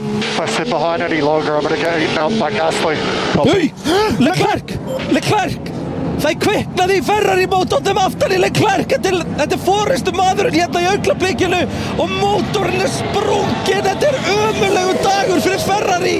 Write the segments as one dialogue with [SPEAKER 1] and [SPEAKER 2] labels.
[SPEAKER 1] I sit behind any longer, I'm going to get eaten up by Gasly.
[SPEAKER 2] Húi, Leclerc, Leclerc Það kviknaði í Ferrari mótornum aftan í Leclerc Þetta er, þetta er fórustu maðurinn hérna í augnablikinu og mótorinn er sprungin Þetta er ömulegu dagur fyrir Ferrari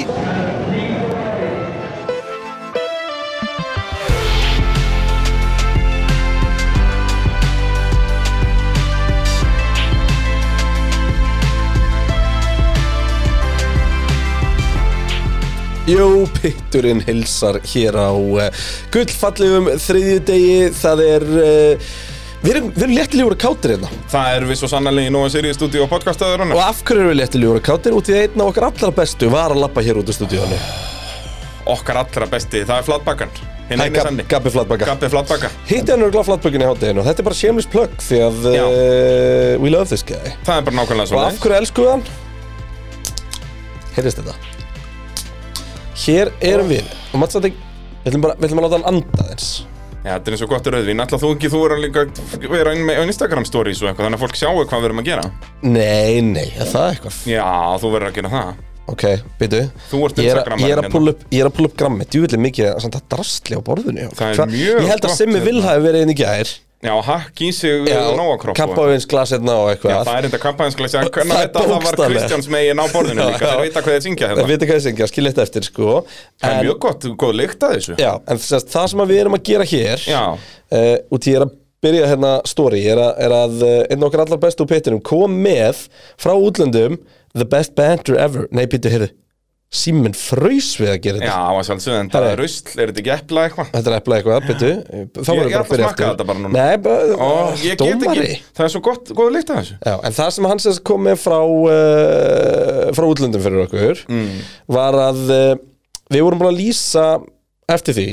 [SPEAKER 3] Jú, pitturinn hilsar hér á uh, gullfallegum þriðju degi, það er, uh, við erum, við erum léttilegur að kátir hérna
[SPEAKER 4] Það er við svo sannlega í Nóa Sirius stúdíu og podcastöðurinn
[SPEAKER 3] Og af hverju erum við léttilegur að kátir? Út í að einn af okkar allra bestu var að lappa hér út úr stúdíónu
[SPEAKER 4] Okkar allra besti, það er Flatbakkan Hinn
[SPEAKER 3] Það er
[SPEAKER 4] eini
[SPEAKER 3] Gab-
[SPEAKER 4] sanni
[SPEAKER 3] Gabbi Flatbaka.
[SPEAKER 4] Gabbi Flatbaka
[SPEAKER 3] Hitti hann örgulega flatbökinni í hátteginu og þetta er bara shameless plug því að
[SPEAKER 4] Já.
[SPEAKER 3] uh, we love this guy
[SPEAKER 4] Það er bara nákvæmlega
[SPEAKER 3] Og
[SPEAKER 4] svona
[SPEAKER 3] af hverju elskum við hann? Heyrðist þetta Hér erum við og maður satt ekki, við ætlum bara, við ætlum að láta hann anda þess
[SPEAKER 4] Já, þetta er eins og gott rauðvín Alltaf þú ekki, þú er að líka að vera inn með á Instagram stories og eitthvað Þannig að fólk sjáu hvað við erum að gera
[SPEAKER 3] Nei, nei, er það eitthvað?
[SPEAKER 4] Já, þú verður að gera það
[SPEAKER 3] Ok, byrju
[SPEAKER 4] Þú ert
[SPEAKER 3] Ég er að-
[SPEAKER 4] Instagrammarinn
[SPEAKER 3] ég er að
[SPEAKER 4] hérna.
[SPEAKER 3] pulla upp, ég er að pulla upp grammi Djúvillig mikið að þetta drastli á borðinu hjá.
[SPEAKER 4] Það er
[SPEAKER 3] Hva-
[SPEAKER 4] mjög
[SPEAKER 3] Ég held að
[SPEAKER 4] gott
[SPEAKER 3] Simmi
[SPEAKER 4] hérna.
[SPEAKER 3] Vil hafi verið inn í gær
[SPEAKER 4] Já, hakk í sig og Nóa kropp og-
[SPEAKER 3] Kampavíns glas hérna og
[SPEAKER 4] Já,
[SPEAKER 3] eitthvað
[SPEAKER 4] það er enda kampanjansklæsi að hvernig
[SPEAKER 3] Það er
[SPEAKER 4] þetta að það var
[SPEAKER 3] bókstaflega.
[SPEAKER 4] Kristjáns megin á borðinu
[SPEAKER 3] Já,
[SPEAKER 4] líka
[SPEAKER 3] já.
[SPEAKER 4] Þeir vita hvað þeir syngja
[SPEAKER 3] Það
[SPEAKER 4] hérna
[SPEAKER 3] vita hvað ég syngja, skil eitt eftir sko
[SPEAKER 4] Það er
[SPEAKER 3] En,
[SPEAKER 4] mjög gott, góð lykt að þessu
[SPEAKER 3] já, en þess, það sem að við erum að gera hér
[SPEAKER 4] Já.
[SPEAKER 3] uh, Út í ég er að byrja hérna story Ég er að, er að uh, einn okkar allar bestu úr pittinum Kom með frá útlöndum The best banter ever Nei, pittu, heyrðu Simmin fraus við að gera
[SPEAKER 4] Já,
[SPEAKER 3] þetta
[SPEAKER 4] að sjálfsögðu, en það
[SPEAKER 3] Herre.
[SPEAKER 4] er rusl, er þetta ekki epla eitthvað?
[SPEAKER 3] Þetta er epla eitthvað, byttu Þá
[SPEAKER 4] Ég-
[SPEAKER 3] verður
[SPEAKER 4] ég
[SPEAKER 3] bara að
[SPEAKER 4] ætla að
[SPEAKER 3] byrja
[SPEAKER 4] smakka
[SPEAKER 3] eftir
[SPEAKER 4] þetta bara núna.
[SPEAKER 3] Nei, bara,
[SPEAKER 4] Ó, ég get
[SPEAKER 3] dómari
[SPEAKER 4] ekki, það er svo gott, góð lykt að þessu
[SPEAKER 3] Já, en það sem hann sem sagt kom með frá uh, frá útlöndum fyrir okkur
[SPEAKER 4] Mm.
[SPEAKER 3] var að uh, við vorum búin að lýsa eftir því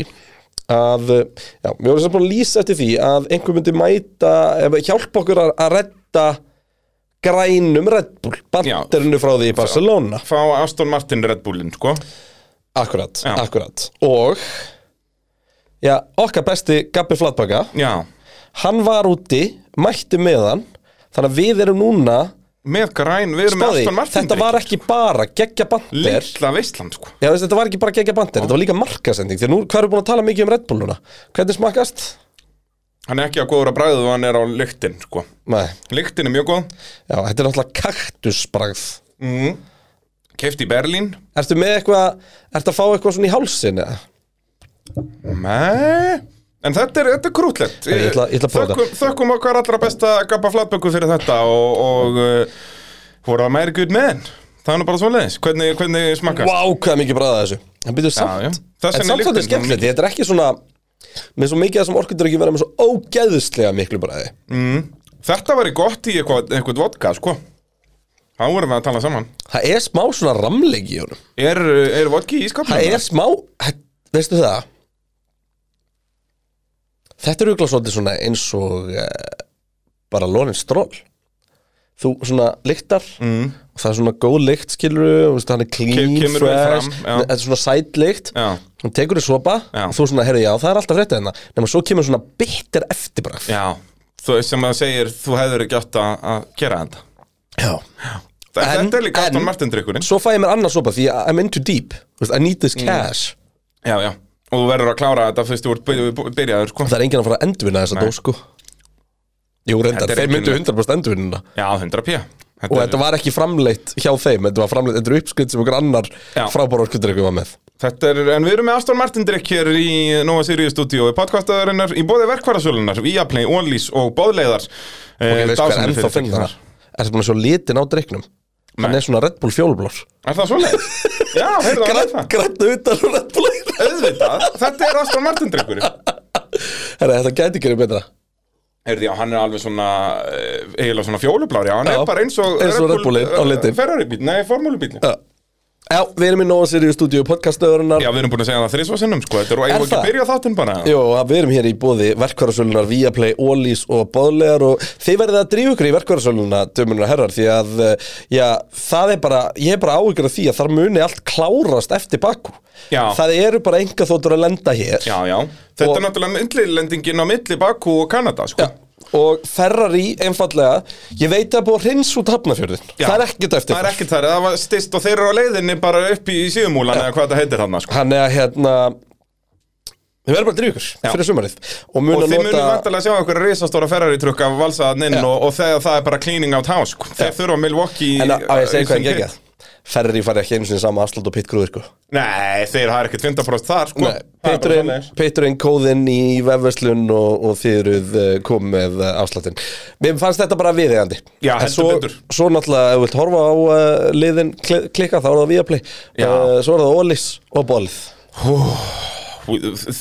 [SPEAKER 3] að, uh, já, við vorum sem sagt búin að lýsa eftir því að einhver myndi mæta eða hjálpa okkur að, að redda grænum Red Bull
[SPEAKER 4] Já.
[SPEAKER 3] banderinu frá því í Barcelona
[SPEAKER 4] fá Aston Martin Red Bullin, sko
[SPEAKER 3] Akkurat,
[SPEAKER 4] Já.
[SPEAKER 3] akkurat og já, okkar besti Gabbi Flatbaka
[SPEAKER 4] Já,
[SPEAKER 3] Hann var úti, mætti með hann Þannig að við erum núna
[SPEAKER 4] með græn, við erum með
[SPEAKER 3] Staði,
[SPEAKER 4] Aston Martin
[SPEAKER 3] þetta var ekki bara geggja bandir
[SPEAKER 4] Lilla veistland, sko
[SPEAKER 3] Já, veist, þetta var ekki bara geggja bandir, þetta var líka markasending Þegar nú, hvað erum við búin að tala mikið um Red Bull núna? Hvernig smakkast?
[SPEAKER 4] Hann er ekki að góður að bræðu og hann er á lyktin, sko
[SPEAKER 3] Nei,
[SPEAKER 4] Lyktin er mjög góð
[SPEAKER 3] já, þetta er náttúrulega kaktusbragð
[SPEAKER 4] mm. Keift í Berlín
[SPEAKER 3] Ertu með eitthvað, ertu að fá eitthvað svona í hálsin eða?
[SPEAKER 4] Nei En þetta er, þetta er krútlegt
[SPEAKER 3] Ég ætla- ég ætla að prófa
[SPEAKER 4] þökkum, þökkum okkar allra besta Gabba Flatböku fyrir þetta og, og uh, voru að meiri gutt með henn Það er nú bara svoleiðis, hvernig, hvernig
[SPEAKER 3] Vá,
[SPEAKER 4] smakast
[SPEAKER 3] hvað mikið bræða þessu En byrjuðu samt,
[SPEAKER 4] já. Þess
[SPEAKER 3] en samt
[SPEAKER 4] vegna
[SPEAKER 3] þetta
[SPEAKER 4] lyktin
[SPEAKER 3] er
[SPEAKER 4] svona
[SPEAKER 3] skemmtilegt
[SPEAKER 4] mikið.
[SPEAKER 3] Þetta er ekki svona, með svo mikið af þessum orkudrykki vera með svo ógeðuslega miklu bræði
[SPEAKER 4] Þetta væri gott í eitthvað, eitthvað vodka, sko Þá vorum við að tala saman
[SPEAKER 3] Það er smá svona ramleiki í honum
[SPEAKER 4] Er, eh, er vodki í skapnum?
[SPEAKER 3] Það er smá, hæ- veistu það Þetta er auðvitað svolítið svona eins og uh, bara Lorin Stroll Þú svona lyktar mm. og það er svona góð lykt skilur veist, hann er clean,
[SPEAKER 4] Ke- kemur vel
[SPEAKER 3] fresh
[SPEAKER 4] fram, já.
[SPEAKER 3] þetta er svona sætlykt
[SPEAKER 4] Já.
[SPEAKER 3] hún tekur í sopa
[SPEAKER 4] Já.
[SPEAKER 3] og þú svona, heyrðu, já, það er alltaf frétta hérna nema svo kemur svona bitter eftirbragð
[SPEAKER 4] Já, þú sem að segir þú hefur ekki átt að að gera þetta
[SPEAKER 3] Já.
[SPEAKER 4] Þa,
[SPEAKER 3] En-
[SPEAKER 4] Þetta er líka
[SPEAKER 3] en-
[SPEAKER 4] Aston Martin drikkurinn
[SPEAKER 3] Svo fæ ég mér annars sopa því að I'm in too deep Vist, I need this
[SPEAKER 4] Mm.
[SPEAKER 3] cash
[SPEAKER 4] Já, já, og þú verður að klára þetta fyrst þú ert by- by- byrjaður, sko
[SPEAKER 3] Það er enginn að fara að endurvinna þessa dós sko Jú, reyndar,
[SPEAKER 4] Þetta er
[SPEAKER 3] þeir myndu
[SPEAKER 4] enginn-
[SPEAKER 3] 100% endurvinna
[SPEAKER 4] Já, 100 p
[SPEAKER 3] Og þetta var ekki framleitt hjá þeim Þetta var framleitt, þetta er uppskritt sem einhver annar
[SPEAKER 4] Já.
[SPEAKER 3] frábár orkudrykkur var með
[SPEAKER 4] Þetta er, en við erum með Aston Martin drikk hér í Nova Sirius stúdíu podcastaðarinnar í bóði verkvarðasölunar, Viaplay, Onlýs og Eh, Bóðleiðar
[SPEAKER 3] Og ég veist hvað er ennþá finn þar Er þetta búin að sjá litin á dryknum? Hann
[SPEAKER 4] Nei.
[SPEAKER 3] er svona Red Bull fjólblór
[SPEAKER 4] Er það svoleið? Já, heyrðu það var það
[SPEAKER 3] Grættu utan og Red Bull Herra,
[SPEAKER 4] Auðvitað, þetta er Aston Martin drikkurinn
[SPEAKER 3] þetta gæti ekki verið betra
[SPEAKER 4] Erði, já, hann er alveg svona eh, eiginlega svona fjólublári, já, hann
[SPEAKER 3] Já,
[SPEAKER 4] er bara eins og
[SPEAKER 3] eins og Red Bullinn á litinn.
[SPEAKER 4] Ferrari-bíl, nei, formúlubíl
[SPEAKER 3] Já, Já, við erum í Nóa Sirius stúdíu podcastöðurinnar
[SPEAKER 4] Já, við erum búin að segja það þrísvað sinnum, sko, þetta er og
[SPEAKER 3] Er
[SPEAKER 4] eigum við ekki
[SPEAKER 3] það?
[SPEAKER 4] að byrja þáttinn bara
[SPEAKER 3] Jó, að við erum hér í bóði verkvarasölunar Viaplay, Ólís og Bóðlegar og þið verðið að drífa ykkur í verkvarasöluna dömunar og herrar því að eh, já, það er bara, ég er bara áhyggjur af því að þar muni allt klárast eftir bakku
[SPEAKER 4] Já.
[SPEAKER 3] Það eru bara enga þóttur að lenda hér
[SPEAKER 4] Já, já, þetta
[SPEAKER 3] Og-
[SPEAKER 4] er náttúrulega millilendingin á milli Bakú og Kanada, sko
[SPEAKER 3] Já, og Ferrari einfallega ég veit að búið að hrins út hafnafjörðin
[SPEAKER 4] Já.
[SPEAKER 3] það er ekkert eftir
[SPEAKER 4] Það er ekkert þar, það var stist og þeir eru á leiðinni bara upp í síðumúlan eða hvað það heitir hann sko.
[SPEAKER 3] hann er hérna við verðum bara að drífa ykkur
[SPEAKER 4] Já.
[SPEAKER 3] fyrir sumarið og mun
[SPEAKER 4] Og
[SPEAKER 3] að
[SPEAKER 4] þið munum
[SPEAKER 3] nota
[SPEAKER 4] vantilega sjá okkur risastóra Ferrari trukk af valsaðan inn
[SPEAKER 3] Já.
[SPEAKER 4] og, og þegar það er bara cleaning out house sko. Þeir
[SPEAKER 3] Já.
[SPEAKER 4] þurfa Milwaukee eh,
[SPEAKER 3] en að, að ég segi hvað
[SPEAKER 4] í-
[SPEAKER 3] er geggjað Ferrari fari ekki einu sinni sama afslut og pitgrúð sko.
[SPEAKER 4] Nei, þeir hafa ekkert 20% þar sko.
[SPEAKER 3] Nei,
[SPEAKER 4] Það er bara
[SPEAKER 3] Péturinn
[SPEAKER 4] svoleiðis.
[SPEAKER 3] Péturinn kóðinn í vefverslun og, og þið eruð uh, kom með uh, afsláttinn. Mér fannst þetta bara viðegandi
[SPEAKER 4] Já,
[SPEAKER 3] En
[SPEAKER 4] heldur
[SPEAKER 3] svo,
[SPEAKER 4] betur.
[SPEAKER 3] svo náttúrulega, ef þú vilt horfa á uh, liðin kli, klikka, þá er það Viaplay uh,
[SPEAKER 4] Já.
[SPEAKER 3] Svo er það Ólís og Bólið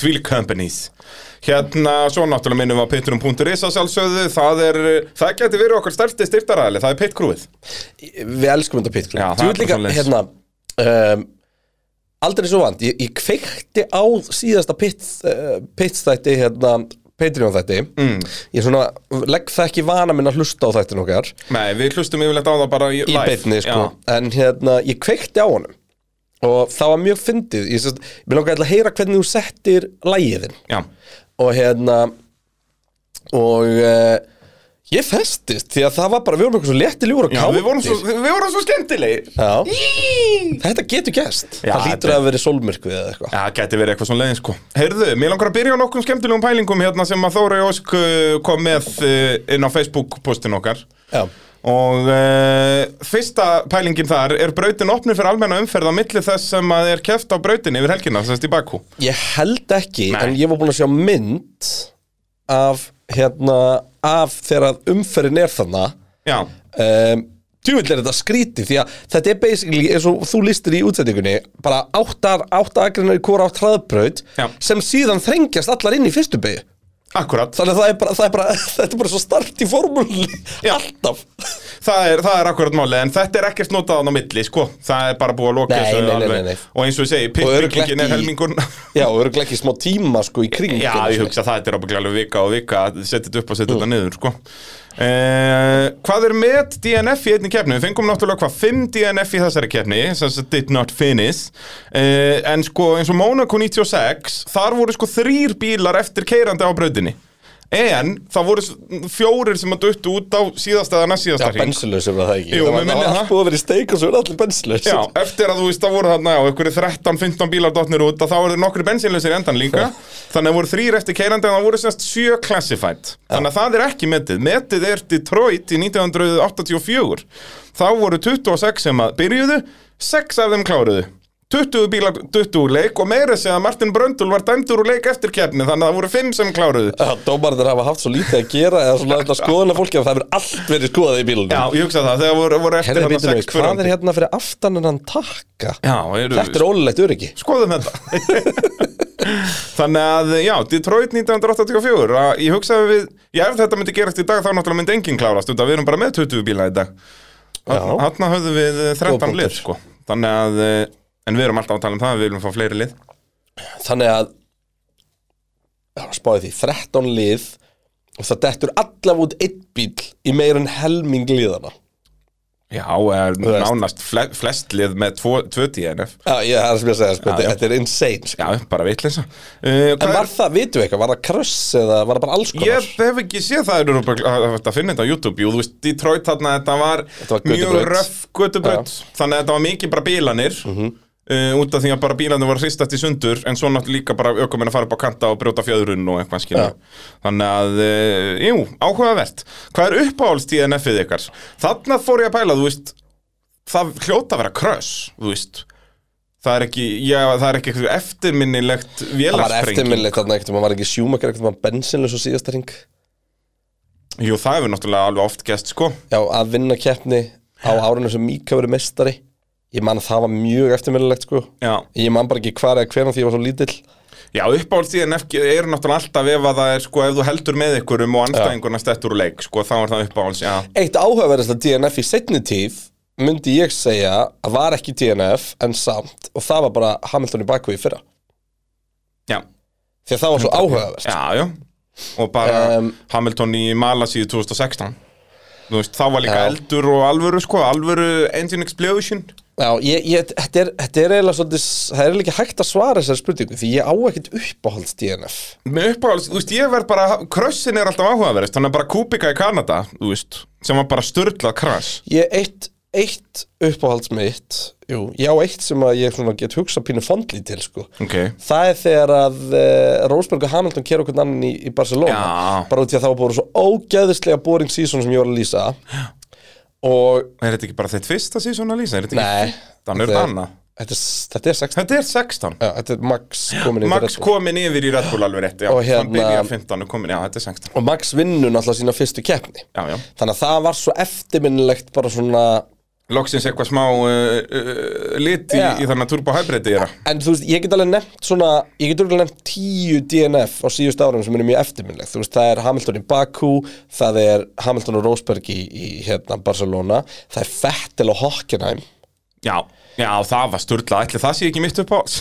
[SPEAKER 4] Þvíl companies Hérna, svo náttúrulega minnum við á pitturum.is að sjálfsögðu, það er það geti verið okkar stærsti styrtaræðli, það er pitkrúið
[SPEAKER 3] Við elskum þetta pitgrúð
[SPEAKER 4] Já, það
[SPEAKER 3] Þú
[SPEAKER 4] er
[SPEAKER 3] veit líka,
[SPEAKER 4] bara svoleiðis.
[SPEAKER 3] hérna um, Aldrei svo vant Ég, ég kveikti á síðasta pit, uh, pitstætti hérna Patreon þætti mm. Ég svona legg það ekki vana minn að hlusta á þættin okkar
[SPEAKER 4] Nei, við hlustum yfirleitt á það bara í,
[SPEAKER 3] í
[SPEAKER 4] live.
[SPEAKER 3] beinni sko.
[SPEAKER 4] Já.
[SPEAKER 3] en hérna, ég kveikti á honum og það var mjög fyndið ég sérst, mér langaði að heyra hvernig þú settir lægiðin
[SPEAKER 4] Já,
[SPEAKER 3] og hérna og uh, ég festist því að það var bara, við vorum eitthvað svo létti ljúur og
[SPEAKER 4] Já við, vorum svo,
[SPEAKER 3] káttir
[SPEAKER 4] við vorum svo skemmtilegi
[SPEAKER 3] Já. þetta getur gæst
[SPEAKER 4] Já,
[SPEAKER 3] það
[SPEAKER 4] þetta-
[SPEAKER 3] lítur að vera sólmyrkvið eða eitthvað
[SPEAKER 4] Já, geti verið eitthvað svona leiðin sko Heyrðu, mér langar að byrja á nokkrum skemmtilegum pælingum hérna sem að Þóra Jósk uh, kom með uh, inn á Facebook-postin okkar
[SPEAKER 3] Já.
[SPEAKER 4] Og uh, fyrsta pælingin þar er brautin opnið fyrir almenna umferð á milli þess sem að er keft á brautin yfir helgina, þess í Bakú
[SPEAKER 3] ég held ekki,
[SPEAKER 4] Nei.
[SPEAKER 3] en ég var búin að sjá mynd af hérna, af þegar að umferðin er þannig
[SPEAKER 4] Já,
[SPEAKER 3] um, Djúvill er þetta skrítið því að þetta er basically eins og þú listir í útsendingunni bara áttar, áttar agrinnar í hvora átt hraðbraut
[SPEAKER 4] Já.
[SPEAKER 3] sem síðan þrengjast allar inn í fyrstu beigju
[SPEAKER 4] akkurat
[SPEAKER 3] þannig að það er bara, það er bara þetta er bara svo start í formúli
[SPEAKER 4] Já.
[SPEAKER 3] alltaf
[SPEAKER 4] það er, það er akkurat máli, en þetta er ekkert notaðan á milli, sko Það er bara búið að loka
[SPEAKER 3] Nei,
[SPEAKER 4] þessu
[SPEAKER 3] nei, nei,
[SPEAKER 4] alveg.
[SPEAKER 3] nei, nei.
[SPEAKER 4] Og eins og ég segi,
[SPEAKER 3] Og örugglega
[SPEAKER 4] pittbyggingin
[SPEAKER 3] ekki
[SPEAKER 4] er
[SPEAKER 3] í-
[SPEAKER 4] helmingur
[SPEAKER 3] Já, og eru ekki smá tíma sko í kring
[SPEAKER 4] Já, ég hugsa það, þetta er ábygglega alveg vika og vika að setja þetta upp og setja
[SPEAKER 3] Mm.
[SPEAKER 4] þetta niður, sko Uh, hvað er með DNF í einni keppni? Við fengum náttúrulega hvað 5 DNF í þessari keppni sem sagt did not finish uh, en sko eins og Monaco 96 þar voru sko þrýr bílar eftir keirandi á brautinni en það voru s- fjórir sem að duttu út á síðasta eða næst
[SPEAKER 3] Já,
[SPEAKER 4] síðasta hring
[SPEAKER 3] bensilösur var það ekki
[SPEAKER 4] Jú,
[SPEAKER 3] Það var-
[SPEAKER 4] mig
[SPEAKER 3] Það
[SPEAKER 4] minnir
[SPEAKER 3] var
[SPEAKER 4] það.
[SPEAKER 3] allt búið að vera í steik og svo er allir bensilösur
[SPEAKER 4] Já, eftir að þú veist að voru þarna á einhverju 13-15 bílar dotnir út að þá eru nokkri bensínlausir í endan líka þannig að voru þrýr eftir keirandi en það voru semst sjö classified þannig að það er ekki metið metið er Detroit í 1984 þá voru 26 sem að byrjuðu 6 af þeim kláruðu 20 bílar duttu úr leik og meira segja að Martin Bröndul var dæmdur úr leik eftir keppni þannig að það voru 5 sem kláruðu
[SPEAKER 3] Dómarður hafa haft svo lítið að gera eða svona þetta skoðuna fólki að það hefur allt verið skoðað í bílunum
[SPEAKER 4] Já, ég hugsa það, þegar voru, voru eftir
[SPEAKER 3] Herði,
[SPEAKER 4] þarna
[SPEAKER 3] býtum við,
[SPEAKER 4] 6
[SPEAKER 3] hvað er hérna fyrir aftan en hann takka?
[SPEAKER 4] Já, eru,
[SPEAKER 3] Þetta er ólulegt öryggi
[SPEAKER 4] skoðum þetta Þannig að, já, Detroit 1984 að Ég hugsaði við, já, ef þetta myndi gerast í dag þá náttúrulega myndi enginn klárast út að við erum bara með 20 bíla í dag
[SPEAKER 3] Já.
[SPEAKER 4] Hanna höfðum við eh, 13
[SPEAKER 3] Góð
[SPEAKER 4] lið,
[SPEAKER 3] punktur.
[SPEAKER 4] sko Þannig að, eh, en við erum alltaf að tala um það, við viljum fá fleiri lið
[SPEAKER 3] Þannig að Já, spáði því, 13 lið og það dettur allaf út einn bíl í meira en helming liðana
[SPEAKER 4] Já, er
[SPEAKER 3] veist.
[SPEAKER 4] nánast fle flest lið með 2 DNF
[SPEAKER 3] Já, ég, það er sem ég að segja, sko,
[SPEAKER 4] Já,
[SPEAKER 3] þetta-
[SPEAKER 4] já.
[SPEAKER 3] þetta er insane sko.
[SPEAKER 4] Já, bara vitleisa uh,
[SPEAKER 3] En var það, vitum við eitthvað, var það kröss eða var það bara alls konar?
[SPEAKER 4] Ég hef ekki séð það er örugglega- að að- að finna þetta á YouTube Jú, þú veist, Detroit þarna, þetta var,
[SPEAKER 3] var
[SPEAKER 4] mjög
[SPEAKER 3] götubraut.
[SPEAKER 4] röf götubraut Þannig að þetta var mikið bara bílanir
[SPEAKER 3] Mhm.
[SPEAKER 4] uh, Út af því að bara bílanir voru hristast í sundur En svo náttúrulega líka bara ökumenn að fara upp á kanta og brjóta fjöðrun og eitthvað skilja
[SPEAKER 3] Já.
[SPEAKER 4] Þannig að, uh, jú, áhugavert Hvað er uppáhalds DNF-ið ykkar? Þarna fór ég að pæla, þú veist Það hljóta að vera kröss, þú veist Það er ekki, já, það er ekki eitthvað eftirminnilegt
[SPEAKER 3] Það var
[SPEAKER 4] vélarsprengi
[SPEAKER 3] eftirminnilegt þarna ekkert, maður var ekki sjúmakar ekkert, maður bensinlega svo síðasta ring
[SPEAKER 4] Jú, það hefur náttúrulega alveg oft gest, sko
[SPEAKER 3] Já, að vinna keppni á árinu sem Míka verið mestari Ég man að það var mjög eftirminnilegt sko
[SPEAKER 4] Já,
[SPEAKER 3] Ég man bara ekki hvar eða hvernig því ég var svo lítill
[SPEAKER 4] já uppáhalds í NFG er náttúrulega alltaf ef að það er sko ef þú heldur með ykkurum og anstæðinguna stettur úr leik sko þá er það uppáhalds, já
[SPEAKER 3] Eitt áhugaverðasta DNF í setni tíð myndi ég segja að var ekki DNF en samt og það var bara Hamilton í bakvið í fyrra
[SPEAKER 4] Já,
[SPEAKER 3] því að það var svo áhugaverst
[SPEAKER 4] já, já og bara
[SPEAKER 3] Um,
[SPEAKER 4] Hamilton í Malasíu 2016 Þú veist, þá var líka
[SPEAKER 3] Já.
[SPEAKER 4] eldur og alvöru sko, alvöru engine explosion
[SPEAKER 3] Já, ég, ég, þetta, er, þetta er eiginlega svolítið, það er eiginlega ekki hægt að svara þessari spurningu því ég á ekkert uppáhalds DNF.
[SPEAKER 4] Með uppáhalds, þú veist, ég verð bara, krössin er alltaf áhugaverðist, þannig að bara Kubika í Kanada, þú veist, sem var bara störlað kröss.
[SPEAKER 3] Ég eitt, eitt uppáhalds mitt, jú, ég á eitt sem að ég svona get hugsa pínu fondli til, sko.
[SPEAKER 4] Ok.
[SPEAKER 3] Það er þegar að uh, Rósberg og Hamilton kera okkur annan í, í Barcelona
[SPEAKER 4] Já.
[SPEAKER 3] bara út í að það var búin svo ógeðislega boring season sem ég var að lýsa og
[SPEAKER 4] Er þetta ekki bara þitt fyrsta síðan að lýsa? Er þetta
[SPEAKER 3] nei
[SPEAKER 4] ekki? Þannig er þetta annað.
[SPEAKER 3] þetta er, þetta er 16
[SPEAKER 4] Þetta er 16.
[SPEAKER 3] Já, þetta er Max komin í
[SPEAKER 4] Max komin yfir í Red Bull alveg rétt, já.
[SPEAKER 3] Og
[SPEAKER 4] Hann byrjaði
[SPEAKER 3] hérna-
[SPEAKER 4] að 15 og komin, já, þetta er 16.
[SPEAKER 3] og Max vinnur náttúrulega sína fyrstu keppni
[SPEAKER 4] Já, já.
[SPEAKER 3] þannig að það var svo eftirminnilegt bara svona
[SPEAKER 4] Loksins eitthvað smá uh, uh, lit í,
[SPEAKER 3] Já.
[SPEAKER 4] í þannig að turbo hybrid era.
[SPEAKER 3] en þú veist, ég get alveg nefnt svona ég get alveg nefnt tíu DNF á síðust árum sem er mjög eftirminnilegt, þú veist, það er Hamilton í Baku, það er Hamilton og Rósberg í, í hérna Barcelona það er Fettel og Hockenheim
[SPEAKER 4] Já, já, það var störlað, ætli það sé ekki mitt uppáhalds.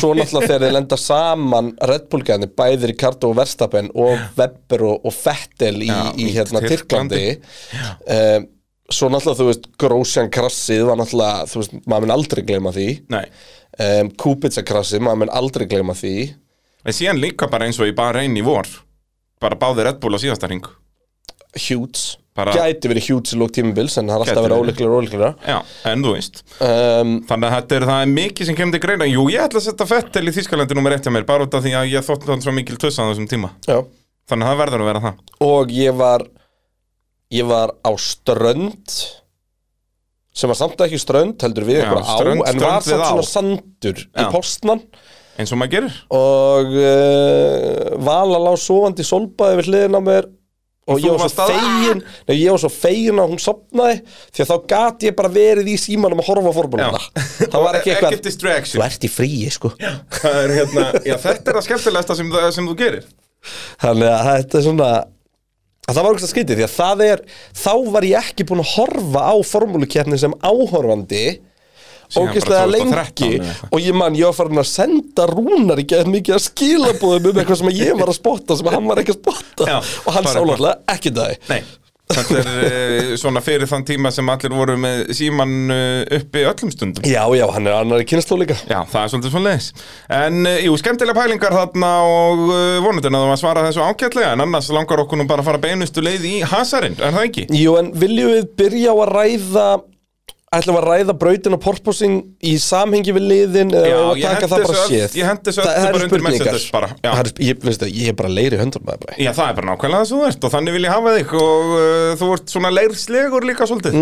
[SPEAKER 3] svo náttúrulega þegar þeir lenda saman Red Bull gæðinni, bæði Ricardo og Verstappen og Webber og, og Fettel í,
[SPEAKER 4] Já,
[SPEAKER 3] í
[SPEAKER 4] í
[SPEAKER 3] hérna Tyrklandi
[SPEAKER 4] Tyrklandi.
[SPEAKER 3] um, svo náttúrulega þú veist Grosjan krassið var náttúrulega þú veist, maður minn aldrei gleyma því
[SPEAKER 4] Nei.
[SPEAKER 3] um, Kupitsa krassið, maður minn aldrei gleyma því
[SPEAKER 4] En síðan líka bara eins og í bara í vor. Bara báði Red Bull á síðasta ring.
[SPEAKER 3] Hjúts,
[SPEAKER 4] Bara-
[SPEAKER 3] gæti verið hjúts í lók tímabils en það er alltaf
[SPEAKER 4] Gæti
[SPEAKER 3] að vera
[SPEAKER 4] verið.
[SPEAKER 3] óleiklega og óleiklega
[SPEAKER 4] Já, en þú veist.
[SPEAKER 3] um,
[SPEAKER 4] Þannig að þetta er, það er mikið sem kemur til greina Jú, ég ætla að setja Fettel í Þískalandi nummer eitt hjá mér bara út af því að ég þótt hann svo mikil tussan á þessum tíma
[SPEAKER 3] já
[SPEAKER 4] Þannig að það verður að vera það
[SPEAKER 3] og ég var ég var á strönd sem var samt ekki strönd heldur við
[SPEAKER 4] Já,
[SPEAKER 3] einhverja á
[SPEAKER 4] strönd-
[SPEAKER 3] en var
[SPEAKER 4] strönd
[SPEAKER 3] samt
[SPEAKER 4] við
[SPEAKER 3] svona
[SPEAKER 4] á.
[SPEAKER 3] sandur í
[SPEAKER 4] Já.
[SPEAKER 3] postmann
[SPEAKER 4] eins og maður gerir
[SPEAKER 3] og uh, Vala lá sofandi í solbaði við hliðina á mér og
[SPEAKER 4] þú
[SPEAKER 3] ég var
[SPEAKER 4] varst
[SPEAKER 3] svo
[SPEAKER 4] að-
[SPEAKER 3] fegin nei, ég var svo fegin að hún sopnaði því að þá gat ég bara verið í símanum að horfa á formúluna það var ekki
[SPEAKER 4] e- Ekkert
[SPEAKER 3] eitthvað þú
[SPEAKER 4] distraction
[SPEAKER 3] ert í fríi sko
[SPEAKER 4] Það er hérna, já, Þetta er að skemmtilegasta sem, það- sem þú gerir
[SPEAKER 3] þannig að þetta er svona að það var okkur að skytið því að það er þá var ég ekki búinn að horfa á formúlukefni sem áhorfandi
[SPEAKER 4] Síðan
[SPEAKER 3] ógeðslega
[SPEAKER 4] bara 2013
[SPEAKER 3] lengi
[SPEAKER 4] eða eitthvað.
[SPEAKER 3] og ég man, ég var farin að senda rúnar í geðin mikið að skilabúðum um eitthvað sem ég var að spotta sem hann var ekki að spotta
[SPEAKER 4] Já,
[SPEAKER 3] og hann
[SPEAKER 4] bara
[SPEAKER 3] sá
[SPEAKER 4] eitthvað.
[SPEAKER 3] náttúrulega ekki það
[SPEAKER 4] Nei Þetta er eh, svona fyrir þann tíma sem allir voru með síman eh, uppi öllum stundum
[SPEAKER 3] já, já, hann er annar í kynnsló líka
[SPEAKER 4] Já, það er svolítið svona leis En eh, jú, skemmtilega pælingar þarna og eh, vonandi að það var að svara þessu ágætlega En annars langar okkur nú bara að fara beinustu leið í hasarinn, er það ekki?
[SPEAKER 3] Jú, en viljum við byrja á að ræða ætlum við að ræða brautin og porpoising í samhengi við liðin eða
[SPEAKER 4] Já,
[SPEAKER 3] eigum við
[SPEAKER 4] ég
[SPEAKER 3] að taka
[SPEAKER 4] hendi
[SPEAKER 3] það bara
[SPEAKER 4] þessu öllu-
[SPEAKER 3] séð
[SPEAKER 4] ég hendi þessu
[SPEAKER 3] Það-
[SPEAKER 4] öllu
[SPEAKER 3] það eru
[SPEAKER 4] bara undir
[SPEAKER 3] spurningar.
[SPEAKER 4] Mercedes bara, já.
[SPEAKER 3] Það eru- ég, veistu, ég er bara leiri hundur maður bara.
[SPEAKER 4] Já, það er bara nákvæmlega það sem þú ert og þannig vil ég hafa þig og uh, þú ert svona leirslegur líka svolítið.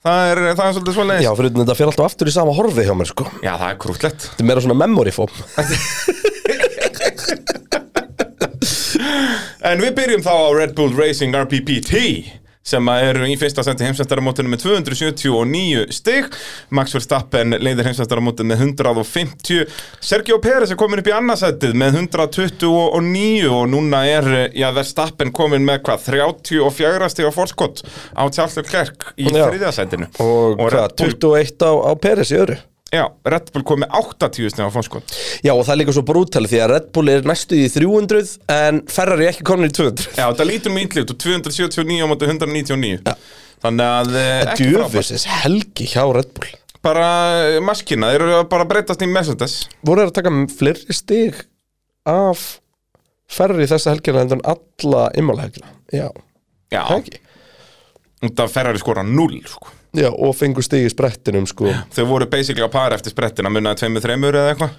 [SPEAKER 4] Það, er, það er svolítið svona
[SPEAKER 3] Mm. Já, fyrir utan þetta fyrir alltaf aftur í sama horfi hjá mér sko.
[SPEAKER 4] Já, það er krútlegt.
[SPEAKER 3] Þetta er meira svona memory foam
[SPEAKER 4] En við byrjum þá á Red Bull Racing RPPT sem að eru í fyrsta sendi heimsvæmstaramótinu með 279 stig Max Verstappen leiðir heimsvæmstaramótinu með 150 Sergio Pérez er komin upp í annarsættið með 129 og núna er já, Verstappen komin með hvað 34 stig á fórskott á Charles Leclerc í
[SPEAKER 3] Já.
[SPEAKER 4] þriðasættinu
[SPEAKER 3] Og hvað,
[SPEAKER 4] Red Bull
[SPEAKER 3] 21 á, á Peres í öru
[SPEAKER 4] Já, Red Bull kom með 80 snegar fórskot
[SPEAKER 3] Já, og það er líka svo brútal því að Red Bull er næstu í 300 en Ferrari er ekki komin í 200
[SPEAKER 4] Já, þetta lítur mjög ítlut og 279 á móti 199 Þannig að eh, ekki frábært.
[SPEAKER 3] Djöfisins helgi hjá Red Bull
[SPEAKER 4] Bara eh, maskina, þeir eru bara að breytast í Mercedes
[SPEAKER 3] voru þeir að taka fleiri stig af ferri þessa helgina heldur en alla immalhelgina já.
[SPEAKER 4] Já,
[SPEAKER 3] Ekki.
[SPEAKER 4] út af Ferrari skora 0 sko.
[SPEAKER 3] já, og fengu stig í sprettinum sko. já,
[SPEAKER 4] Þau voru basically á par eftir sprettina munaði 2-3 eða eitthvað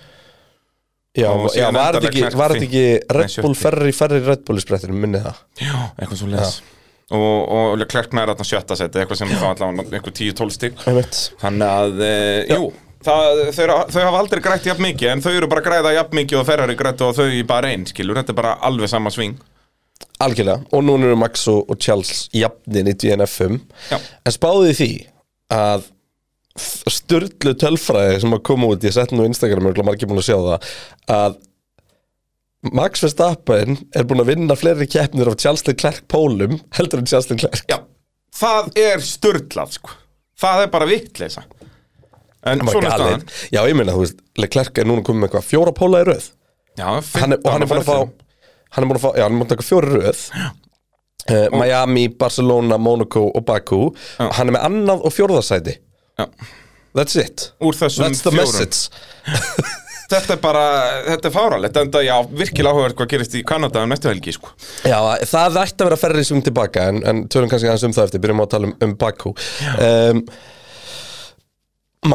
[SPEAKER 4] Og
[SPEAKER 3] já,
[SPEAKER 4] síðan
[SPEAKER 3] var
[SPEAKER 4] endaði
[SPEAKER 3] þetta ekki,
[SPEAKER 4] Leclerc
[SPEAKER 3] var þetta ekki Red
[SPEAKER 4] Nei,
[SPEAKER 3] Bull
[SPEAKER 4] sjötti.
[SPEAKER 3] ferri, ferri Red Bull í sprettinum, minni það
[SPEAKER 4] Já, eitthvað svo leis Og, og klerkna er þarna sjötta seti eitthvað sem þá allavega eitthvað 10-12 stík
[SPEAKER 3] Einmitt.
[SPEAKER 4] Þannig að, e, jú Það, þau, eru- þau hafa aldrei grætt jafn mikið en þau eru bara að græða jafn mikið og Ferrari grættu og þau í bara einn, skilur, þetta er bara alveg sama sving
[SPEAKER 3] algjörlega, og núna eru Max og, og Charles jafnin í DNF5
[SPEAKER 4] Já.
[SPEAKER 3] en spáði því að styrlu tölfræði sem að koma út, ég sett nú á Instagram og maður ekki búin að sjá það að Max Verstappen er búin að vinna fleiri keppnir af Charles Leclerc pólum heldur en Charles Leclerc
[SPEAKER 4] Já, það er störtlað sko. Það er bara vittleisa En
[SPEAKER 3] Bara
[SPEAKER 4] svona er
[SPEAKER 3] galinn.
[SPEAKER 4] staðan
[SPEAKER 3] Já, ég meina, þú veist, Leclerc er núna komið með eitthvað fjóra póla í röð
[SPEAKER 4] Já,
[SPEAKER 3] hann er, og hann er búin að fá hann er búin að fá, já, hann er búin að taka fjóra röð Uh, Miami, Barcelona, Monaco og Baku hann er með annað og fjórðasæti
[SPEAKER 4] Já.
[SPEAKER 3] That's it
[SPEAKER 4] úr þessum
[SPEAKER 3] That's the
[SPEAKER 4] fjórum.
[SPEAKER 3] message
[SPEAKER 4] Þetta er bara, þetta er fáralegt En það, já, virkilega áhugavert hvað gerist í Kanada um næstu helgi, sko
[SPEAKER 3] Já, það ætti að vera ferri sem tilbaka en, en tölum kannski aðeins um það eftir, byrjum á að tala um, um Bakú um,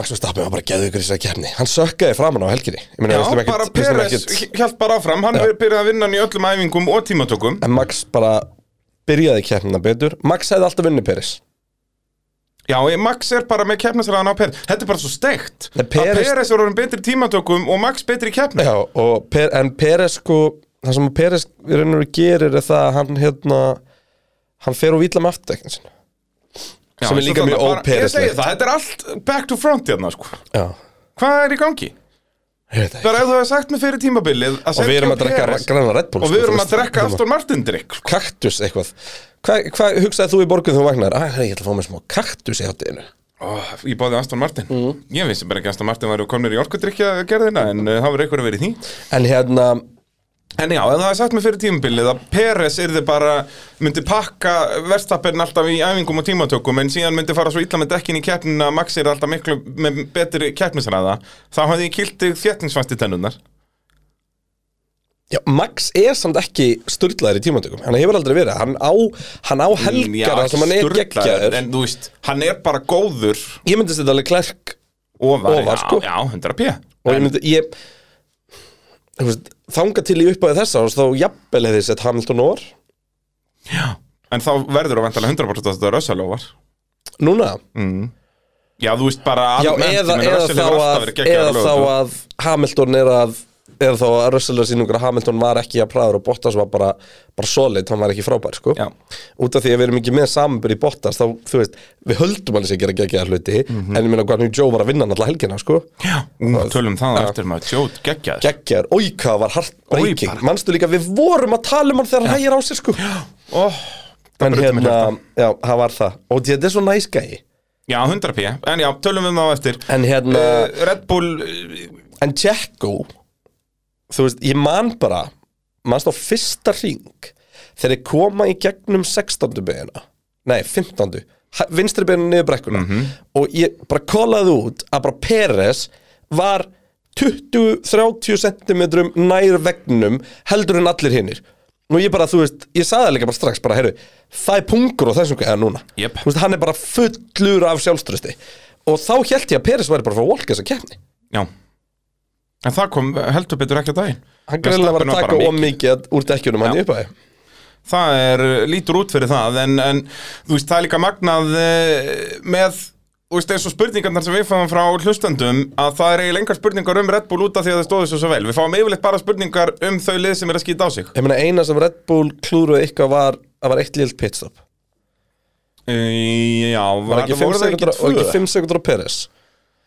[SPEAKER 3] Max Verstappen var bara geðu ykkur í þessari kefni Hann sökkaði framan á helginni Ég meina,
[SPEAKER 4] Já,
[SPEAKER 3] við slum ekkert-
[SPEAKER 4] bara
[SPEAKER 3] við slum
[SPEAKER 4] Peres
[SPEAKER 3] ekkert-
[SPEAKER 4] hjælt bara áfram Hann er byrjað að vinna hann í öllum æfingum og tímatökum
[SPEAKER 3] En Max bara byrjaði kefnina betur Max hefði alltaf vunni Peres
[SPEAKER 4] Já, ég- Max er bara með keppnisraðan á Peres Þetta er bara svo steikt
[SPEAKER 3] En
[SPEAKER 4] Að
[SPEAKER 3] Perez-
[SPEAKER 4] Peres er orðin betri í tímatökum og Max betri í keppni
[SPEAKER 3] Já, og per, en Peres sko Það sem Peres í raun og veru gerir er það að hann hérna Hann fer og vila með aftekni sinna
[SPEAKER 4] Já,
[SPEAKER 3] sem er
[SPEAKER 4] svo
[SPEAKER 3] líka
[SPEAKER 4] þarna
[SPEAKER 3] mjög
[SPEAKER 4] bara- Ég segi
[SPEAKER 3] ópereslegt.
[SPEAKER 4] það, þetta er allt back to front hérna, sko
[SPEAKER 3] Já,
[SPEAKER 4] Hvað er í gangi?
[SPEAKER 3] ég veit það ekki
[SPEAKER 4] Bara ef þú hefur sagt mér fyrir tímabilið að
[SPEAKER 3] Og við
[SPEAKER 4] Sergio
[SPEAKER 3] erum að drekka
[SPEAKER 4] Perez-
[SPEAKER 3] græna Red Bull
[SPEAKER 4] Og
[SPEAKER 3] sko,
[SPEAKER 4] við
[SPEAKER 3] þú
[SPEAKER 4] erum að
[SPEAKER 3] veist,
[SPEAKER 4] drekka
[SPEAKER 3] hérna.
[SPEAKER 4] Aston Martin drikk
[SPEAKER 3] kaktus eitthvað Hvað hva, hugsaði þú í borgun þú vagnar? Æ, ég ætla að fá mér smá kaktus í hátinu
[SPEAKER 4] oh, Ég báði Aston Martin
[SPEAKER 3] Mhm.
[SPEAKER 4] Ég vissi bara ekki að Aston Martin var komnir í orkudrykja gerðina En uh, það var einhver að vera í því
[SPEAKER 3] En hérna,
[SPEAKER 4] En já, en það er sagt mér fyrir tímabilið að Peres yrði bara myndi pakka verstapenn alltaf í æfingum og tímatökum en síðan myndi fara svo illa með dekkin í keppnin að Max er alltaf miklu með betri keppnisræða þá hafði ég kilt þig þéttingsfæsti tennunar
[SPEAKER 3] já, Max er samt ekki styrlaður í tímatökum Hann hefur aldrei verið, hann á, hann á helgar þar sem hann er geggjaður
[SPEAKER 4] En þú veist, hann er bara góður
[SPEAKER 3] Ég myndist þetta alveg klærk
[SPEAKER 4] ofar,
[SPEAKER 3] Ofar,
[SPEAKER 4] já,
[SPEAKER 3] sko.
[SPEAKER 4] já, 100 p
[SPEAKER 3] og ég myndi, ég þú veist, Þanga til í uppæði þessa árs, þá jafnvel hefði sett Hamilton og Orr
[SPEAKER 4] En þá verður að vantala 100% að þetta er össalófar
[SPEAKER 3] Núna,
[SPEAKER 4] Já, þú veist bara
[SPEAKER 3] já,
[SPEAKER 4] almennt, ég
[SPEAKER 3] eða,
[SPEAKER 4] meina,
[SPEAKER 3] eða,
[SPEAKER 4] Russell
[SPEAKER 3] þá
[SPEAKER 4] hefur alltaf
[SPEAKER 3] að,
[SPEAKER 4] verið geggjaður
[SPEAKER 3] eða þá
[SPEAKER 4] lögur.
[SPEAKER 3] að Hamilton er að eða þá að Russell er sínungur að Hamilton var ekki að praður og Bottas var bara, bara solid, hann var ekki frábær sko.
[SPEAKER 4] Já.
[SPEAKER 3] út af því að við erum ekki með samanbyrð í Bottas þá, þú veist, við höldum hann sér gera geggjaðar hluti en ég meina hvernig Joe var að vinna hann alltaf helgina sko.
[SPEAKER 4] Já, ú, tölum það á eftir maður Sjóð, geggjaður
[SPEAKER 3] geggjaðar, oi hvað var hart breaking
[SPEAKER 4] bara.
[SPEAKER 3] manstu líka, við vorum að tala um hann þegar hann hægir á sér sko.
[SPEAKER 4] oh,
[SPEAKER 3] en
[SPEAKER 4] brutum mér
[SPEAKER 3] hérna, já, það var það og þetta er svo næs gæi
[SPEAKER 4] Já, 100 p En já, tölum við það á eftir
[SPEAKER 3] en hérna,
[SPEAKER 4] uh, Red Bull uh,
[SPEAKER 3] En Tjekko Þú veist, ég man bara Manst á fyrsta ring Þegar ég koma í gegnum 16. beina Nei, 15. Ha- Vinstri beina niður brekkuna Og ég bara kolaði út að bara Peres Var 20-30 cm nær vegnum Heldur en allir hinnir Nú ég bara, þú veist, ég saði það líka bara strax bara, heyrðu, það er pungur og þessum gæða núna
[SPEAKER 4] Jep.
[SPEAKER 3] Þú veist, hann er bara fullur af sjálfströsti Og þá hélt ég að Peres væri bara fyrir að volka þessa keppni
[SPEAKER 4] Já En það kom heldur betur ekki að daginn
[SPEAKER 3] Hann greinlega var
[SPEAKER 4] Verstappen
[SPEAKER 3] að taka
[SPEAKER 4] bara
[SPEAKER 3] of mikið úr dekkjunum hann í upphæði
[SPEAKER 4] það er, eh, lítur út fyrir það en, en þú veist, það er líka magnað eh, með, þú veist, eins og spurningarnar sem við fáum frá hlustendum að það er eiginlega engar spurningar um Red Bull út af því að það stóðu svo svo vel við fáum yfirleitt bara spurningar um þau lið sem er að skýta á sig
[SPEAKER 3] Ég meina eina sem Red Bull klúruði eitthvað var að var eitt liðt pitstop
[SPEAKER 4] e, Já,
[SPEAKER 3] Var
[SPEAKER 4] var
[SPEAKER 3] ekki
[SPEAKER 4] voru
[SPEAKER 3] 5
[SPEAKER 4] það
[SPEAKER 3] sekundur
[SPEAKER 4] ekki
[SPEAKER 3] og ekki
[SPEAKER 4] tvö?
[SPEAKER 3] 5 sekundur á Peres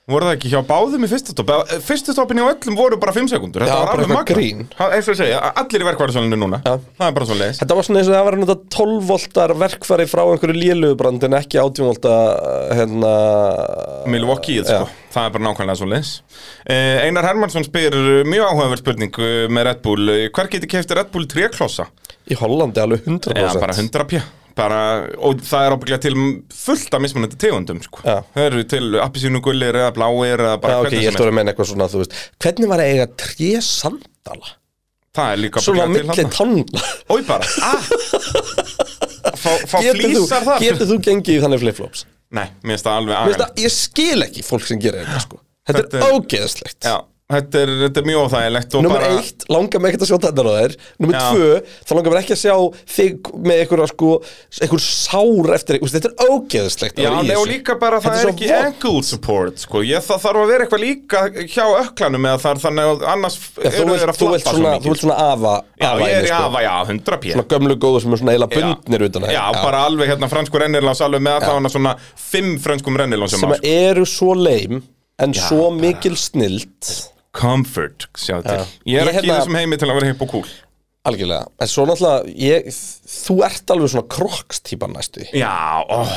[SPEAKER 4] Voru það ekki hjá báðum í fyrstu stopp? Eh, Fyrstu stoppin hjá öllum voru bara 5 sekundur
[SPEAKER 3] Já,
[SPEAKER 4] Þetta var
[SPEAKER 3] bara
[SPEAKER 4] alveg
[SPEAKER 3] eitthvað
[SPEAKER 4] magnað
[SPEAKER 3] grín.
[SPEAKER 4] Það- Eins og ég segja, allir í verkvæðarsölinu núna
[SPEAKER 3] Já.
[SPEAKER 4] Það er bara svo leiðis
[SPEAKER 3] Þetta var svona eins og það var náttúrulega 12 voltar verkfæri frá einhverju lélugubrand en ekki 18 volta hérna
[SPEAKER 4] Milwaukee, sko. það er bara nákvæmlega svo leis Einar Hermansson spyr eh, mjög áhugaverð spurning eh, með Red Bull Eh, Hver getur kefti Red Bull 3 klossa?
[SPEAKER 3] Í Hollandi alveg 100%
[SPEAKER 4] Eða bara 100 pjö bara, og það er ábygglega til fullt af mismunandi tegundum sko.
[SPEAKER 3] Já.
[SPEAKER 4] það eru til appisínugullir eða bláir eða bara
[SPEAKER 3] Já, ok,
[SPEAKER 4] hvernig
[SPEAKER 3] ég
[SPEAKER 4] sem
[SPEAKER 3] ætti að vera að meina eitthvað svona, þú veist Hvernig var að eiga 3 sandala?
[SPEAKER 4] er það er líka
[SPEAKER 3] Svona á
[SPEAKER 4] ábyggilega
[SPEAKER 3] milli
[SPEAKER 4] til hann
[SPEAKER 3] tannla
[SPEAKER 4] Ói bara, ah Fá, fá
[SPEAKER 3] Getur þú,
[SPEAKER 4] flýsar þar
[SPEAKER 3] getur þú gengið í þannig flipflops?
[SPEAKER 4] Nei, mér finnst það alveg
[SPEAKER 3] Mér finnst
[SPEAKER 4] agalegt.
[SPEAKER 3] að- Ég skil ekki fólk sem gerir þetta sko Þetta
[SPEAKER 4] Þetta
[SPEAKER 3] er
[SPEAKER 4] er-
[SPEAKER 3] ógeðslegt
[SPEAKER 4] Já, þetta er, þetta er mjög óþægilegt og
[SPEAKER 3] Númer
[SPEAKER 4] bara-
[SPEAKER 3] eitt, langar mig ekkert að sjá tennar á þér Númer
[SPEAKER 4] Já.
[SPEAKER 3] tvö, þá langar mig ekki að sjá þig með einhverja sko einhver sár eftir, úst, þetta er ógeðslegt að
[SPEAKER 4] Já,
[SPEAKER 3] vera í
[SPEAKER 4] nei, og
[SPEAKER 3] þessu.
[SPEAKER 4] líka bara það
[SPEAKER 3] Þetta
[SPEAKER 4] er
[SPEAKER 3] svo
[SPEAKER 4] ekki
[SPEAKER 3] vont.
[SPEAKER 4] ankle support sko. ég, það þarf að vera eitthvað líka hjá öklanum eða þar þannig að annars
[SPEAKER 3] Já, Þú
[SPEAKER 4] eru
[SPEAKER 3] vilt-
[SPEAKER 4] þeir að
[SPEAKER 3] þú
[SPEAKER 4] flappa
[SPEAKER 3] vilt
[SPEAKER 4] svo
[SPEAKER 3] svona, þú
[SPEAKER 4] mikið sko.
[SPEAKER 3] vilt svona afa
[SPEAKER 4] Já,
[SPEAKER 3] afa
[SPEAKER 4] ég
[SPEAKER 3] inni,
[SPEAKER 4] er í
[SPEAKER 3] sko.
[SPEAKER 4] afa, já, 100 pjö
[SPEAKER 3] Svona gömlu góðu sem er svona eila bundnir utan að
[SPEAKER 4] Já,
[SPEAKER 3] þér.
[SPEAKER 4] bara alveg hérna franskur rennilás alveg með allavega svona fimm franskum rennilás sem
[SPEAKER 3] sem
[SPEAKER 4] að
[SPEAKER 3] að eru svo leim en svo mikil snilt
[SPEAKER 4] Comfort, sjá til Ég er
[SPEAKER 3] Ég
[SPEAKER 4] ekki í
[SPEAKER 3] hérna-
[SPEAKER 4] þessum heimi til að vera hipp og cool
[SPEAKER 3] algjörlega, en svo náttúrulega ég, þú ert alveg svona kroks típan næstu því.
[SPEAKER 4] Já, ó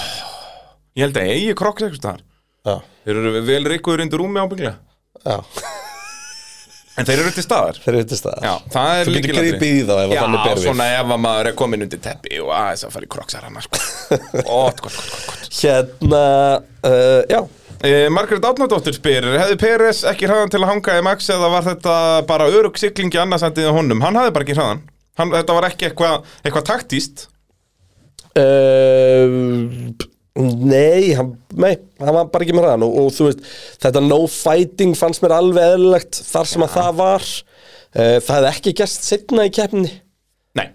[SPEAKER 4] Ég held að eigi krokks eitthvað þar
[SPEAKER 3] Já,
[SPEAKER 4] Þeir eru vel reikuður undir rúmi ábygglega
[SPEAKER 3] já,
[SPEAKER 4] En þeir eru til staðar
[SPEAKER 3] þeir eru til staðar
[SPEAKER 4] Já, það er
[SPEAKER 3] Þú getur
[SPEAKER 4] lykilatriði.
[SPEAKER 3] gripið í þá ef að þannig ber
[SPEAKER 4] Já,
[SPEAKER 3] við.
[SPEAKER 4] svona ef að maður er komin undir teppi og aðeins að fara í kroksar hann sko. Ótt, gott, gott, gott, gott
[SPEAKER 3] Hérna, uh, já
[SPEAKER 4] Eh, Margrét Átnardóttir spyr Hefði Peres ekki hraðan til að hanga í Max eða var þetta bara örug siglingi annarsættið á honum? Hann hafði bara ekki hraðan hann, Þetta var ekki eitthvað eitthva taktíst
[SPEAKER 3] uh, Nei, hann, nei, hann var bara ekki með hraðan og, og þú veist, þetta no fighting fannst mér alveg eðlilegt þar sem að það var uh, Það hefði ekki gerst setna í keppni
[SPEAKER 4] Nei,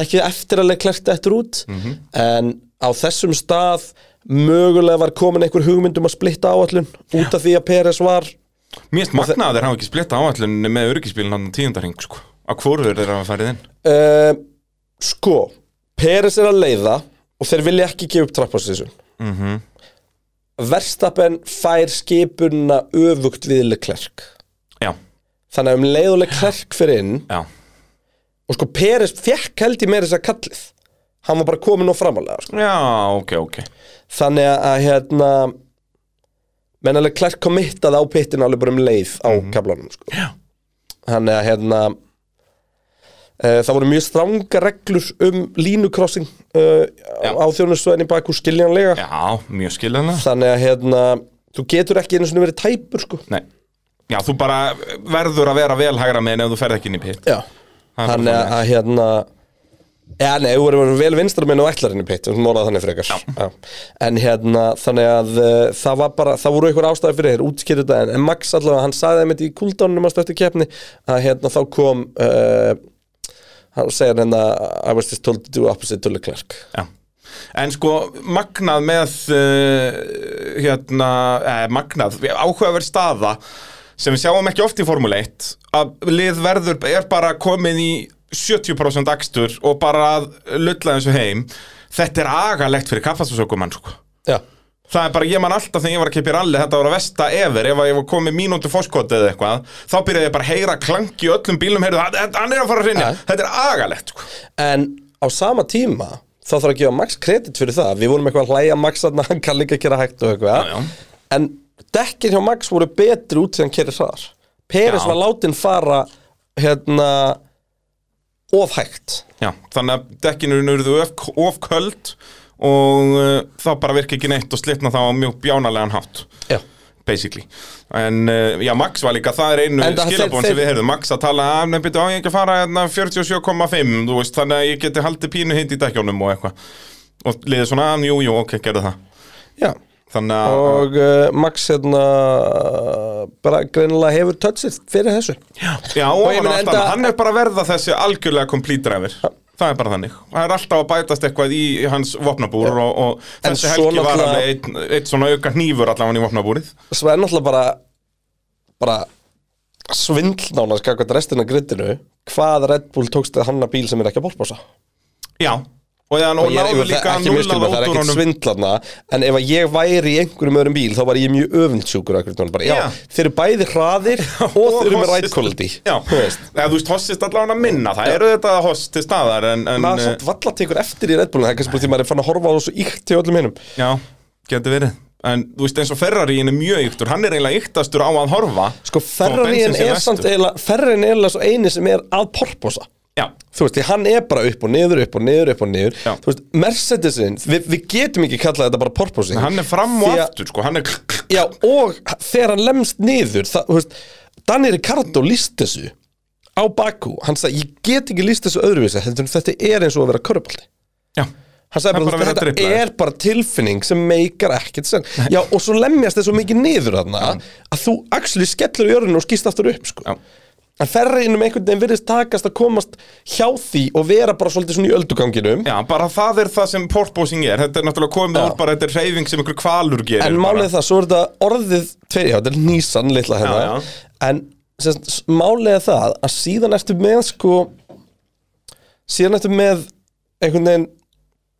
[SPEAKER 3] ekki eftir að leiklerkt eftir út en á þessum stað mögulega var komin einhver hugmyndum að splitta áallun út af því að Peres var
[SPEAKER 4] mér finnst magnaður þeir hafa ekki splitt áallunni með örugispílinn hann tíundarhing sko. Að hvorfur þeir hafa farið inn
[SPEAKER 3] uh, sko, Peres er að leiða og þeir vilja ekki gefa upp trappastísun mm -hmm. Verstappen fær skipuna öfugt við leiklerk
[SPEAKER 4] Já,
[SPEAKER 3] þannig að um leið og leiklerk fyrir inn
[SPEAKER 4] já,
[SPEAKER 3] og sko Peres fekk held í meira þess að kallið hann var bara komin og framalega sko.
[SPEAKER 4] já, ok, ok
[SPEAKER 3] Þannig að hérna mennalega klart committað á pittin alveg bara um leið á mm kaplanum sko.
[SPEAKER 4] Já.
[SPEAKER 3] Þannig að hérna e, það voru mjög stranga reglur um línukrossing e,
[SPEAKER 4] Já.
[SPEAKER 3] á þjónustöðinni bakú skiljanlega
[SPEAKER 4] Já, mjög skiljanlega
[SPEAKER 3] Þannig að hérna þú getur ekki einu svona verið tæpur sko.
[SPEAKER 4] Nei Já, þú bara verður að vera vel hægra megin ef þú ferð ekki inn í pitt
[SPEAKER 3] Já
[SPEAKER 4] Það er bara
[SPEAKER 3] Þannig að,
[SPEAKER 4] þannig.
[SPEAKER 3] að hérna Já, nei, þú verður vel vinstra minn og ætlar henni pitt, þú morðað þannig frekar Já. En hérna, þannig að uh, það var bara, það voru einhver ástæði fyrir þér, útskýrðu þetta en, en Max allavega, hann sagði þeim þetta í kúldánunum að stöttu keppni, að hérna þá kom uh, hann segir hérna I was just told to do opposite to Leclerc
[SPEAKER 4] Já. En sko, magnað með uh, hérna, eh, magnað, áhugaverð staða sem við sjáum ekki oft í Formule 1 að lið verður, er bara komin í 70% akstur og bara að lulla þessu heim þetta er agalegt fyrir kaffastasökumann sko.
[SPEAKER 3] Já,
[SPEAKER 4] það er bara, ég man alltaf þegar ég var að kipja ralli þetta var að vesta efer, ef að ég var komið mínútu fórskotið eða eitthvað, þá byrjaði ég bara að heyra klangi í öllum bílum, heyrðu, hann- hann er að fara að rinja
[SPEAKER 3] Ja.
[SPEAKER 4] þetta er agalegt sko.
[SPEAKER 3] en á sama tíma þá þarf að gefa Max kredit fyrir það við vorum eitthvað að hlæja Max að hann kann líka að gera hægt og eitthvað
[SPEAKER 4] Já, já.
[SPEAKER 3] en dekkin hjá Max voru betri út sem kerið hraðar Peres
[SPEAKER 4] Já.
[SPEAKER 3] var látin fara hérna of hægt
[SPEAKER 4] Já, þannig að dekkinu urðu of, of köld og uh, þá bara virka ekki neitt og slitna þá á mjög bjánalegan hátt
[SPEAKER 3] já.
[SPEAKER 4] basically en uh, já, Max var líka, það er einu
[SPEAKER 3] Enda þeir-
[SPEAKER 4] skilabón
[SPEAKER 3] þeir-
[SPEAKER 4] sem við heyrðum Max að tala, að nefnir byrju á ég ekki að fara hérna, 47,5, þú veist, þannig að ég geti haldið pínu hindi í dekkjónum og eitthvað og liðið svona, að, jú, jú, ok, gerðu það
[SPEAKER 3] já.
[SPEAKER 4] þannig að,
[SPEAKER 3] og uh, Max hérna bara greinilega hefur touchið fyrir þessu
[SPEAKER 4] já,
[SPEAKER 3] og
[SPEAKER 4] og
[SPEAKER 3] ég
[SPEAKER 4] hann,
[SPEAKER 3] meina,
[SPEAKER 4] enda...
[SPEAKER 3] enda-
[SPEAKER 4] hann er bara að verða þessi algjörlega complete driver Það er bara þannig. Það er alltaf að bætast eitthvað í hans vopnabúr og, og
[SPEAKER 3] En
[SPEAKER 4] þessi
[SPEAKER 3] svo
[SPEAKER 4] helgi var
[SPEAKER 3] náttúrulega-
[SPEAKER 4] alveg eitt, eitt svona auka hnífur allavega í vopnabúrið.
[SPEAKER 3] sem er náttúrulega bara bara svindlnána skakvæmt restina grittinu hvað Red Bull tókst að hanna bíl sem er ekki að bólpása
[SPEAKER 4] Já. Og þannig að
[SPEAKER 3] og
[SPEAKER 4] hún
[SPEAKER 3] ég er
[SPEAKER 4] náðu
[SPEAKER 3] yfir það
[SPEAKER 4] líka að
[SPEAKER 3] ekki
[SPEAKER 4] nulla
[SPEAKER 3] miskilma, það
[SPEAKER 4] það
[SPEAKER 3] er
[SPEAKER 4] út úr
[SPEAKER 3] ekkert
[SPEAKER 4] honum.
[SPEAKER 3] svindlarna en ef að ég væri í einhverjum öðrum bíl þá var ég mjög öfundsjúkur akkur tónum bara, já,
[SPEAKER 4] Já.
[SPEAKER 3] þeir eru bæði hraðir og þeir eru með right quality
[SPEAKER 4] Já,
[SPEAKER 3] Þú veist.
[SPEAKER 4] Eða, þú veist, hossist allavega að minna. Það eru þetta hoss til staðar en... en
[SPEAKER 3] maður
[SPEAKER 4] eh,
[SPEAKER 3] samt valla tekur eftir í Red Bullinu það er kannski bara því maður er fann að horfa á þessu íkt til öllum hinnum
[SPEAKER 4] Já, getur verið. En þú veist, eins og Ferraríin er mjög yktur. Hann er eiginlega yktastur á að horfa.
[SPEAKER 3] sko ferrarín
[SPEAKER 4] bensín sé
[SPEAKER 3] er
[SPEAKER 4] næstur.
[SPEAKER 3] samt eiginlega ferrarín er eiginlega svo eini sem er að porposa
[SPEAKER 4] Já,
[SPEAKER 3] þú veist, því hann er bara upp og niður, upp og niður, upp og niður
[SPEAKER 4] Já.
[SPEAKER 3] þú veist, Mercedesin, við, við getum ekki kallað þetta bara porposing
[SPEAKER 4] hann er fram og
[SPEAKER 3] Því að-
[SPEAKER 4] aftur, sko. Hann er...
[SPEAKER 3] Já, og þegar hann lemst niður það, þú veist, Danny Ricardo líst þessu á Bakú hann sagði, ég get ekki líst þessu öðruvísi heldur en þetta er eins og að vera körubaldi
[SPEAKER 4] Já,
[SPEAKER 3] hann sagði
[SPEAKER 4] Það er
[SPEAKER 3] bara,
[SPEAKER 4] bara að
[SPEAKER 3] bara
[SPEAKER 4] vera
[SPEAKER 3] þetta
[SPEAKER 4] dribblaður."
[SPEAKER 3] er bara tilfinning sem meikar ekkert sen Já, og svo lemjast þessu mikið niður þarna að þú axli skellur í örðinu og skýst aftur upp sko.
[SPEAKER 4] Já.
[SPEAKER 3] en ferriðinum einhvern veginn virðist takast að komast hjá því og vera bara svolítið svona í ölduganginum
[SPEAKER 4] Já, bara það er það sem portbósing er Þetta er náttúrulega komið
[SPEAKER 3] Já.
[SPEAKER 4] úr bara þetta er reyfing sem einhver kvalur gerir
[SPEAKER 3] En málið er
[SPEAKER 4] bara.
[SPEAKER 3] það, svo er þetta orðið tveir, já, þetta er nýsan litla hérna
[SPEAKER 4] Já, já.
[SPEAKER 3] En sem, sagt, s- málið er það að síðan ertu með sko síðan ertu með einhvern veginn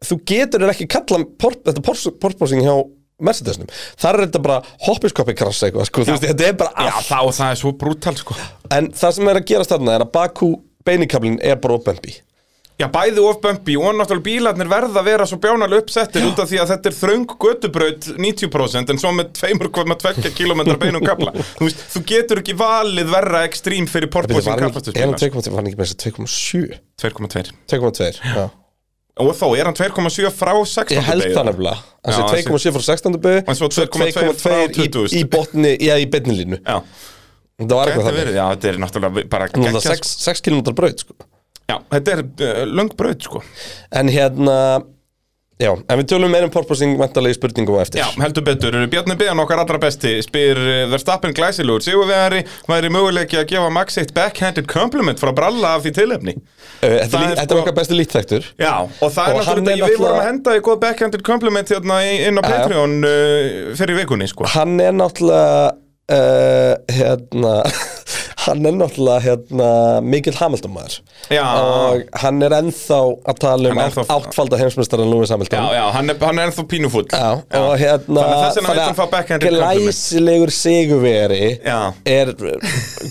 [SPEAKER 3] þú getur ekki kalla port, þetta portbósing hjá Mercedesnum þar er þetta bara hoppiskoppi krass eitthvað sko, þú veist, þetta er bara
[SPEAKER 4] Já,
[SPEAKER 3] allt
[SPEAKER 4] þá það er svo brútal sko
[SPEAKER 3] En það sem er að gerast þarna er að Bakú beinikablin er bara opembi
[SPEAKER 4] Já, bæði of bumpy og náttúrulega bílarnir verða að vera svo bjánal uppsettir út af því að þetta er þröng götubraut 90% en svo með 2,2 km beinum kapla Þú veist, þú getur ekki valið verra ekstrím fyrir
[SPEAKER 3] Er hann
[SPEAKER 4] portbósing
[SPEAKER 3] 2,2 var
[SPEAKER 4] kapastusbílar
[SPEAKER 3] hann ekki með þess að 2,7?
[SPEAKER 4] 2,2
[SPEAKER 3] 2,2, já
[SPEAKER 4] og þó er hann 2,7 frá 16
[SPEAKER 3] Ég held
[SPEAKER 4] degi.
[SPEAKER 3] það nefnilega Hann
[SPEAKER 4] Já,
[SPEAKER 3] sé 2,7 frá 16. bygg
[SPEAKER 4] En svo 2,2 frá 20.
[SPEAKER 3] í, í botni, já í beinni línu
[SPEAKER 4] Já,
[SPEAKER 3] Það var
[SPEAKER 4] þetta
[SPEAKER 3] eitthvað þannig
[SPEAKER 4] verið, já, þetta er náttúrulega bara
[SPEAKER 3] Nú er það
[SPEAKER 4] geggjað,
[SPEAKER 3] 6, 6 km braut sko
[SPEAKER 4] sko. Já, þetta er uh, löng braut, sko
[SPEAKER 3] En hérna Já, en við tölum meir um porpoising vantarlega í spurningum á eftir
[SPEAKER 4] Já, heldur betur, Bjarni Bjarn okkar allra besti spyr eh, Verstappen glæsilugur Sigurvegari, væri möguleiki að gefa Max eitt backhanded compliment frá bralla af því tilefni
[SPEAKER 3] Ö, Eh, Þetta er
[SPEAKER 4] það er
[SPEAKER 3] lí- þetta er
[SPEAKER 4] sko-
[SPEAKER 3] okkar besti lítþæktur
[SPEAKER 4] Já, og
[SPEAKER 3] Og hann er
[SPEAKER 4] það er náttúrulega, við vorum
[SPEAKER 3] náttúrulega-
[SPEAKER 4] að henda í góð backhanded compliment hérna í- inn á
[SPEAKER 3] já.
[SPEAKER 4] Patreon uh, fyrir vikunni, sko
[SPEAKER 3] Hann er náttúrulega uh, Hérna Hann er náttúrulega hérna Mikill Hamilton maður
[SPEAKER 4] Já.
[SPEAKER 3] Og hann er ennþá að tala um
[SPEAKER 4] Hann er
[SPEAKER 3] ennþá...
[SPEAKER 4] ennþá-
[SPEAKER 3] áttfalda heimsmyndstarinn Lúi Hamilton
[SPEAKER 4] Já, já, hann er, hann er ennþá pínufúll
[SPEAKER 3] Já, og hérna
[SPEAKER 4] Þannig að þess vegna vill hann fá backhanded compliment.
[SPEAKER 3] Glæsilegur sigurveri
[SPEAKER 4] Já.
[SPEAKER 3] Er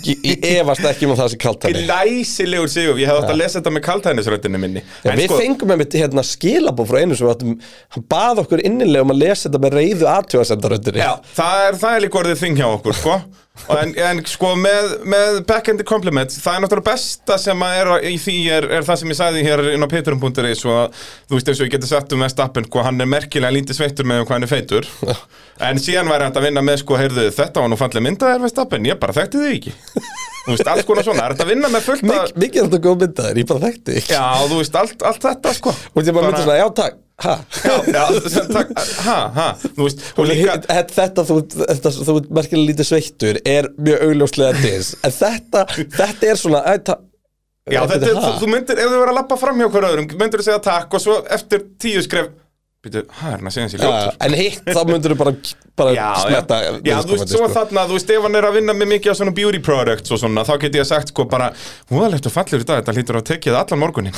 [SPEAKER 3] Ég ég efast ekki um að það sé kalt henni
[SPEAKER 4] Glæsilegur sigur, ég hefði átt að lesa þetta með kaltæðnisröttinni minni sko-
[SPEAKER 3] Já, við fengum einmitt hérna skilabóð frá einu sem við áttum, hann bað okkur innilega um að lesa þetta með reyðu aðtjóðasendaröndinni.
[SPEAKER 4] Já, það er, það er líka orðið þing hjá okkur, sko Og En, en sko, með, með backhanded compliments Það er náttúrulega besta sem að er á- í því er, er það sem ég sagði hér inn á petrum.is og að, þú veist eins og ég geti sagt um Vestappen sko, hann er merkilega lítið sveittur með um hvað hann er feitur En síðan væri hægt að vinna með sko, heyrðu, þetta var nú fallega myndaðir Vestappen Ég bara þekkti þig ekki Þú veist, alls konar svona, er þetta að vinna með fullt
[SPEAKER 3] Mik,
[SPEAKER 4] að
[SPEAKER 3] mikið er þetta góð myndaður, ég bara þekkti ekki.
[SPEAKER 4] Já, þú veist, allt, allt þetta, sko
[SPEAKER 3] Og ég bara myndi svona, já takk, ha?
[SPEAKER 4] Já, já, sem takk, ha, ha, þú veist
[SPEAKER 3] Og líka, þetta, þú, þetta, þú ert merkilega lítið sveittur er mjög augljóslega dis en þetta, þetta er svona æ, ta,
[SPEAKER 4] Já, þetta,
[SPEAKER 3] ha?
[SPEAKER 4] þú, þú myndir, ef þú verður að lappa fram hjá hver öðrum, myndir þú segja takk og svo eftir tíu skref Býtu, hæ, er hann að segja hans í
[SPEAKER 3] Já,
[SPEAKER 4] ljótur?
[SPEAKER 3] en hitt, þá myndur þú bara, bara smetta
[SPEAKER 4] já, já, þú veist,
[SPEAKER 3] sko.
[SPEAKER 4] svo þarna, þú veist, ef hann er að vinna með mikið á svona beauty products og svona, þá get ég sagt sko bara, húðalegt og fallur í dag, þetta hlýtur að tekja það allan morgunin.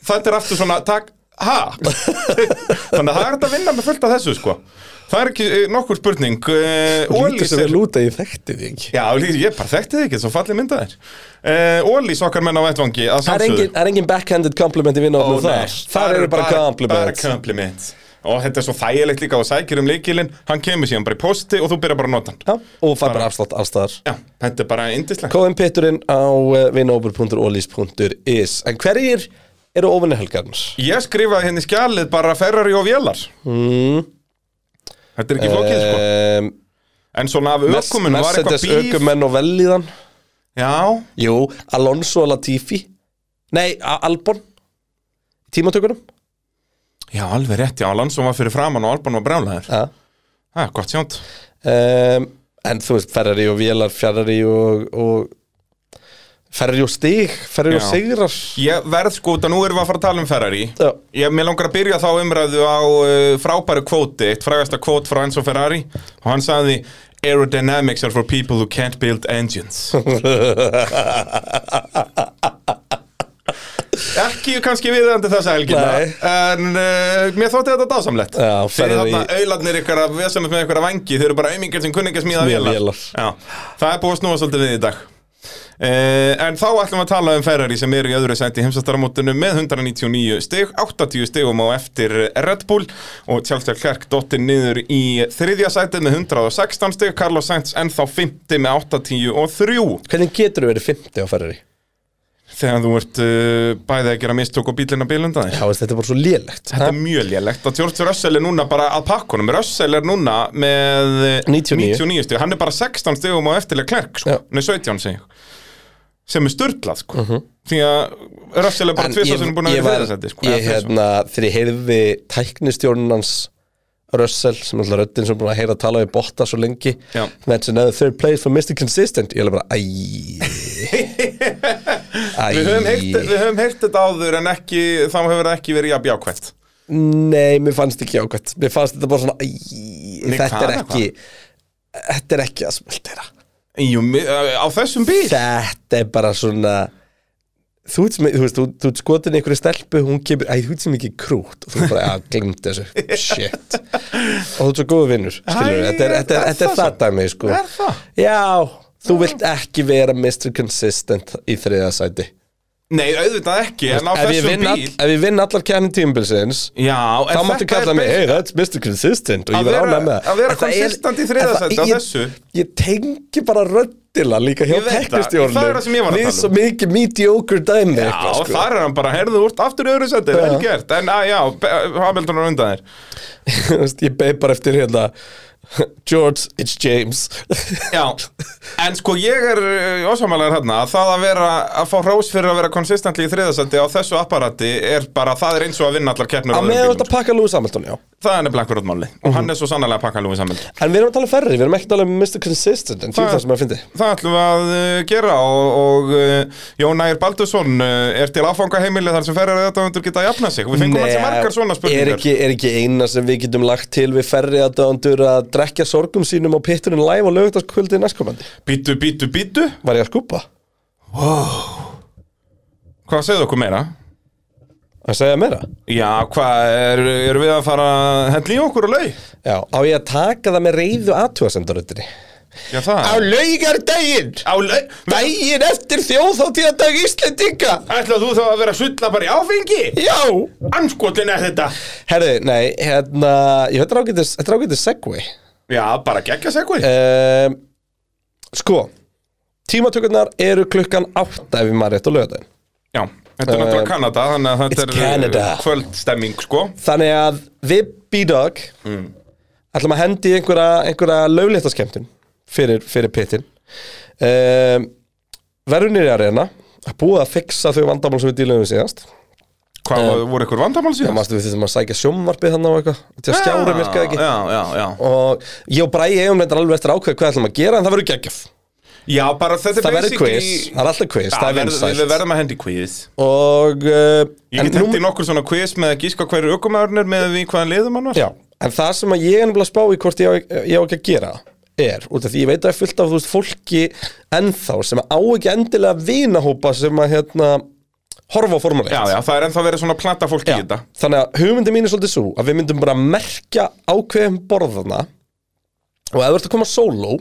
[SPEAKER 4] þetta er aftur svona, takk, ha? Þannig að það er hægt að vinna með fullt af þessu sko. Það er ekki eh, nokkur spurning. Uh,
[SPEAKER 3] Lítið sem er lúta, ég þekkti því ekki
[SPEAKER 4] Já, Ólís, ég bara þekkti þig ekki, svo fallið myndaðir uh, Ólís okkar menn á vettvangi
[SPEAKER 3] Það
[SPEAKER 4] að
[SPEAKER 3] er
[SPEAKER 4] sjálfsögðu.
[SPEAKER 3] engin, það er engin backhanded compliment í vinnofnum þar Þar eru bara compliments
[SPEAKER 4] Bara compliment Og þetta er svo þægilegt líka og sækir um leikilinn Hann kemur síðan bara í posti og þú byrjar bara að nota hann
[SPEAKER 3] Já, og fær bara afslátt allstaðar
[SPEAKER 4] Já, þetta er bara indislegt
[SPEAKER 3] Kóðum pitturinn á eh, vinnofnur.olis.is En hverjir eru ofinni helgarnar?
[SPEAKER 4] Ég skrifaði henni skjalið bara Ferrari og Vélar mm. Þetta er ekki flókið sko
[SPEAKER 3] Um,
[SPEAKER 4] En svona af ökumunum var
[SPEAKER 3] Mercedes
[SPEAKER 4] eitthvað bíf
[SPEAKER 3] ökumenn og velíðan
[SPEAKER 4] Já,
[SPEAKER 3] Jú, Alonso og Latifi Nei, A- Albon Í Tímatökunum
[SPEAKER 4] já, alveg rétt, já, Alonso var fyrir framann og Alban var brjálæður
[SPEAKER 3] ja.
[SPEAKER 4] Það er gott sjánt
[SPEAKER 3] um, En þú veist, Ferrari og Vélar Ferrari og, og Ferrari og Stig, Ferrari og
[SPEAKER 4] Já.
[SPEAKER 3] Sigrar
[SPEAKER 4] Ég verð sko, þetta nú erum við að fara að tala um Ferrari
[SPEAKER 3] Já.
[SPEAKER 4] Ég með langar að byrja þá umræðu á uh, frábæru kvóti, eitt frægasta kvót frá Enzo Ferrari og hann sagði Aerodynamics are for people who can't build engines Ekki kannski viðandi þessa helgina
[SPEAKER 3] Nei.
[SPEAKER 4] En uh, mér þótti þetta dásamlegt
[SPEAKER 3] Já,
[SPEAKER 4] Þeir
[SPEAKER 3] Ferrari-
[SPEAKER 4] þarna auðlarnir ykkar að vesanum með ykkur að vangi Þeir eru bara aumingar sem kunningar smíða
[SPEAKER 3] Smíða
[SPEAKER 4] vélar
[SPEAKER 3] vélar.
[SPEAKER 4] Já, það er búið að snúa svolítið við í dag Uh, en þá ætlum við að tala um Ferrari sem eru í öðru sæti heimsastaramótinu með 199 stig, 80 stigum á eftir Red Bull og Charles Leclerc dottir niður í þriðja sætið með 116 stig, Carlos Sainz ennþá 50 með 83
[SPEAKER 3] Hvernig getur þú verið 50 á Ferrari?
[SPEAKER 4] þegar þú ert uh, bæðið að gera mistök og bílina bílundan
[SPEAKER 3] Já, veist, þetta er bara svo lélegt
[SPEAKER 4] Þetta er mjög lélegt að George Russell er núna bara að pakkunum Russell er núna með
[SPEAKER 3] 99.
[SPEAKER 4] 99 stig Hann er bara 16 stigum á eftirlega klerk sko.
[SPEAKER 3] Já.
[SPEAKER 4] Nei, 17 stig Sem er sturglað sko. Því að Russell er bara
[SPEAKER 3] Mhm. En
[SPEAKER 4] tvisvar sem er búin að
[SPEAKER 3] ég
[SPEAKER 4] vera
[SPEAKER 3] var-
[SPEAKER 4] þessandi sko.
[SPEAKER 3] Ég
[SPEAKER 4] eða þrisvar.
[SPEAKER 3] hérna, þegar ég heyrði tæknistjórnun hans Russell, sem alltaf röddinn sem er búin að heyra að tala við botta svo lengi
[SPEAKER 4] Já.
[SPEAKER 3] That's another third place for Mr. Consistent Ég er bara, æj Æj
[SPEAKER 4] Við höfum, heyrt, við höfum heyrt þetta áður en ekki, þá hefur það ekki verið jafn jákvæmt
[SPEAKER 3] Nei, mér fannst ekki ákvæmt Mér fannst þetta bara svona, æj
[SPEAKER 4] Nei,
[SPEAKER 3] Þetta
[SPEAKER 4] hvað
[SPEAKER 3] er
[SPEAKER 4] er
[SPEAKER 3] ekki Þetta er ekki að smeltera
[SPEAKER 4] Jú, mi- á þessum Um bíl
[SPEAKER 3] Þetta er bara svona Þú ert, sem- þú veist, þú, þú ert skotin í einhverju stelpu, hún kemur, æ, þú ert sem ekki krútt og þú bara, já, glimt þessu, shit og þú ert svo góðu vinnur, skilur
[SPEAKER 4] Æ,
[SPEAKER 3] þetta er, þetta er,
[SPEAKER 4] er
[SPEAKER 3] þetta er
[SPEAKER 4] það
[SPEAKER 3] það dæmi, sko
[SPEAKER 4] Er það?
[SPEAKER 3] Já, þú vilt ekki vera Mr. Consistent í þriða sæti
[SPEAKER 4] Nei, auðvitað ekki, en á
[SPEAKER 3] ef ég
[SPEAKER 4] þessum
[SPEAKER 3] vinn all,
[SPEAKER 4] bíl
[SPEAKER 3] ef ég vinn allar kefnin tímabilsins
[SPEAKER 4] Já, en
[SPEAKER 3] þá máttu
[SPEAKER 4] þetta er
[SPEAKER 3] kalla mig,
[SPEAKER 4] basic.
[SPEAKER 3] hey, that's Mr. Consistent og
[SPEAKER 4] Að
[SPEAKER 3] ég var
[SPEAKER 4] vera-
[SPEAKER 3] ánægð með það
[SPEAKER 4] að vera
[SPEAKER 3] En það er-
[SPEAKER 4] consistent í
[SPEAKER 3] en
[SPEAKER 4] þriðja
[SPEAKER 3] það-
[SPEAKER 4] sæti á
[SPEAKER 3] ég-
[SPEAKER 4] þessu.
[SPEAKER 3] Ég tengi bara röddila líka hjá
[SPEAKER 4] Ég veit það.
[SPEAKER 3] teknistjórnum
[SPEAKER 4] Það er það sem ég var að tala um.
[SPEAKER 3] svo mikið mediocre dæmi
[SPEAKER 4] Já,
[SPEAKER 3] eitthvað, sko.
[SPEAKER 4] þar er hann bara, herðu úr, aftur í öðru seti,
[SPEAKER 3] Já.
[SPEAKER 4] vel gert En að, já, Be- Hamilton er undan þér
[SPEAKER 3] Þú veist, Ég beið bara eftir hérna George, it's James
[SPEAKER 4] Já, en sko ég er ósámælegar hérna að það að vera, að fá hrós fyrir að vera konsistentli í þriðasætti á þessu apparati er bara, það er eins og að vinna allar keppnur á
[SPEAKER 3] Að Mhm.
[SPEAKER 4] öðrum
[SPEAKER 3] með
[SPEAKER 4] bílum,
[SPEAKER 3] þetta
[SPEAKER 4] sko.
[SPEAKER 3] pakka Lewis Hamilton, já
[SPEAKER 4] Það er nefnilega akkurat máli og hann er svo sannlega að pakka Lewis Hamilton
[SPEAKER 3] En við erum að tala um ferri, við erum ekki að tala um Mr. Consistent En
[SPEAKER 4] Það-
[SPEAKER 3] tíma það sem að fyndi
[SPEAKER 4] Það ætlum við að uh, gera og, og uh, Jón Ægir Baldursson uh, er til áfangaheimili þar sem ferrar þetta undur geta að jafna sig og við fengum hans margar svona
[SPEAKER 3] er
[SPEAKER 4] spurningar
[SPEAKER 3] ekki, er ekki eina sem við getum lagt til við ferri að döndur að drekja sorgum sínum á pitturinn live og lögutaskvöldi næstkomandi
[SPEAKER 4] Bítu, bítu, bítu,
[SPEAKER 3] Var ég að skúpa?
[SPEAKER 4] hvað segðu okkur meira?
[SPEAKER 3] Að segja meira?
[SPEAKER 4] Já, hvað, er, erum við að fara að hella í okkur og lau?
[SPEAKER 3] Já, á ég að taka það með reyðu aðtúasendaröndinni
[SPEAKER 4] Já, það
[SPEAKER 3] laugardaginn
[SPEAKER 4] Á lau
[SPEAKER 3] Daginn eftir þjóðháttíðandag Íslendinga
[SPEAKER 4] Ætlað þú þá að vera að sulla bara í áfengi?
[SPEAKER 3] Já
[SPEAKER 4] Anskotin er þetta
[SPEAKER 3] Herðu, nei, hérna Ég höfði ágætis, þetta er ágætis segway
[SPEAKER 4] Já, bara geggja sig eitthvað
[SPEAKER 3] um, Sko Tímatökurnar eru klukkan 8 ef ég maður rétt á laugardaginn
[SPEAKER 4] Já, þetta er náttúrulega Kanada Þannig að
[SPEAKER 3] eh, it's
[SPEAKER 4] þetta er eh,
[SPEAKER 3] Canada.
[SPEAKER 4] kvöldstemming, sko
[SPEAKER 3] Þannig að við B-Dog ætlum að hendi í einhverja, einhverja lögléttaskemtun fyrir, fyrir pittin um, Verðunir í arena að búið að fixa þau vandamál sem við dílum við síðast
[SPEAKER 4] Hvað, voru ykkur vandamál
[SPEAKER 3] Eh, Það
[SPEAKER 4] síðan?
[SPEAKER 3] mástu við þessum að sækja sjómvarpið hann á eitthvað til að skjára virkaði sko, ekki
[SPEAKER 4] Já, já, já
[SPEAKER 3] og ég og Bræi eigum reyndar alveg eftir að ákveða hvað ætlum að gera en það verður geggjaf
[SPEAKER 4] Já, bara þetta er
[SPEAKER 3] það verður
[SPEAKER 4] basically-
[SPEAKER 3] quiz, það er alltaf quiz,
[SPEAKER 4] Já,
[SPEAKER 3] það er
[SPEAKER 4] verð-
[SPEAKER 3] vinsælt
[SPEAKER 4] Við verðum að hendi quiz
[SPEAKER 3] og uh,
[SPEAKER 4] Ég
[SPEAKER 3] en
[SPEAKER 4] get hendi nokkur svona quiz með að gíska hverju ökumæðurnir með við hvaðan liðum hann var
[SPEAKER 3] Já, en það sem að ég er nefnilega að spá í hvort ég á, ég á ekki að gera er, út af því ég veit að það er fullt af þú veist fólki ennþá sem á ekki endilega vinahópa sem að hérna horfa á formule 1
[SPEAKER 4] já, já, það er ennþá verið svona plata fólk í þetta
[SPEAKER 3] Þannig að hugmyndi mín er svolítið svo að við myndum bara merkja ákveðum borðana og ef þú ert að koma solo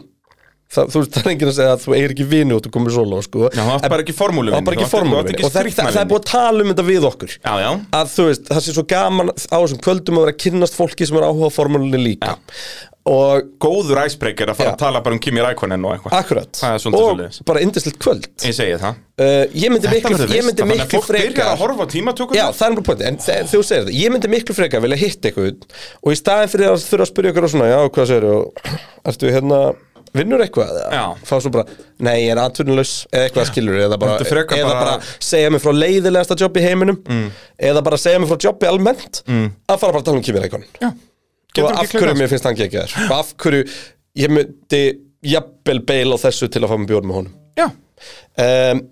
[SPEAKER 3] það, þú veist, það er enginn að segja að þú eigir ekki vinu og þú komir solo, sko
[SPEAKER 4] Já, það var
[SPEAKER 3] En-
[SPEAKER 4] bara ekki formúluvini,
[SPEAKER 3] Það var bara
[SPEAKER 4] þú
[SPEAKER 3] ekki
[SPEAKER 4] átt- þú átt
[SPEAKER 3] formúluvini
[SPEAKER 4] ekki
[SPEAKER 3] og það, það, það er
[SPEAKER 4] skrýtnavini.
[SPEAKER 3] búið að tala um þetta við okkur
[SPEAKER 4] Já, já,
[SPEAKER 3] að þú veist, það sé svo gaman á þessum kvöldum að vera að kynnast fólki sem er áhuga á formúlunni líka og
[SPEAKER 4] góður icebreaker að fara
[SPEAKER 3] Já.
[SPEAKER 4] að tala bara um Kimi Rækonen og eitthvað
[SPEAKER 3] akkurat
[SPEAKER 4] Það er svolítið
[SPEAKER 3] og
[SPEAKER 4] svoleiðis.
[SPEAKER 3] bara indislegt kvöld uh,
[SPEAKER 4] Ég segi það
[SPEAKER 3] ég myndi
[SPEAKER 4] Þetta
[SPEAKER 3] miklu,
[SPEAKER 4] verður
[SPEAKER 3] ég myndi
[SPEAKER 4] veisla, þannig að
[SPEAKER 3] miklu
[SPEAKER 4] fólk byrjar að
[SPEAKER 3] frekar
[SPEAKER 4] horfa á tímatökur
[SPEAKER 3] Já, það er mjög pointi, en þe- þegar þú segir það Ég myndi miklu frekar vilja hitta eitthvað Og í staðin fyrir að þurfa að spyrja ykkur á svona Já, hvað segir þú, ertu hérna Vinnur eitthvað eða?
[SPEAKER 4] Já.
[SPEAKER 3] Fá svo bara, nei, ég er atvinnulegs Eða eitthvað skilur, eða bara,
[SPEAKER 4] Þetta
[SPEAKER 3] eða
[SPEAKER 4] frekar
[SPEAKER 3] bara,
[SPEAKER 4] bara-
[SPEAKER 3] segja mig frá leiðilegasta jobb í heiminum mm. Eða bara segja mig frá jobbi almennt mm. Að fara bara að tala um kýmir eitthvað
[SPEAKER 4] Já.
[SPEAKER 3] Og
[SPEAKER 4] Getur ekki
[SPEAKER 3] af hverju
[SPEAKER 4] klifað?
[SPEAKER 3] mér finnst hann ekki þér Og af hverju ég myndi Jafnvel beil á þessu til að fá mig bjór með honum
[SPEAKER 4] Já,
[SPEAKER 3] um,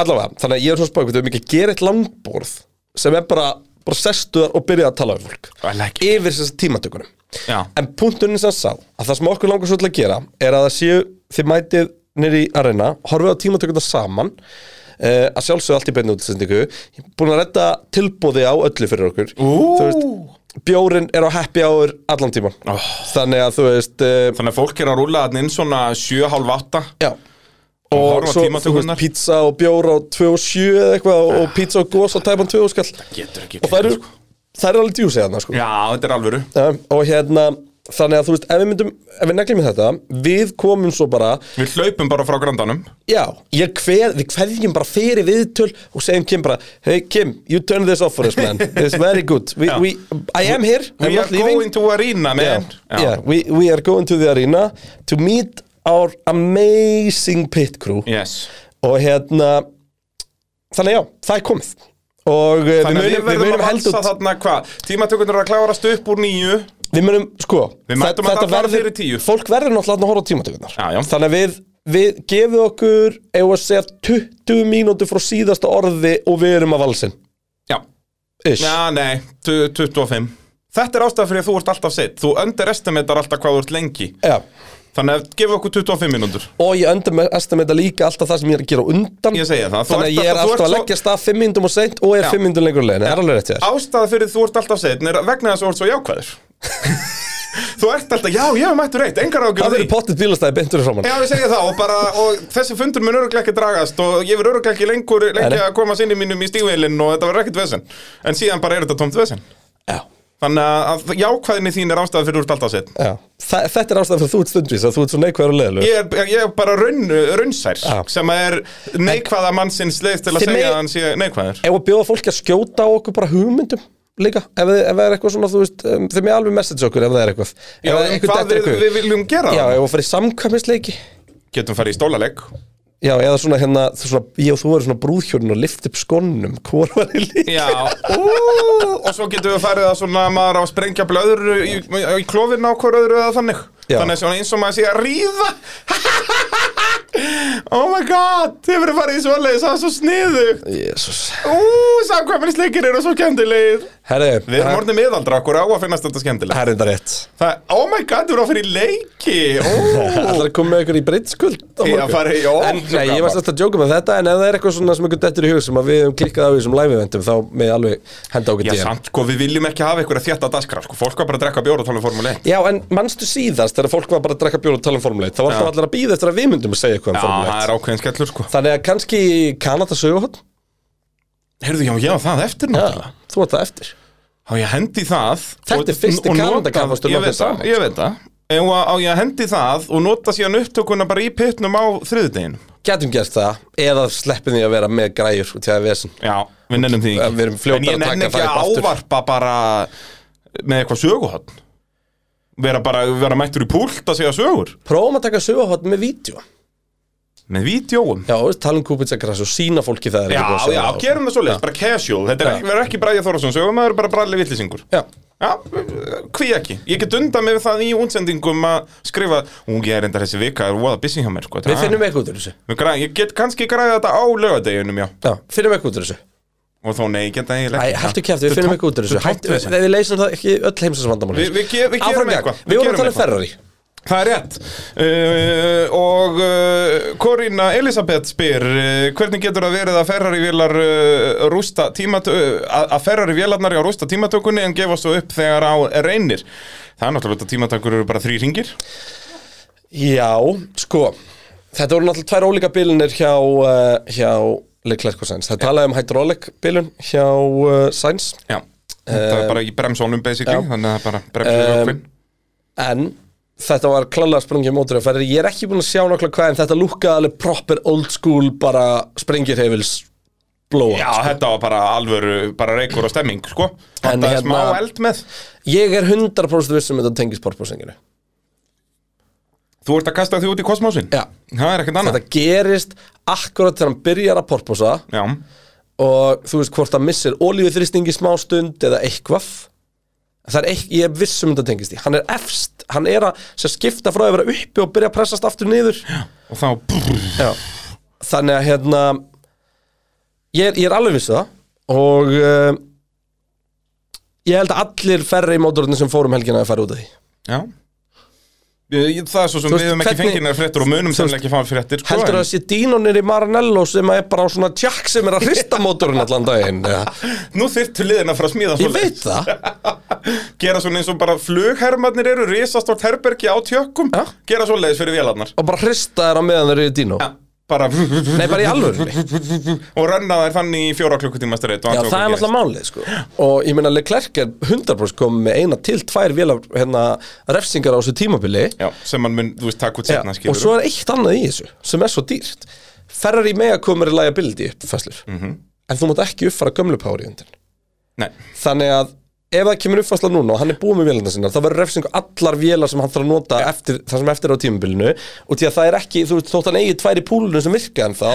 [SPEAKER 3] Allavega, þannig að ég er svona spáð Við höfum ekki að gera eitt langborð sem er bara, bara sestuðar og byrja að tala um fólk
[SPEAKER 4] I like it.
[SPEAKER 3] yfir þessar tímatökunum
[SPEAKER 4] Já.
[SPEAKER 3] En punktunni sem sá að það sem okkur langar svo til að gera er að það séu þið mætið nýri í arena, horfið á tímatökuna saman Uh, að sjálfsögðu allt í beinu útsendingu Ég er búin að redda tilbúði á öllu fyrir okkur Ú. þú veist, bjórin er á happy hour allan tíman oh. þannig að þú veist uh,
[SPEAKER 4] Þannig að fólk er að rúla þarna inn svona 7.30
[SPEAKER 3] já,
[SPEAKER 4] og
[SPEAKER 3] og svo,
[SPEAKER 4] horfa
[SPEAKER 3] þú veist,
[SPEAKER 4] tímatökurnar Ah.
[SPEAKER 3] pizza og bjór á 2 og 7 eða eitthvað og, og pizza og gos á tæpan 2 og skall
[SPEAKER 4] Getur ekki
[SPEAKER 3] og það eru,
[SPEAKER 4] klikkað, sko.
[SPEAKER 3] það eru alveg djúsið þarna sko.
[SPEAKER 4] Já, þetta er alvöru
[SPEAKER 3] um, og hérna, þannig að þú veist ef við myndum, ef við neglum í þetta við komum svo bara,
[SPEAKER 4] Við hlaupum bara frá grandanum
[SPEAKER 3] já, ég kveð við kveðjum bara fyrir viðtöl og segjum Kim bara, hey Kim, you turn this off for us man, it's very good we,
[SPEAKER 4] Já.
[SPEAKER 3] we, I am here, I'm
[SPEAKER 4] We
[SPEAKER 3] not
[SPEAKER 4] are
[SPEAKER 3] leaving
[SPEAKER 4] going to arena, man
[SPEAKER 3] yeah. Yeah, we, we are going to the arena to meet our amazing pit crew
[SPEAKER 4] Yes
[SPEAKER 3] og hérna þannig já, það er komið og eh,
[SPEAKER 4] Þannig að
[SPEAKER 3] við
[SPEAKER 4] við
[SPEAKER 3] munum, við
[SPEAKER 4] verðum
[SPEAKER 3] munum
[SPEAKER 4] að
[SPEAKER 3] held
[SPEAKER 4] valsa
[SPEAKER 3] út
[SPEAKER 4] þarna hvað Tímatökurnar eru að klárast upp úr nýju
[SPEAKER 3] við munum, sko,
[SPEAKER 4] Við mætum
[SPEAKER 3] þa-
[SPEAKER 4] að tala fyrir tíu.
[SPEAKER 3] fólk verður náttúrulega þarna að horfa á tímatökunar
[SPEAKER 4] Já, já.
[SPEAKER 3] þannig að við, við gefum okkur ef að segja 20 mínútur frá síðasta orði og við erum að valsin
[SPEAKER 4] Já,
[SPEAKER 3] ish,
[SPEAKER 4] já nei, tu- 25 Þetta er ástæða fyrir að þú ert alltaf seitt Þú underestimatar alltaf hvað þú ert lengi
[SPEAKER 3] já.
[SPEAKER 4] Þannig að gefa okkur 25 mínútur
[SPEAKER 3] og ég öndum þetta líka alltaf það sem ég er að gera á undan
[SPEAKER 4] Ég segi það, þú
[SPEAKER 3] þannig
[SPEAKER 4] ert
[SPEAKER 3] að ég er
[SPEAKER 4] alltaf- þú
[SPEAKER 3] alltaf
[SPEAKER 4] ert
[SPEAKER 3] að
[SPEAKER 4] svo-
[SPEAKER 3] leggja stað 5 mínútum og seint og er
[SPEAKER 4] Já.
[SPEAKER 3] 5 mínútum lengur legin, það er alveg rétt hér
[SPEAKER 4] Ástæða fyrir þú ert alltaf seitt er vegna þess að þú ert svo jákvæður Þú ert alltaf, já, já, mættur reitt, engar ágjur
[SPEAKER 3] Það eru pottið bílastæði beintur frá mann
[SPEAKER 4] Já, ég segja það og bara, og þessi fundur mun öruglega ekki dragast og ég verð öruglega ekki lengur lengi
[SPEAKER 3] Nei, nei.
[SPEAKER 4] að koma sinni mínum í stígveilin og þetta verður ekkert vesen En síðan bara er þetta tómt vesen
[SPEAKER 3] Já,
[SPEAKER 4] Þannig að að jákvæðinni þín er ástæða fyrir úr alltaf sitt
[SPEAKER 3] já Þa, Þetta er ástæðan fyrir að þú ert stundvís að þú ert svo neikvæður og leðalur
[SPEAKER 4] Ég er, ég er bara raun, raunsær
[SPEAKER 3] Já.
[SPEAKER 4] sem er neikvæða mannsins leið til að
[SPEAKER 3] Þið
[SPEAKER 4] segja
[SPEAKER 3] megi-
[SPEAKER 4] að hann sé neikvæður
[SPEAKER 3] Ef að bjóða fólki að skjóta á okkur bara hugmyndum líka Ef, þið- ef það er eitthvað svona, þú veist, um, þeim er alveg message okkur ef það er eitthvað Ef
[SPEAKER 4] Já, um
[SPEAKER 3] það er eitthvað
[SPEAKER 4] hvað
[SPEAKER 3] dettur
[SPEAKER 4] við,
[SPEAKER 3] eitthvað í hug.
[SPEAKER 4] við viljum gera
[SPEAKER 3] Já,
[SPEAKER 4] það?
[SPEAKER 3] ef að fara í samkvæmisleiki
[SPEAKER 4] Getum farið í stólaleg
[SPEAKER 3] Já, eða svona hérna, þú svona, ég og þú verður svona brúðhjórn og lift upp skonnum, hvor var ég líka?
[SPEAKER 4] Já, Ú, og svo getum við farið að svona maður á að sprengja blöður í, í klófin á hver öðru eða þannig
[SPEAKER 3] Já.
[SPEAKER 4] Þannig svona eins og maður sé að ríða Oh my god, þið verður farið í svoleiðis, það er svo sniðu
[SPEAKER 3] Jésús
[SPEAKER 4] Ú, samkvæminsleikir eru svo kendilegir
[SPEAKER 3] Herri,
[SPEAKER 4] Við erum orðin miðaldra, okkur á að finnast þetta skemmtilegt
[SPEAKER 3] Herri, það er rétt
[SPEAKER 4] Það, oh my god, þú eru að fyrir leiki Ó,
[SPEAKER 3] Það er að koma með ykkur í breytskuld
[SPEAKER 4] Í að fara í- ó,
[SPEAKER 3] En,
[SPEAKER 4] svo
[SPEAKER 3] nei, ég
[SPEAKER 4] gaman.
[SPEAKER 3] var svolítið að jóka með þetta En ef það er eitthvað svona sem ykkur dettur í hug sem að við hefum klikkað á í þessum live-eventum þá með alveg henda okkur
[SPEAKER 4] Já,
[SPEAKER 3] DM.
[SPEAKER 4] samt, sko, við viljum ekki hafa ykkur að þjætta daskra sko. Fólk var bara að drekka bjóra og tala um formule 1
[SPEAKER 3] Já, en mannstu síðast þegar fólk var bara að drekka bjóra og tala um formuleit þá var það allir að býða eftir að við myndum að segja eitthvað um
[SPEAKER 4] Já, það
[SPEAKER 3] formuleit
[SPEAKER 4] er ákveðin skellur, sko
[SPEAKER 3] Þannig að kannski Kanada söguhótt
[SPEAKER 4] Heyrðu, já, já, það eftir náttúrulega
[SPEAKER 3] Þú átt það eftir
[SPEAKER 4] Á ég að hendi það
[SPEAKER 3] Þetta
[SPEAKER 4] og-
[SPEAKER 3] er fyrsti
[SPEAKER 4] og
[SPEAKER 3] Kanada
[SPEAKER 4] nota-
[SPEAKER 3] kappaksturin
[SPEAKER 4] Ég
[SPEAKER 3] okkar
[SPEAKER 4] veit það,
[SPEAKER 3] saman.
[SPEAKER 4] ég veit það En á ég að hendi það og nota síðan upptökuna bara í pittnum á þriðudegin
[SPEAKER 3] Gætum gert það eða sleppin því að vera með græjur út í að vesen
[SPEAKER 4] Já, við nennum því
[SPEAKER 3] Ja, við erum fljótar
[SPEAKER 4] En ég
[SPEAKER 3] að taka
[SPEAKER 4] nenni ekki
[SPEAKER 3] það upp
[SPEAKER 4] að
[SPEAKER 3] aftur.
[SPEAKER 4] ávarpa bara með eitthvað söguhotn Vera bara, vera mættur í púlt að segja sögur
[SPEAKER 3] Prófum að taka söguhótt með vídeo
[SPEAKER 4] Með vídjóum
[SPEAKER 3] Já, veist, tala um Kupitsakras og sína fólki það er
[SPEAKER 4] Já,
[SPEAKER 3] ekki búið að segja
[SPEAKER 4] já,
[SPEAKER 3] það.
[SPEAKER 4] gerum það svoleiðis, bara casual Þetta er ekki, verður ekki Bræði Þórðarsson sögum, það eru bara Bræði Vittlisingur
[SPEAKER 3] Já,
[SPEAKER 4] Já, hví ekki Ég get undan með það í útsendingum að skrifa Ú, ég er enda þessi vika, er voða busy hjá mér sko.
[SPEAKER 3] við finnum eitthvað út úr þessu
[SPEAKER 4] Við græ- Ég get kannski græða þetta á lögadeginum, já
[SPEAKER 3] Já, finnum eitthvað út úr þessu
[SPEAKER 4] Og þó nei, ég get það eiginlega
[SPEAKER 3] Æ,
[SPEAKER 4] ekki.
[SPEAKER 3] hættu kæftu, við
[SPEAKER 4] Þetta er
[SPEAKER 3] finnum
[SPEAKER 4] tómt-
[SPEAKER 3] eitthvað út úr þessu Hættu,
[SPEAKER 4] þetta er tómt vesen.
[SPEAKER 3] við leysum það ekki öll heimsins vandamál
[SPEAKER 4] Við- við ge- við gerum
[SPEAKER 3] Áfram
[SPEAKER 4] eitthvað,
[SPEAKER 3] gegn,
[SPEAKER 4] við
[SPEAKER 3] við vorum
[SPEAKER 4] gerum
[SPEAKER 3] að tala um
[SPEAKER 4] eitthvað.
[SPEAKER 3] Ferrari
[SPEAKER 4] Það er rétt uh, Og uh, Corinna Elisabeth spyr uh, Hvernig getur það verið að Ferrari-vélar uh, rústa tímat uh, að að Ferrari-vélarnar á rústa tímatökunni en gefa svo upp þegar á reynir Það er náttúrulega út að tímatökur eru bara þrý ringir
[SPEAKER 3] Já, sko Þetta voru náttúrulega tvær ólíka bilunir hjá, uh, hjá Leclerc og Sainz Það talaði um hydraulic bilun hjá uh, Sainz
[SPEAKER 4] Já, það er bara í bremsónum basically,
[SPEAKER 3] já.
[SPEAKER 4] þannig að það er bara bremsur um,
[SPEAKER 3] Um, En þetta var klálega sprungið mótur að Ferrari Ég er ekki búin að sjá nokkla hvað en þetta lúkkaði alveg proper old school bara springirheifils blóa
[SPEAKER 4] Já, þetta var bara alvöru, bara reykur og stemming, sko
[SPEAKER 3] sko. En
[SPEAKER 4] Þetta er smá
[SPEAKER 3] hérna-
[SPEAKER 4] eld með
[SPEAKER 3] Ég er 100% vissum um þetta tengist porposinginu
[SPEAKER 4] Þú ert að kasta því út í kosmósin
[SPEAKER 3] Já.
[SPEAKER 4] Það er ekkert annað
[SPEAKER 3] Þetta gerist akkurat þegar hann byrjar að porposa
[SPEAKER 4] Já,
[SPEAKER 3] og þú veist hvort hann missir olíuþrýsting í smá stund eða eitthvað Það er ekki, ég er vissum þetta tengist í Hann er efst, hann er að sem skipta frá að vera uppi og byrja að pressast aftur niður
[SPEAKER 4] og þá
[SPEAKER 3] Já. Þannig að hérna ég er, ég er alveg vissu það og uh, ég held að allir ferri í mótorinu sem fórum helgina að fara út af því
[SPEAKER 4] Já Ég- ég- Það er svo sem
[SPEAKER 3] Þú
[SPEAKER 4] við
[SPEAKER 3] veist,
[SPEAKER 4] höfum ekki
[SPEAKER 3] hvernig-
[SPEAKER 4] fengið neðar fréttur og munum
[SPEAKER 3] Þú veist,
[SPEAKER 4] sem ekki fáum fréttir sko,
[SPEAKER 3] Heldur það að
[SPEAKER 4] en-
[SPEAKER 3] sé dínonir í Maranello sem er bara á svona tjakk sem er að hrista mótorinn allan daginn eða?
[SPEAKER 4] Nú þyrftu liðin að fara að smíða
[SPEAKER 3] Ég
[SPEAKER 4] svoleiðis.
[SPEAKER 3] veit það
[SPEAKER 4] Gera svona eins og bara flughermarnir eru Risastort herbergi á tjökkum
[SPEAKER 3] Já.
[SPEAKER 4] Gera svo leiðis fyrir vélarnar
[SPEAKER 3] og bara hrista þær á meðan þeir eru í dínó
[SPEAKER 4] Bara
[SPEAKER 3] Nei, bara í alvörunni
[SPEAKER 4] Og renna þær þannig í fjóra klukkutíma streitt
[SPEAKER 3] Já, það er náttúrulega málið, sko Og ég meina, Leclerc er 100% komið með eina til tvær vélar, hérna, refsingar á þessu tímabili
[SPEAKER 4] Já, sem mann mun, þú veist, takk út
[SPEAKER 3] Já,
[SPEAKER 4] setna
[SPEAKER 3] og svo er eitt annað í þessu sem er svo dýrt Ferrari mega komur í liability uppfæslur en þú mátt ekki uppfara gömlu power í undir
[SPEAKER 4] Nei,
[SPEAKER 3] þannig að ef það kemur uppfæsla núna og hann er búið með vélina sinna þá verður refsing á allar vélar sem hann þarf að nota eftir, það sem eftir er á tímabilinu og því að það er ekki, þú veist, þótt hann eigi tvær í púlunum sem virka en þá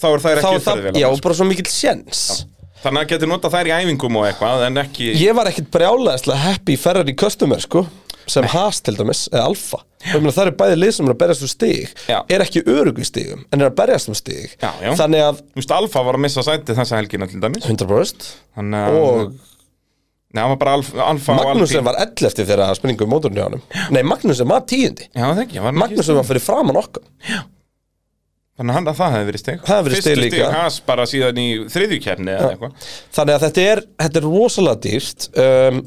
[SPEAKER 4] þá eru þær
[SPEAKER 3] þá er
[SPEAKER 4] ekki
[SPEAKER 3] það,
[SPEAKER 4] uppfærið
[SPEAKER 3] já,
[SPEAKER 4] vel
[SPEAKER 3] bara svo mikill sjens
[SPEAKER 4] Þannig að getur nota þær í æfingum og eitthvað En ekki,
[SPEAKER 3] Ég var ekkit brjálæðislega happy í Ferrari customer sko sem Haas til dæmis, eða Alfa og ég meina það eru bæði lið sem er að berjast um stig
[SPEAKER 4] Já.
[SPEAKER 3] er ekki örug í stigum, en er að berjast um stig
[SPEAKER 4] Já, já.
[SPEAKER 3] þannig að
[SPEAKER 4] þú veist, Alfa var að missa sæti þessa helgina til dæmis
[SPEAKER 3] 100%
[SPEAKER 4] Þannig að,
[SPEAKER 3] og
[SPEAKER 4] Nei, hann var bara Alfa, Alfa og
[SPEAKER 3] Magnúsen
[SPEAKER 4] Alpín.
[SPEAKER 3] var 11 þegar að spurningu um mótorinu hjá honum Nei, Magnúsen var 10
[SPEAKER 4] Já, það ekki, hann var Magnús...
[SPEAKER 3] Magnúsen var fyrir framan okkar
[SPEAKER 4] Þannig að hann- að það hefði verið steg
[SPEAKER 3] Það hefði verið stig
[SPEAKER 4] Fyrstu
[SPEAKER 3] líka.
[SPEAKER 4] stig hans bara síðan í þriðju kefni eða eitthvað
[SPEAKER 3] Þannig að þetta er, þetta er rosalega dýrt um,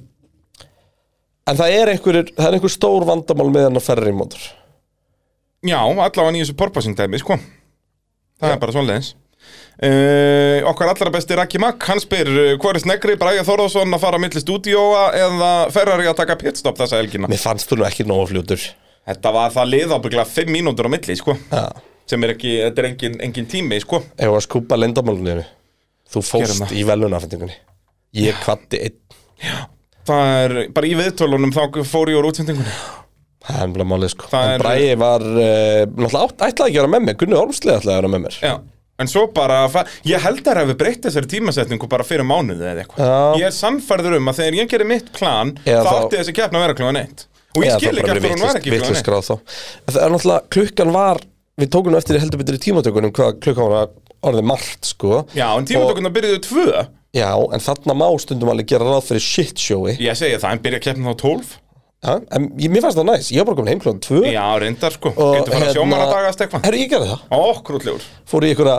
[SPEAKER 3] En það er einhver, það er einhver stór vandamál með hennar ferri mótor
[SPEAKER 4] Já, allavega í þessu porpoising-dæmi, sko Það er bara svoleiðis Uh, okkar allra besti Raki Makk hann spyr uh, hvað er snegri Bræja Þorðarsson að fara á milli stúdíóa eða Ferrari að taka pitstop þessa helgina
[SPEAKER 3] Mér fannst þú nú ekki nógu fljótur
[SPEAKER 4] þetta var það lið ábygglega 5 mínútur á milli sko. sem er ekki, þetta er engin, engin tími sko.
[SPEAKER 3] Ef að skúpa lendamálunni yfir Þú
[SPEAKER 4] Gerum
[SPEAKER 3] fóst
[SPEAKER 4] það.
[SPEAKER 3] í velunafendingunni Ég kvatti einn
[SPEAKER 4] það er bara í viðtölunum þá fór ég úr útsendingunni
[SPEAKER 3] Það er bara málið sko
[SPEAKER 4] Það
[SPEAKER 3] En
[SPEAKER 4] er-
[SPEAKER 3] Bræði var, uh, náttúrulega átt- ætlaði ekki að vera með mér Gunni Ormslega ætlaði að vera með mér
[SPEAKER 4] Já, en svo bara að fa- Ég held að hafi breytt þessari tímasetningu bara fyrir mánuði eða eitthvað
[SPEAKER 3] Já.
[SPEAKER 4] Ég er sannfærður um að þegar ég gerir mitt plan
[SPEAKER 3] Eða
[SPEAKER 4] þá
[SPEAKER 3] þá-
[SPEAKER 4] átti þessi keppna að vera kljóðan eitt Og ég
[SPEAKER 3] Eða
[SPEAKER 4] skil
[SPEAKER 3] þá
[SPEAKER 4] ekki
[SPEAKER 3] bara
[SPEAKER 4] að
[SPEAKER 3] verið
[SPEAKER 4] hún
[SPEAKER 3] vitlaust-
[SPEAKER 4] var ekki kljóðan
[SPEAKER 3] vitlaust
[SPEAKER 4] eitt
[SPEAKER 3] skráð þá. En Það er náttúrulega, klukkan var Við tókum nú eftir í heldur betur í tímatökunum Hvað klukkan var orðið margt sko
[SPEAKER 4] Já, en tímatökuna byrjuðu tvö
[SPEAKER 3] Já, en þarna má stundum alveg gera ráð fyrir shit showi
[SPEAKER 4] Ég segi það, en byrja keppna þá tólf
[SPEAKER 3] ja, En ég- mér fannst það næs, ég var bara komin heim klokkan tvö
[SPEAKER 4] Já, reyndar sko,
[SPEAKER 3] og hérna-
[SPEAKER 4] getur fara að sjómara dagast eitthvað
[SPEAKER 3] Herru, ég gerði það
[SPEAKER 4] Ókrútlegur
[SPEAKER 3] Fór í einhverja,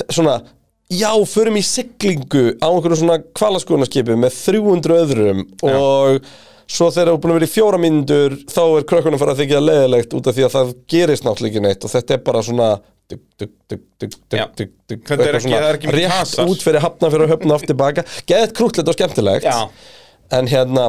[SPEAKER 3] þ- svona Já, förum í siglingu á einhverju svona kvalaskoðunarskipi með 300 öðrum og svo þegar þú er búin að vera í fjóra mínútur þá er krökkunum fara að þykja leðilegt út af því að það gerist náttúrulega ekki neitt og þetta er bara svona dug, dug, dug, dug, dug,
[SPEAKER 4] Já.
[SPEAKER 3] dug, dug,
[SPEAKER 4] Þetta er
[SPEAKER 3] eitthvað
[SPEAKER 4] ekki- það er ekki mikið
[SPEAKER 3] rétt
[SPEAKER 4] hasar.
[SPEAKER 3] út fyrir hafna fyrir að höfna aftur baka Geðið krútlegt og skemmtilegt
[SPEAKER 4] Já.
[SPEAKER 3] en hérna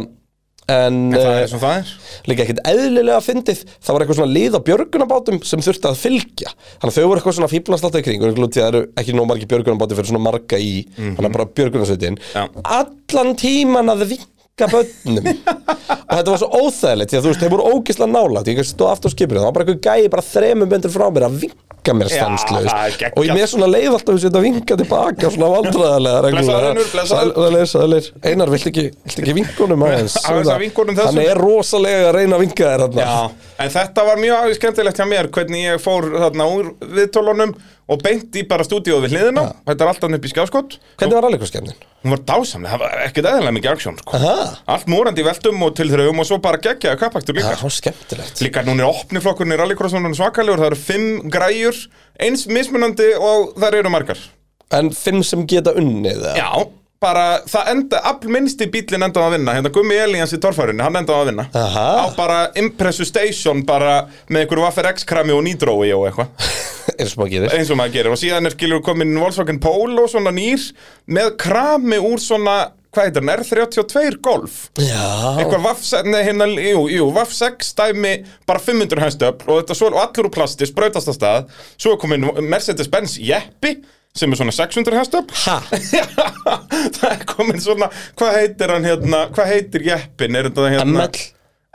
[SPEAKER 3] en,
[SPEAKER 4] En það
[SPEAKER 3] eh,
[SPEAKER 4] er svo það er
[SPEAKER 3] líka ekkert eðlilega fyndið það var eitthvað svona lið á björgunabátum sem þurfti að fylgja þannig að þau voru eitthvað svona fíblast alltaf í kring og einhvern veginn út í að það eru ekki nóg margi björgunabáti fyrir svona marga í þannig að bara björgunasveitin
[SPEAKER 4] Mhm. Já.
[SPEAKER 3] allan tíman að vinka bönnum og þetta var svo óþægilegt því að þú veist, þeir voru ógislega nálægt ég kannski stóð aftur á skipinu, það var bara eitthvað gæi bara þremur bendur frá mér að vinka mér
[SPEAKER 4] Já,
[SPEAKER 3] stanslaust
[SPEAKER 4] það er geggjað.
[SPEAKER 3] og ég með svona leið alltaf þessi að vinka tilbaka svona vandræðarlega reglulega.
[SPEAKER 4] Blessaður, Unnur, blessaður.
[SPEAKER 3] Sælir, sælir. Einar, viltu ekki, viltu ekki vinkunum aðeins?
[SPEAKER 4] Aðeins að vinkonum þessum.
[SPEAKER 3] Hann er rosalega að reyna að vinka þér hann.
[SPEAKER 4] Já, en þetta var mjög skemmtilegt hjá mér hvernig ég fór þarna úr viðtólunum og beint í bara stúdíóð við hliðina Þetta er alltaf upp í skjáskott
[SPEAKER 3] Hvernig var rallycrosskeppnin?
[SPEAKER 4] Hún var dásamlega, það var ekkert eðalega mikið aksjón sko.
[SPEAKER 3] Aha.
[SPEAKER 4] Allt morandi í veltum og tilþraugum og svo bara geggjaði kappaktur líka
[SPEAKER 3] Það var skemmtilegt.
[SPEAKER 4] Líka núna er opniflokkurinn í rallycrossunum svakalegur, það eru fimm græjur, eins mismunandi og þær eru margar
[SPEAKER 3] En fimm sem geta unnið það.
[SPEAKER 4] Já, bara það enda, all minnsti bílinn endaði að vinna Hérna Gummi Elíans í torfærunni, hann endaði að vinna
[SPEAKER 3] Aha.
[SPEAKER 4] Á bara Impressu Station bara með einhverju Waffer X-krami og nýdrói og eitthvað
[SPEAKER 3] Er sem að gera.
[SPEAKER 4] eins og maður gerir og síðan er skilur komin Volkswagen Polo svona nýr með krami úr svona hvað heitir hann, R32 Golf
[SPEAKER 3] Já.
[SPEAKER 4] eitthvað vaff, nei, hérna, jú, jú, vaff 6 dæmi bara 500 hænstöfl og þetta svo og allur úr plasti sprautast að stað svo er komin Mercedes-Benz Jeppi sem er svona 600 hænstöfl
[SPEAKER 3] Ha?
[SPEAKER 4] það er komin svona hvað heitir hann hérna, hvað heitir Jeppin er þetta hérna
[SPEAKER 3] ML.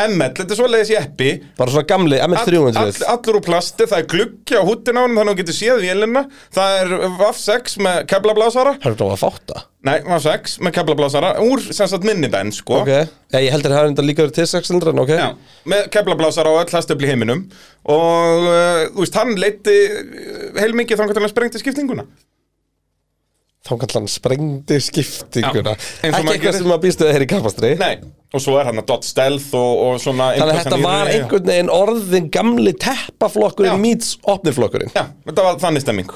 [SPEAKER 4] ML, þetta er svoleiðis Jeppi
[SPEAKER 3] Bara svona gamli, ML300.
[SPEAKER 4] All, all, allur úr plasti, það er gluggi á húttin á hann þannig að hún getur séð vélina það er VAF6 með keflablásara
[SPEAKER 3] Það er það að fátta.
[SPEAKER 4] nei, VAF6 með keflablásara úr sem sagt minnibenn sko
[SPEAKER 3] Ok. Já, Ég heldur að það er enda líka verið til 600, en ok.
[SPEAKER 4] Já, með keflablásara og öll hæstöfli í heiminum og uh, þú veist, hann leiti heilmikið þangar til hann sprengti skiptinguna
[SPEAKER 3] Þá kallar hann sprengdi skiptinguna.
[SPEAKER 4] Já,
[SPEAKER 3] Ekki
[SPEAKER 4] eins og maður
[SPEAKER 3] eitthvað
[SPEAKER 4] gerir.
[SPEAKER 3] sem maður býst við að heyra í kapastri.
[SPEAKER 4] Nei, og svo er hann að dot stealth og, og svona
[SPEAKER 3] Þannig að
[SPEAKER 4] impulsan
[SPEAKER 3] þetta
[SPEAKER 4] í-
[SPEAKER 3] var
[SPEAKER 4] Já.
[SPEAKER 3] einhvern veginn orðin gamli teppaflokkurinn
[SPEAKER 4] Já.
[SPEAKER 3] meets opniflokkurinn.
[SPEAKER 4] Já, þetta var þannig stemming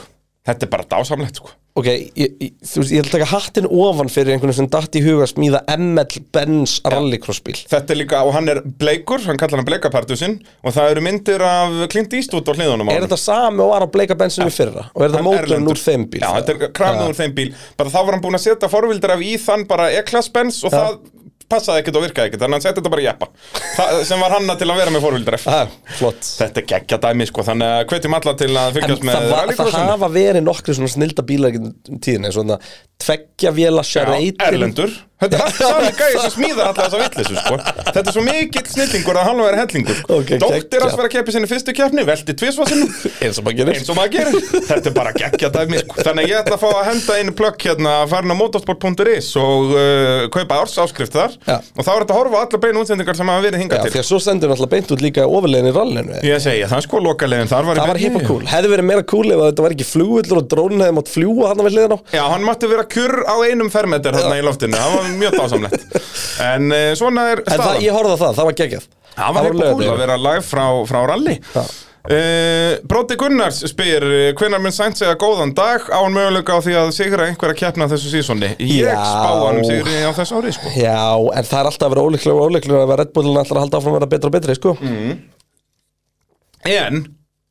[SPEAKER 4] Þetta er bara dásamlegt, sko
[SPEAKER 3] Ok, ég, ég, þú veist, ég ætla að taka hattin ofan fyrir einhvern sem datt í huga að smíða ML Benz rallycrossbíl.
[SPEAKER 4] Þetta er líka, og hann er bleikur, hann kallar hann bleikapartur sinn og það eru myndir af Clint Eastwood á hliðunum á
[SPEAKER 3] Er
[SPEAKER 4] honum.
[SPEAKER 3] þetta sami og var á bleika bensinu fyrra? Og er þetta
[SPEAKER 4] Hann
[SPEAKER 3] mótorinn
[SPEAKER 4] erlendur.
[SPEAKER 3] úr þeim bíl?
[SPEAKER 4] Já, þetta er krafnum úr þeim bíl Bara þá var hann búinn að setja forvildar af í þann bara E-class Benz og það passaði ekkert og virkaði ekkert Þannig að hann setja þetta bara í jeppa Þa- sem var hanna til að vera með forvildar af
[SPEAKER 3] Ah, flott.
[SPEAKER 4] Þetta er geggja dæmi sko, þannig að hvetjum alla til að
[SPEAKER 3] En
[SPEAKER 4] fylgjast með
[SPEAKER 3] það, var, það
[SPEAKER 4] rallycrossinu.
[SPEAKER 3] hafa verið nokkri svona snilda bílar í gegnum tíðina, svona tveggja véla
[SPEAKER 4] Já,
[SPEAKER 3] sjareytin.
[SPEAKER 4] Erlendur Þetta er allt sami gæði sem smíðar alltaf þessa vitleysu sko. Þetta er svo mikill snillingur að hann var hellingur sko.
[SPEAKER 3] Ok,
[SPEAKER 4] Dóttir
[SPEAKER 3] geggjað.
[SPEAKER 4] hans var að keppi sinni fyrstu keppni Velti tvisvarsinu
[SPEAKER 3] Eins og maður gerir.
[SPEAKER 4] eins og maður gerir þetta er bara geggja dæmi sko. þannig að ég ætla að fá að henda einu plökk hérna að fara inn á motorsport.is og uh, kaupa ársáskrift þar
[SPEAKER 3] Já.
[SPEAKER 4] og þá er þetta að horfa á allar beinu útsendingar sem hafa verið
[SPEAKER 3] Já,
[SPEAKER 4] hingað
[SPEAKER 3] því
[SPEAKER 4] til
[SPEAKER 3] að svo sendur náttúrulega beint út líka ofurlegin í rallinu.
[SPEAKER 4] ég segi það sko lokalegin þar var í
[SPEAKER 3] Það var
[SPEAKER 4] beinni.
[SPEAKER 3] hipp og cool. Hefði verið meira cool ef þetta var ekki flugvillur og drónin hefði mátt fljúa hann við hliðin á.
[SPEAKER 4] Já, hann mátti vera kjurr á einum fermeter þarna í loftinu, það var mjög dásamlegt En uh, svona er
[SPEAKER 3] En það,
[SPEAKER 4] staðan
[SPEAKER 3] ég horfði að það, það var geggjað
[SPEAKER 4] Það var
[SPEAKER 3] Það
[SPEAKER 4] hefði
[SPEAKER 3] var
[SPEAKER 4] búið að
[SPEAKER 3] laugardagurinn.
[SPEAKER 4] vera live frá, frá rally
[SPEAKER 3] Já.
[SPEAKER 4] Uh, Bróti Gunnars spyr hvenar mun sænt segja góðan dag án möguleika á því að sigra einhverja keppna þessu sísóni ég
[SPEAKER 3] Já.
[SPEAKER 4] spá hann um sigri á þessu ári sko.
[SPEAKER 3] Já, en það er alltaf að vera ólíklega og ólíklega að vera Red Bullin alltaf að halda áfram að vera betra og betri, sko
[SPEAKER 4] Mm. en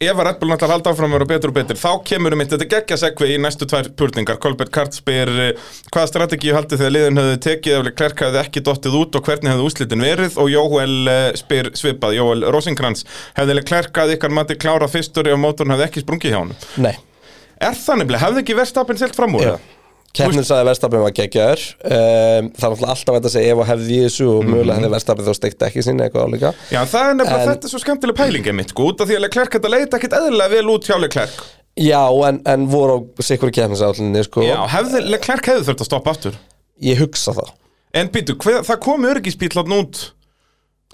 [SPEAKER 4] ef að Red Bull náttúrulega halda áfram að vera betur og betur þá kemur um eitt, þetta geggja segvi í næstu tvær purningar Kolbert Kart spyr eh, hvaða strategíu haldið þegar liðin höfðu tekið ef Klerk hefði ekki dottið út og hvernig hefðu úslitin verið og Jóel eh, spyr svipað, Jóel Rosenkrantz hefði Klerk að ykkar mati klára fyrstur ef mótorn hefði ekki sprungið hjá hann
[SPEAKER 3] Nei,
[SPEAKER 4] er það nefnilega, hefði ekki verðstapin selt fram úr
[SPEAKER 3] já
[SPEAKER 4] það?
[SPEAKER 3] Keppnin sagði verstafin var geggjaður um, Það er náttúrulega alltaf hægt að segja ef og hefði í þessu og
[SPEAKER 4] Mhm.
[SPEAKER 3] mögulega hefði verstafin þá steikt ekki sinni eitthvað álíka
[SPEAKER 4] Já, en það er nefnilega,
[SPEAKER 3] En-
[SPEAKER 4] þetta er svo skemmtileg pælingið mitt, sko, út af því að Leclerc þetta leita ekkit eðlilega vel út hjá Leclerc.
[SPEAKER 3] Já, en, en voru á sikkur keppnisállinni, sko
[SPEAKER 4] Já, hefði, Leclerc hefði þurft að stoppa aftur.
[SPEAKER 3] Ég hugsa það
[SPEAKER 4] En býtu, hver, það kom örgisbíl hann út.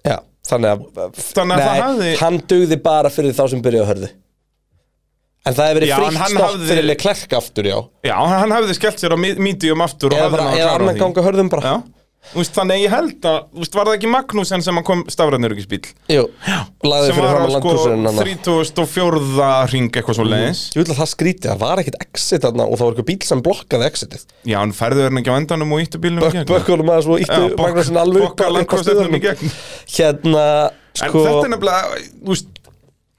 [SPEAKER 3] Já, þannig að,
[SPEAKER 4] Þannig að það hafði-
[SPEAKER 3] hann dugði bara fyrir þá sem byrjaði að hörðu En það hefur
[SPEAKER 4] Já,
[SPEAKER 3] verið
[SPEAKER 4] en
[SPEAKER 3] frítt
[SPEAKER 4] hann
[SPEAKER 3] stopp
[SPEAKER 4] hafði-
[SPEAKER 3] fyrir Leclerc aftur, já
[SPEAKER 4] Já, hann hefði skellt sér á mítium aftur og
[SPEAKER 3] Eða,
[SPEAKER 4] hefði
[SPEAKER 3] bara,
[SPEAKER 4] náð að
[SPEAKER 3] eða
[SPEAKER 4] klára
[SPEAKER 3] annan
[SPEAKER 4] því.
[SPEAKER 3] ganga hörðum bara
[SPEAKER 4] Já, þú veist, þannig að ég held að, þú veist, var það ekki Magnúsen sem að kom stafræðin örgisbíl?
[SPEAKER 3] Jú, lagði
[SPEAKER 4] Sem
[SPEAKER 3] fyrir
[SPEAKER 4] var
[SPEAKER 3] fram
[SPEAKER 4] á
[SPEAKER 3] að
[SPEAKER 4] sko
[SPEAKER 3] landkúsurinn hann
[SPEAKER 4] 34. ring eitthvað svo leiðis.
[SPEAKER 3] Ég vil að það skríti, það var ekkit exit þarna og það var eitthvað bíl sem blokkaði exitið
[SPEAKER 4] Já, hann færði hann ekki á endanum og íttu bílnum í gegn.
[SPEAKER 3] Bökkunum aðeins og
[SPEAKER 4] Já,
[SPEAKER 3] íttu
[SPEAKER 4] bokk-
[SPEAKER 3] Magnúsin alveg upp
[SPEAKER 4] bokka
[SPEAKER 3] að- upp á
[SPEAKER 4] Landkrossinum í
[SPEAKER 3] stöðunum.
[SPEAKER 4] gegn.
[SPEAKER 3] Hérna,
[SPEAKER 4] En
[SPEAKER 3] sko
[SPEAKER 4] þetta er nefnilega, þú veist,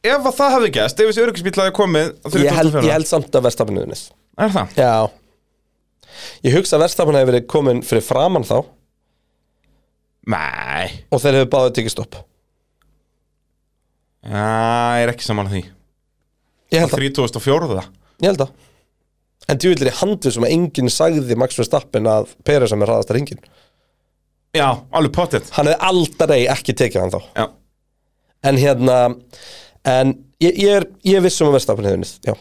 [SPEAKER 4] ef að það hefði gæst, ef þessi öryggisbíl hefði komið á
[SPEAKER 3] ég held,
[SPEAKER 4] 34.
[SPEAKER 3] ég held samt að verðstafinu unnið
[SPEAKER 4] Er það?
[SPEAKER 3] Já Ég hugsa að verðstafinu hefur verið komin fyrir framann þá og
[SPEAKER 4] Nei,
[SPEAKER 3] þeir hefur báðið tekið stopp
[SPEAKER 4] já, ég er ekki saman að því.
[SPEAKER 3] Ég held að,
[SPEAKER 4] 34.
[SPEAKER 3] ég held að En djúvillir í handu sem að enginn sagði Max Verstappen að Pera sem er hraðast að ringin
[SPEAKER 4] Já, alveg pottet.
[SPEAKER 3] Hann hefði aldrei ekki tekið hann þá
[SPEAKER 4] Já.
[SPEAKER 3] En hérna En ég, ég er, ég er viss um að verðstafin hefur unnið Já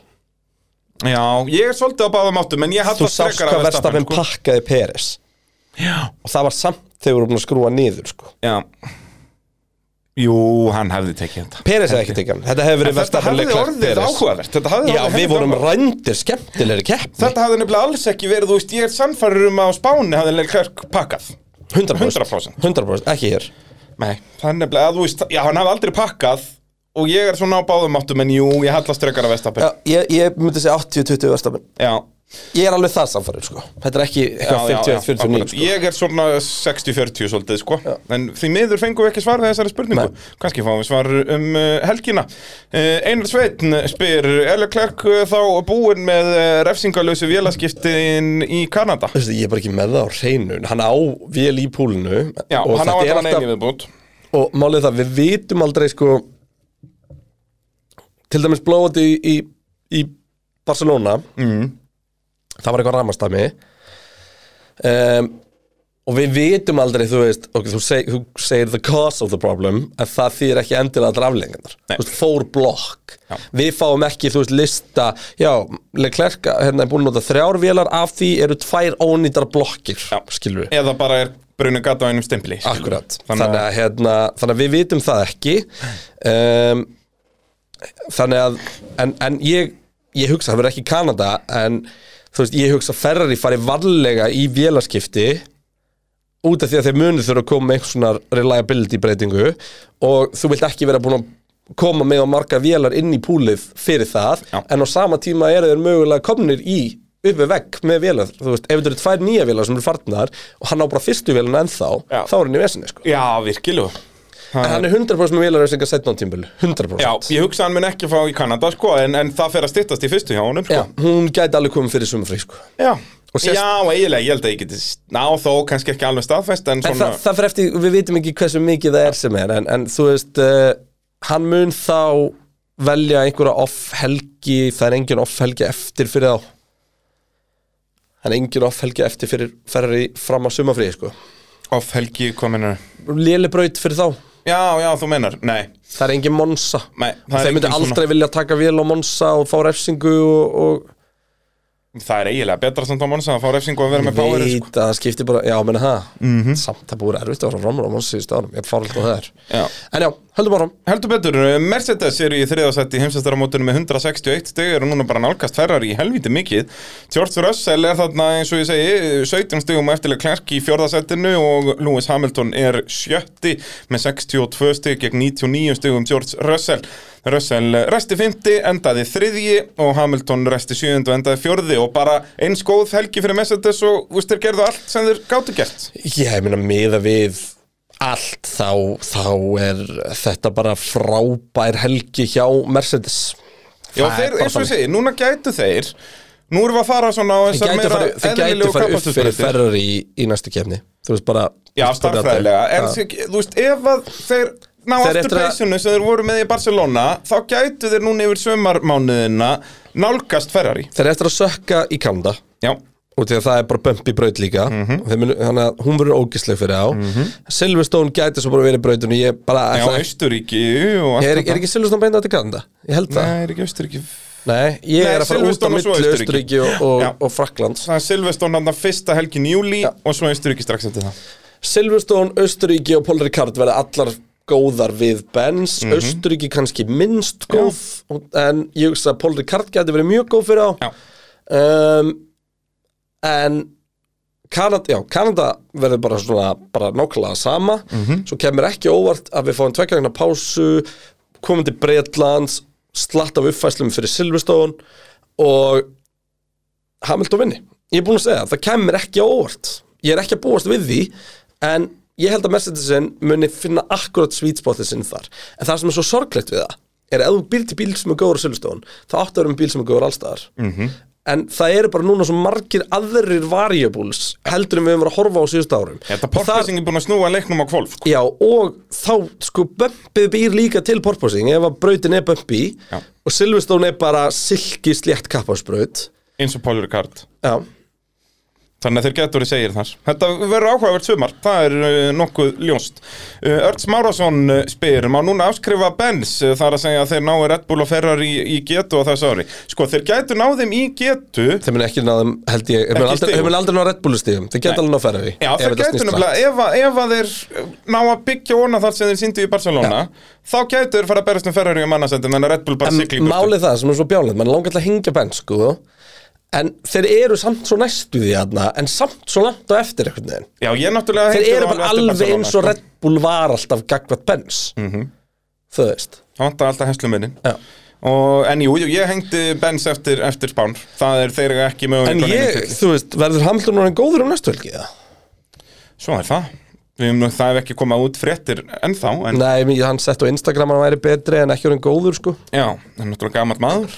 [SPEAKER 4] já, ég er svolítið á báðum áttum, en ég held
[SPEAKER 3] Þú sást hvað Verstappen
[SPEAKER 4] sko.
[SPEAKER 3] pakkaði Peres
[SPEAKER 4] Já.
[SPEAKER 3] og það var samt þegar við vorum búin að skrúa niður sko.
[SPEAKER 4] Já. Jú, hann hefði tekið þetta.
[SPEAKER 3] Peres hefði ekki tekið hann, þetta hefði verið
[SPEAKER 4] Þetta
[SPEAKER 3] Verstappen
[SPEAKER 4] hefði
[SPEAKER 3] Leclerc
[SPEAKER 4] orðið
[SPEAKER 3] Peres
[SPEAKER 4] áhugavert. Þetta
[SPEAKER 3] Já,
[SPEAKER 4] hefði orðið
[SPEAKER 3] við
[SPEAKER 4] helviti
[SPEAKER 3] vorum
[SPEAKER 4] áhugavert.
[SPEAKER 3] rændir skemmtilegri keppni
[SPEAKER 4] Þetta hefði nefnilega alls ekki verið, þú veist, ég er sannfærir um að á Spáni hefði Leclerc pakkað.
[SPEAKER 3] 100%,
[SPEAKER 4] 100%.
[SPEAKER 3] 100%, ekki hér
[SPEAKER 4] Nei, það er nefnilega að þú veist, já, hann hafði aldrei pakkað og ég er svona á báðum áttum en jú, ég hallast frekar að
[SPEAKER 3] Já,
[SPEAKER 4] Vestapen.
[SPEAKER 3] ég, ég myndi segja 80-20 Verstappen
[SPEAKER 4] Já,
[SPEAKER 3] Ég er alveg það samfærið, sko Þetta er ekki
[SPEAKER 4] já,
[SPEAKER 3] eitthvað
[SPEAKER 4] já, já,
[SPEAKER 3] 51-49,
[SPEAKER 4] akkurat.
[SPEAKER 3] sko
[SPEAKER 4] Ég er svona 60-40 svolítið, sko. En því miður fengum við ekki svar við þessari spurningu.
[SPEAKER 3] Nei.
[SPEAKER 4] Kanski fáum við svar um uh, helgina. Uh, Einar Sveitn spyr, er Leclerc uh, þá búinn með uh, refsingalösu vélaskiptin í Kanada?
[SPEAKER 3] Þú veist, Ég er bara ekki með það á hreinu Hann á vél í púlinu
[SPEAKER 4] Já,
[SPEAKER 3] og þetta er
[SPEAKER 4] hann á alltaf
[SPEAKER 3] alltaf-
[SPEAKER 4] neini viðbútt.
[SPEAKER 3] og málið er það, við vitum aldrei sko til dæmis blóðandi í, í, í Barcelona mm. það var eitthvað ramastami um, og við vitum aldrei þú veist, ok, þú, seg, þú segir the cause of the problem, en það þýr ekki endilega allar aflengarnar,
[SPEAKER 4] Nei.
[SPEAKER 3] þú veist, fór blokk
[SPEAKER 4] Já.
[SPEAKER 3] við fáum ekki, þú veist, lista já, Leclerc, hérna er búin að nota þrjár vélar, af því eru tvær ónýtar blokkir,
[SPEAKER 4] Já.
[SPEAKER 3] skilur við
[SPEAKER 4] Eða bara er brunum gata á einum stimpli. skilur við.
[SPEAKER 3] Akkurat,
[SPEAKER 4] Þannig
[SPEAKER 3] þannig
[SPEAKER 4] að-
[SPEAKER 3] að, hérna, þannig að við vitum það ekki um, Þannig að, en, en ég, ég hugsa, það verður ekki Kanada En þú veist, ég hugsa Ferrari fari varlega í vélaskipti Út af því að þeir munið þurfa að koma með einhvers svona reliability breytingu Og þú vilt ekki vera búin að koma með á marga vélar inn í púlið fyrir það
[SPEAKER 4] Já.
[SPEAKER 3] En á sama tíma eru þeir mögulega komnir í uppi vekk með vélar, þú veist, ef þetta eru tvær nýja vélar sem eru farnar og hann á bara fyrstu vélina ennþá,
[SPEAKER 4] Já.
[SPEAKER 3] þá er hann í vesinni sko.
[SPEAKER 4] Já, virkilega.
[SPEAKER 3] en hann er 100% með vélarauðsingar setna á tímbölu 100%
[SPEAKER 4] Já, ég hugsa að hann mun ekki fá í Kanada sko, en, en það fer að styttast í fyrstu hjá honum sko.
[SPEAKER 3] Já, hún gæti alveg komið fyrir sumafrí sko.
[SPEAKER 4] Já.
[SPEAKER 3] Og sést-
[SPEAKER 4] Já, eiginlega, ég held að ég geti Ná, þó kannski ekki alveg staðfest
[SPEAKER 3] En
[SPEAKER 4] En svona,
[SPEAKER 3] það, það fyrir eftir, við vitum ekki hversu mikið það er sem er En, en þú veist, uh, hann mun þá velja einhverja off-helgi Það er engin off-helgi eftir fyrir þá Það er engin off-helgi eftir fyrir ferri fram á sumafrí sko.
[SPEAKER 4] off helgi, hvað mennur
[SPEAKER 3] Lélebraut fyrir þá
[SPEAKER 4] Já, já, þú mennar, nei
[SPEAKER 3] Það er engin Monsa
[SPEAKER 4] Nei, það er
[SPEAKER 3] Þeir myndi
[SPEAKER 4] engin
[SPEAKER 3] aldrei
[SPEAKER 4] svona-
[SPEAKER 3] vilja taka vél á Monsa og fá refsingu og,
[SPEAKER 4] Það er eiginlega betra samt á Monsa að fá refsingu að vera
[SPEAKER 3] og
[SPEAKER 4] með power
[SPEAKER 3] veit
[SPEAKER 4] sko. Mhm.
[SPEAKER 3] að það skipti bara Já, menna það mm -hmm. Samt það búið erfitt að fara fram á Monsa í staðanum Ég fara alltaf það er
[SPEAKER 4] Já.
[SPEAKER 3] En já, höldum áram
[SPEAKER 4] Heldur betur, eh, Mercedes eru í þriðasætti í heimsestaramótunum með 161 stig eru núna bara nálgast Ferrari í helviti mikið George Russell er þarna eins og ég segi 17 stigum eftirlega klærk í fjórðasættinu og Lewis Hamilton er sjötti með 62 stig gegn 99 stigum George Russell Russell resti fymti, endaði þriðji og Hamilton resti sjöundu og endaði fjórði og bara eins góð helgi fyrir Mercedes og úst þeir gerðu allt sem þeir gátu gert
[SPEAKER 3] Já, ég meina miða við allt þá, þá er þetta bara frábær helgi hjá Mercedes
[SPEAKER 4] Já,
[SPEAKER 3] Það er
[SPEAKER 4] þeir,
[SPEAKER 3] bara
[SPEAKER 4] eins og ég
[SPEAKER 3] þannig.
[SPEAKER 4] segi, núna gætu þeir Nú erum við að fara svona á
[SPEAKER 3] Þeir
[SPEAKER 4] þessar
[SPEAKER 3] gæti
[SPEAKER 4] meira
[SPEAKER 3] farið- þeir gæti
[SPEAKER 4] eðlilegu
[SPEAKER 3] farið upp fyrir
[SPEAKER 4] kappaksturbrautir.
[SPEAKER 3] Ferrari í, í næstu kefni Þú veist bara þú
[SPEAKER 4] Já,
[SPEAKER 3] veist, bara
[SPEAKER 4] starffræðilega En
[SPEAKER 3] þetta.
[SPEAKER 4] sé- þú veist, ef að þeir ná
[SPEAKER 3] Þeir
[SPEAKER 4] aftur
[SPEAKER 3] eftir að-
[SPEAKER 4] peysinu sem þeir voru með í Barcelona þá gætu þeir núna yfir sömarmánuðina nálgast Ferrari
[SPEAKER 3] Þeir eru eftir að sökka í Kanda
[SPEAKER 4] Já,
[SPEAKER 3] og því að það er bara bömp í braut líka mm
[SPEAKER 4] Mhm.
[SPEAKER 3] munu, þannig að hún verður ógisleg fyrir á Silverstone gæti svo bara verið brautinu ég bara
[SPEAKER 4] já,
[SPEAKER 3] ætla,
[SPEAKER 4] Austuríki og allt
[SPEAKER 3] er, er
[SPEAKER 4] þetta.
[SPEAKER 3] ekki Silverstone beina til Kanda? Ég held það
[SPEAKER 4] Nei, er ekki Austuríki
[SPEAKER 3] Nei, ég
[SPEAKER 4] Nei,
[SPEAKER 3] er að fara út á
[SPEAKER 4] Silverstone og svo
[SPEAKER 3] milli
[SPEAKER 4] Austurríki.
[SPEAKER 3] Östuríki og, og,
[SPEAKER 4] Já.
[SPEAKER 3] og Fraklands
[SPEAKER 4] Það er Silveston hann fyrsta helgin í júli og svo Austuríki strax eftir það
[SPEAKER 3] Silverstone, Östuríki og Paul Ricard verða allar góðar við Benz mm kannski minnst góð en ég hugsa að Paul Ricard gæti verið mjög góð fyrir á
[SPEAKER 4] Já.
[SPEAKER 3] um, en Kanada, já, Kanada verður bara svona bara nákvæmlega sama svo kemur ekki óvart að við fáum tveggjarna pásu komum til Breitlands slatt af uppfæslum fyrir Silverstone og Hamilton vinni ég er búin að segja, það kemur ekki á óvart ég er ekki að búast við því en ég held að Mercedesin muni finna akkurat svítspotið sinn þar en það sem er svo sorglegt við það er að ef þú býr til bíl sem er góður á Silverstone þá áttu að vera með bíl sem er góður allstaðar
[SPEAKER 4] Mhm.
[SPEAKER 3] -hmm. en það eru bara núna svo margir aðrir variables heldur en við höfum verið að horfa á síðustu árum
[SPEAKER 4] Þetta
[SPEAKER 3] Og þar-
[SPEAKER 4] portlæsing er búin að snúa leiknum á sko, kvolf
[SPEAKER 3] Já, og þá sko bömpið býr líka til porposing ef að brautin er bömpi
[SPEAKER 4] Já.
[SPEAKER 3] og Silverstone er bara silki slétt kappásbraut
[SPEAKER 4] eins og Paul Ricard
[SPEAKER 3] Já,
[SPEAKER 4] Þannig að þeir getur verið segir þar. Þetta verður áhugavert sumar, það er uh, nokkuð ljóst. Uh, Örts Márásson uh, spyr, má núna afskrifa Benz uh, þar að segja að þeir náu Red Bull og Ferrari í, í getu á þessu ári. Sko, þeir getur náðum í getu,
[SPEAKER 3] þeir mun ekki náðum, held ég, þeir mun
[SPEAKER 4] Ekki
[SPEAKER 3] aldrei,
[SPEAKER 4] stigum.
[SPEAKER 3] þeir mun aldrei ná Red Bull stíðum, þeir geta alveg ná Ferrari ef
[SPEAKER 4] já, þeir
[SPEAKER 3] þetta
[SPEAKER 4] getur
[SPEAKER 3] snýst
[SPEAKER 4] nefnilega,
[SPEAKER 3] hratt.
[SPEAKER 4] ef, að- ef að þeir uh, ná að byggja óna þar sem þeir sýndu í Barcelona, þá getur þeir fara að berast um Ferrari um annarsendum en að Red Bull bara sigli í
[SPEAKER 3] En
[SPEAKER 4] burtu.
[SPEAKER 3] málið það sem er svo bjánlega, mann langar til að hengja benn sko En þeir eru samt svo næstu því aðna, en samt svo langt á eftir einhvern veginn
[SPEAKER 4] Já, ég náttúrulega
[SPEAKER 3] Þeir
[SPEAKER 4] hengdi
[SPEAKER 3] eru
[SPEAKER 4] þá
[SPEAKER 3] bara
[SPEAKER 4] eftir
[SPEAKER 3] alveg eins og
[SPEAKER 4] Barcelona, sko.
[SPEAKER 3] Red Bull var alltaf gagvat Benz Þau veist
[SPEAKER 4] sko. Það vantar alltaf hesluminni.
[SPEAKER 3] Mhm. Já.
[SPEAKER 4] Og, en jú, jú, ég hengdi Benz eftir, eftir Spán Það er þeir eiga ekki möguleika
[SPEAKER 3] En
[SPEAKER 4] á neinu
[SPEAKER 3] ég,
[SPEAKER 4] titli.
[SPEAKER 3] þú veist, verður Hamilton orðin góður á næstu helgi eða?
[SPEAKER 4] Svo er það Við höfum nú það hef ekki komað út fréttir ennþá En
[SPEAKER 3] Nei, mér- hann sett á Instagram að hann væri betri en ekki orðin góður sko
[SPEAKER 4] já, það er náttúrulega gamalt maður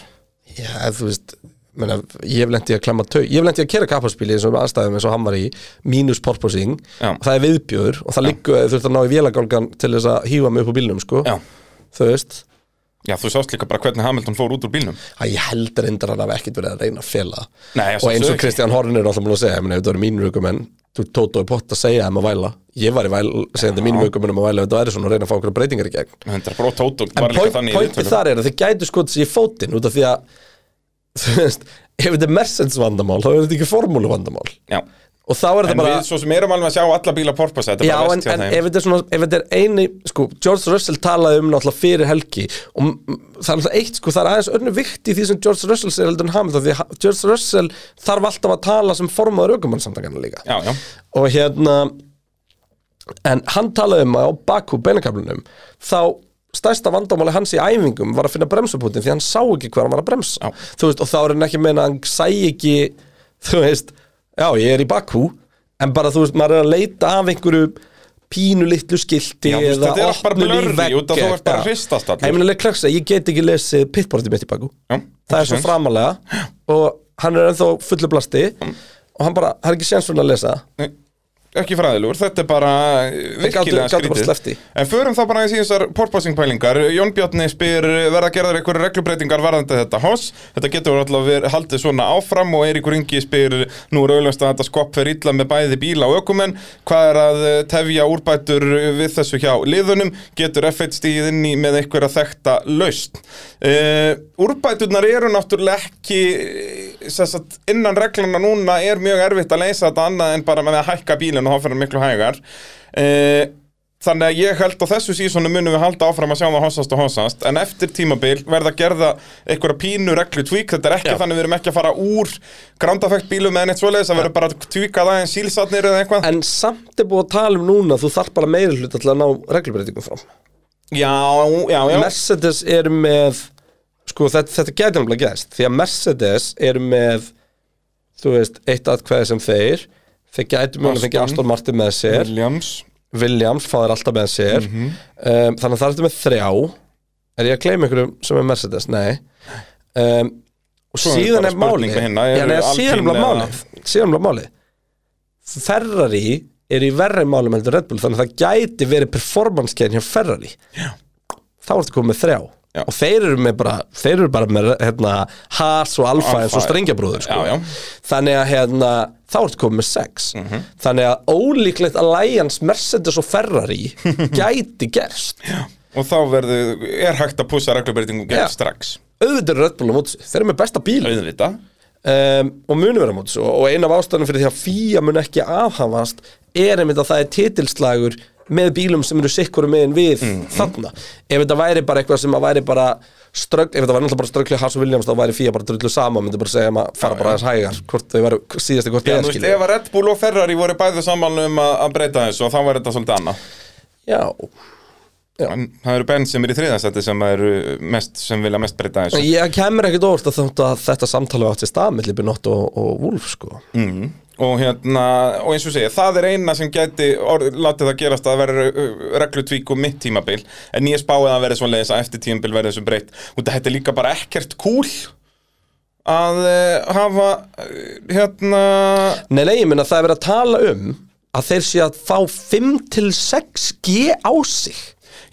[SPEAKER 3] Já, þú veist, menna, ég hef lent í að klemma tau Ég hef lent í að kera kappaspíli eins og aðstæðum eins og hann var í mínus porposing
[SPEAKER 4] Já.
[SPEAKER 3] Það er viðbjöður og það liggur að þú þurft að ná í vélagálgan til þess að hýfa mig upp úr bílnum sko
[SPEAKER 4] Já,
[SPEAKER 3] Þú veist,
[SPEAKER 4] já þú sást líka bara hvernig Hamilton fór út úr bílnum
[SPEAKER 3] að ég heldur endur hann hafi ekkert verið að reyna að fela
[SPEAKER 4] Nei,
[SPEAKER 3] Og eins og
[SPEAKER 4] sjálfsögðu ekki.
[SPEAKER 3] Kristján Horn er alltaf múin að segja Ég meina, ef þetta verið mínur aukumenn Þú tótt og pott að segja þeim að væla Ég var í væl, segjandi mínum aukumennum að væla ef Þetta væri svona að reyna að fá okkur breytingar í gegn
[SPEAKER 4] Þetta er bara tótt og
[SPEAKER 3] En
[SPEAKER 4] var líka
[SPEAKER 3] point,
[SPEAKER 4] þannig í
[SPEAKER 3] pointið
[SPEAKER 4] viðtölum.
[SPEAKER 3] þar er að þið gætu skoðið sér í fótinn út af því að þú veist, ef þetta er Mercedes vandamál þá er þetta ekki formúlu vandamál
[SPEAKER 4] Já,
[SPEAKER 3] og þá er
[SPEAKER 4] en
[SPEAKER 3] þetta bara
[SPEAKER 4] við svo sem erum alveg að sjá alla bíla porpoise Þetta er
[SPEAKER 3] Já,
[SPEAKER 4] bara
[SPEAKER 3] en,
[SPEAKER 4] vest hjá
[SPEAKER 3] en
[SPEAKER 4] þeim
[SPEAKER 3] ef þetta er svona, ef þetta er eini, sko, George Russell talaði um náttúrulega fyrir helgi og m- m- það er náttúrulega eitt, sko, það er aðeins önnu vikt í því sem George Russell segir heldur en Hamilton því að George Russell þarf alltaf að tala sem formaður aukumannsamtakana líka
[SPEAKER 4] Já, já,
[SPEAKER 3] og hérna en hann talaði um að á baku beinakaflunum þá stærsta vandamáli hans í æfingum var að finna bremsuputin því hann sá ekki hver hann var að bremsa þú veist, og þá er hann ekki að meina að hann sæ ekki þú veist, já ég er í baku en bara þú veist, maður er að leita af einhverju pínu litlu skilti
[SPEAKER 4] Já, þú veist, þetta er allt bara blurry, út af þú ert bara að hristast allur.
[SPEAKER 3] ég meina leiklæksa, ég get ekki lesið pitportið mitt í baku
[SPEAKER 4] já
[SPEAKER 3] það er svo framalega og hann er ennþá fullu blasti og hann bara, hann er ekki séns fyrir hann að lesa það
[SPEAKER 4] Nei, Ekki fræðilugur, þetta er bara eh, virkilega
[SPEAKER 3] gátu- gátu bara sleppt því.
[SPEAKER 4] En förum þá bara aðeins í þessar porpoising pælingar Jón Bjarni spyr, eh, verða gerðar einhverju reglubreitingar varðandi þetta hoss Þetta getur alltaf verið haldið svona áfram og Eiríkur Ingi spyr, nú er auðvitað að þetta skopp fer illa með bæði bíla og ökumenn Hvað er að eh, tefja úrbætur við þessu hjá liðunum? Getur F1 stíð inn í með einhverja þekta laust? Uh, úrbæturnar eru náttúrulega ekki eh, sem sagt, innan reglana núna er mjög erfitt að leysa þetta annað en bara með að hækka bílinn og þá fyrir hann miklu hægar uh, Þannig að ég held að þessu sísonu munum við halda áfram að sjá það hossast og hossast En eftir tímabil verða að gerða einhverja pínu reglu tvík Þetta er ekki
[SPEAKER 3] Já.
[SPEAKER 4] þannig við erum ekki að fara úr grandafækt bílum eða neitt svoleiðis Það verður bara að tvíka það en sílsatnir eða eitthvað
[SPEAKER 3] En samt er búið að tala um núna að Þú þarf bara meiri hluta til að ná reglubreitingum fram
[SPEAKER 4] Já, já, já
[SPEAKER 3] Mercedes er með Sko þetta, þetta gæti náttúrulega gæst Því að Mercedes er með Þú veist, eitt atkvæði sem þeir Þeir gæti mjög að fengja
[SPEAKER 4] Aston.
[SPEAKER 3] Aston Martin með sér
[SPEAKER 4] Williams
[SPEAKER 3] Williams fá þær alltaf með sér
[SPEAKER 4] Mhm.
[SPEAKER 3] um, Þannig að það er þetta með þrjá Er ég að gleyma einhverjum sem er Mercedes? Nei um, Og
[SPEAKER 4] Svo er
[SPEAKER 3] síðan
[SPEAKER 4] bara
[SPEAKER 3] er
[SPEAKER 4] spurning
[SPEAKER 3] málið
[SPEAKER 4] með hinna,
[SPEAKER 3] Já,
[SPEAKER 4] eru
[SPEAKER 3] nei,
[SPEAKER 4] Alpine
[SPEAKER 3] Síðan er bara
[SPEAKER 4] eða-
[SPEAKER 3] málið Síðan er bara málið Ferrari er í verri málum heldur en Red Bull Þannig að það gæti verið performance-kein hjá Ferrari Já. Þá ertu komið með þrjá
[SPEAKER 4] Já.
[SPEAKER 3] Og þeir eru, með bara, þeir eru bara með hérna, Haas og Alfa eins og
[SPEAKER 4] Alfa,
[SPEAKER 3] strengjabróður sko.
[SPEAKER 4] já, já. Mhm.
[SPEAKER 3] Þannig að hérna, þá ertu komið með sex Þannig að ólíklegt Alliance, Mercedes og Ferrari Gæti gerst
[SPEAKER 4] Og þá verður, er hægt að púsa reglubreitingum
[SPEAKER 3] Já.
[SPEAKER 4] gerð strax
[SPEAKER 3] Auðvitað er Red Bull á mótis Þeir eru með besta bíl
[SPEAKER 4] Auðvitað
[SPEAKER 3] um, og munu vera mótis og, og eina af ástæðanum fyrir því að FIA mun ekki afhafast er einmitt að það er titilslagur með bílum sem eru sikkur meðin við
[SPEAKER 4] Mhm.
[SPEAKER 3] þarna ef þetta væri bara eitthvað sem að væri bara strögg, ef þetta væri náttúrulega bara ströggli Haas og Williams þá væri FIA bara drullu sama myndi bara segja um að fara bara aðeins hægar hvort þau væri síðasti hvort
[SPEAKER 4] Já,
[SPEAKER 3] eða
[SPEAKER 4] þú veist,
[SPEAKER 3] skilja
[SPEAKER 4] ef að Red Bull og Ferrari voru bæðið saman um að, að breyta þessu og þá var þetta svolítið annað
[SPEAKER 3] Já,
[SPEAKER 4] En það eru benn sem er í þriðasætti sem eru mest, sem vilja mest breyta þessu
[SPEAKER 3] ég kemur ekkit óvart að þetta, þetta samtala átt sér stað millir Binotto og, og Wolf sko
[SPEAKER 4] Mm. og hérna, og eins og segja, það er eina sem gæti, orð, látið það gerast að vera reglutvík og mitt tímabil en ég spáið að vera svona leiðis að eftir tímabil verði þessu breytt, út að þetta er líka bara ekkert cool að uh, hafa uh, hérna,
[SPEAKER 3] Nei, nei, ég meina það er verið að tala um að þeir sé að fá 5-6 G á sig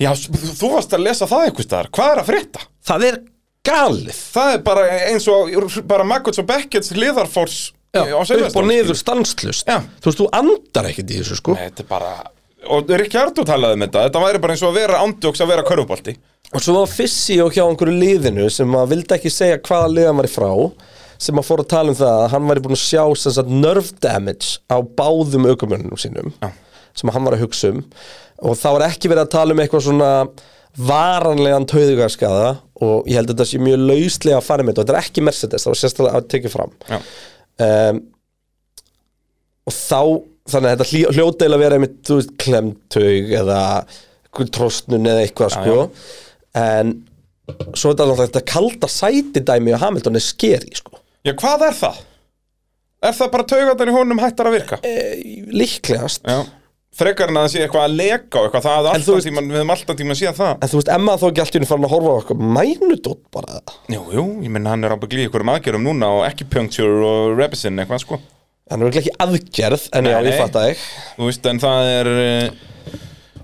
[SPEAKER 4] já, s- þú þú varst að lesa það eitthvað staðar, hvað er að frétta?
[SPEAKER 3] Það er galið
[SPEAKER 4] Það er bara eins og bara Maggots og Beckett's liðarfórs
[SPEAKER 3] Já, upp
[SPEAKER 4] á
[SPEAKER 3] og
[SPEAKER 4] Silverstone,
[SPEAKER 3] niður stanslust
[SPEAKER 4] Já.
[SPEAKER 3] Þú veist, þú andar ekkert í þessu sko
[SPEAKER 4] Nei, þetta er bara Og Rikki Ardó talaði um þetta, þetta væri bara eins og að vera ándjóks að vera körfubolti
[SPEAKER 3] Og svo var Fissi og hjá einhverju liðinu sem að vildi ekki segja hvaða liðan var í frá sem að fór að tala um það að hann væri búin að sjá sem sagt nerve damage á báðum aukumönnum sínum Já. sem að hann var að hugsa um og það var ekki verið að tala um eitthvað svona varanlegan tauðugarskaða og ég held að þetta sé mjög lauslega að fara með þetta og þetta er ekki Mercedes, það var sérstaklega að tekið fram
[SPEAKER 4] Já.
[SPEAKER 3] um, og þá þannig að þetta hljó- hljóta eiginlega að vera einmitt, þú veist, klemtug eða einhver trostnun eða eitthvað sko en svo er þetta náttúrulega þetta kalda sæti dæmi og Hamilton er skeri sko
[SPEAKER 4] Já, hvað er það? Er það bara taugarnar í honum hættar að virka?
[SPEAKER 3] Eh, líklegast
[SPEAKER 4] Já Frekar en að það sé eitthvað að leka og eitthvað það hafði
[SPEAKER 3] En þú
[SPEAKER 4] alltaf
[SPEAKER 3] veist-
[SPEAKER 4] tíman, við hefum alltaf tíman að síða það
[SPEAKER 3] en þú veist, Emma þá ekki allt í unni farin að horfa á okkur mænudótt bara
[SPEAKER 4] Jú, jú, ég menn hann er ábyggli í einhverjum aðgerum núna og ekki puncture og rebisin eitthvað sko
[SPEAKER 3] hann er örugglega ekki aðgerð en
[SPEAKER 4] Nei,
[SPEAKER 3] já,
[SPEAKER 4] nei.
[SPEAKER 3] ég fatt að ekki
[SPEAKER 4] Þú veist, en það er uh,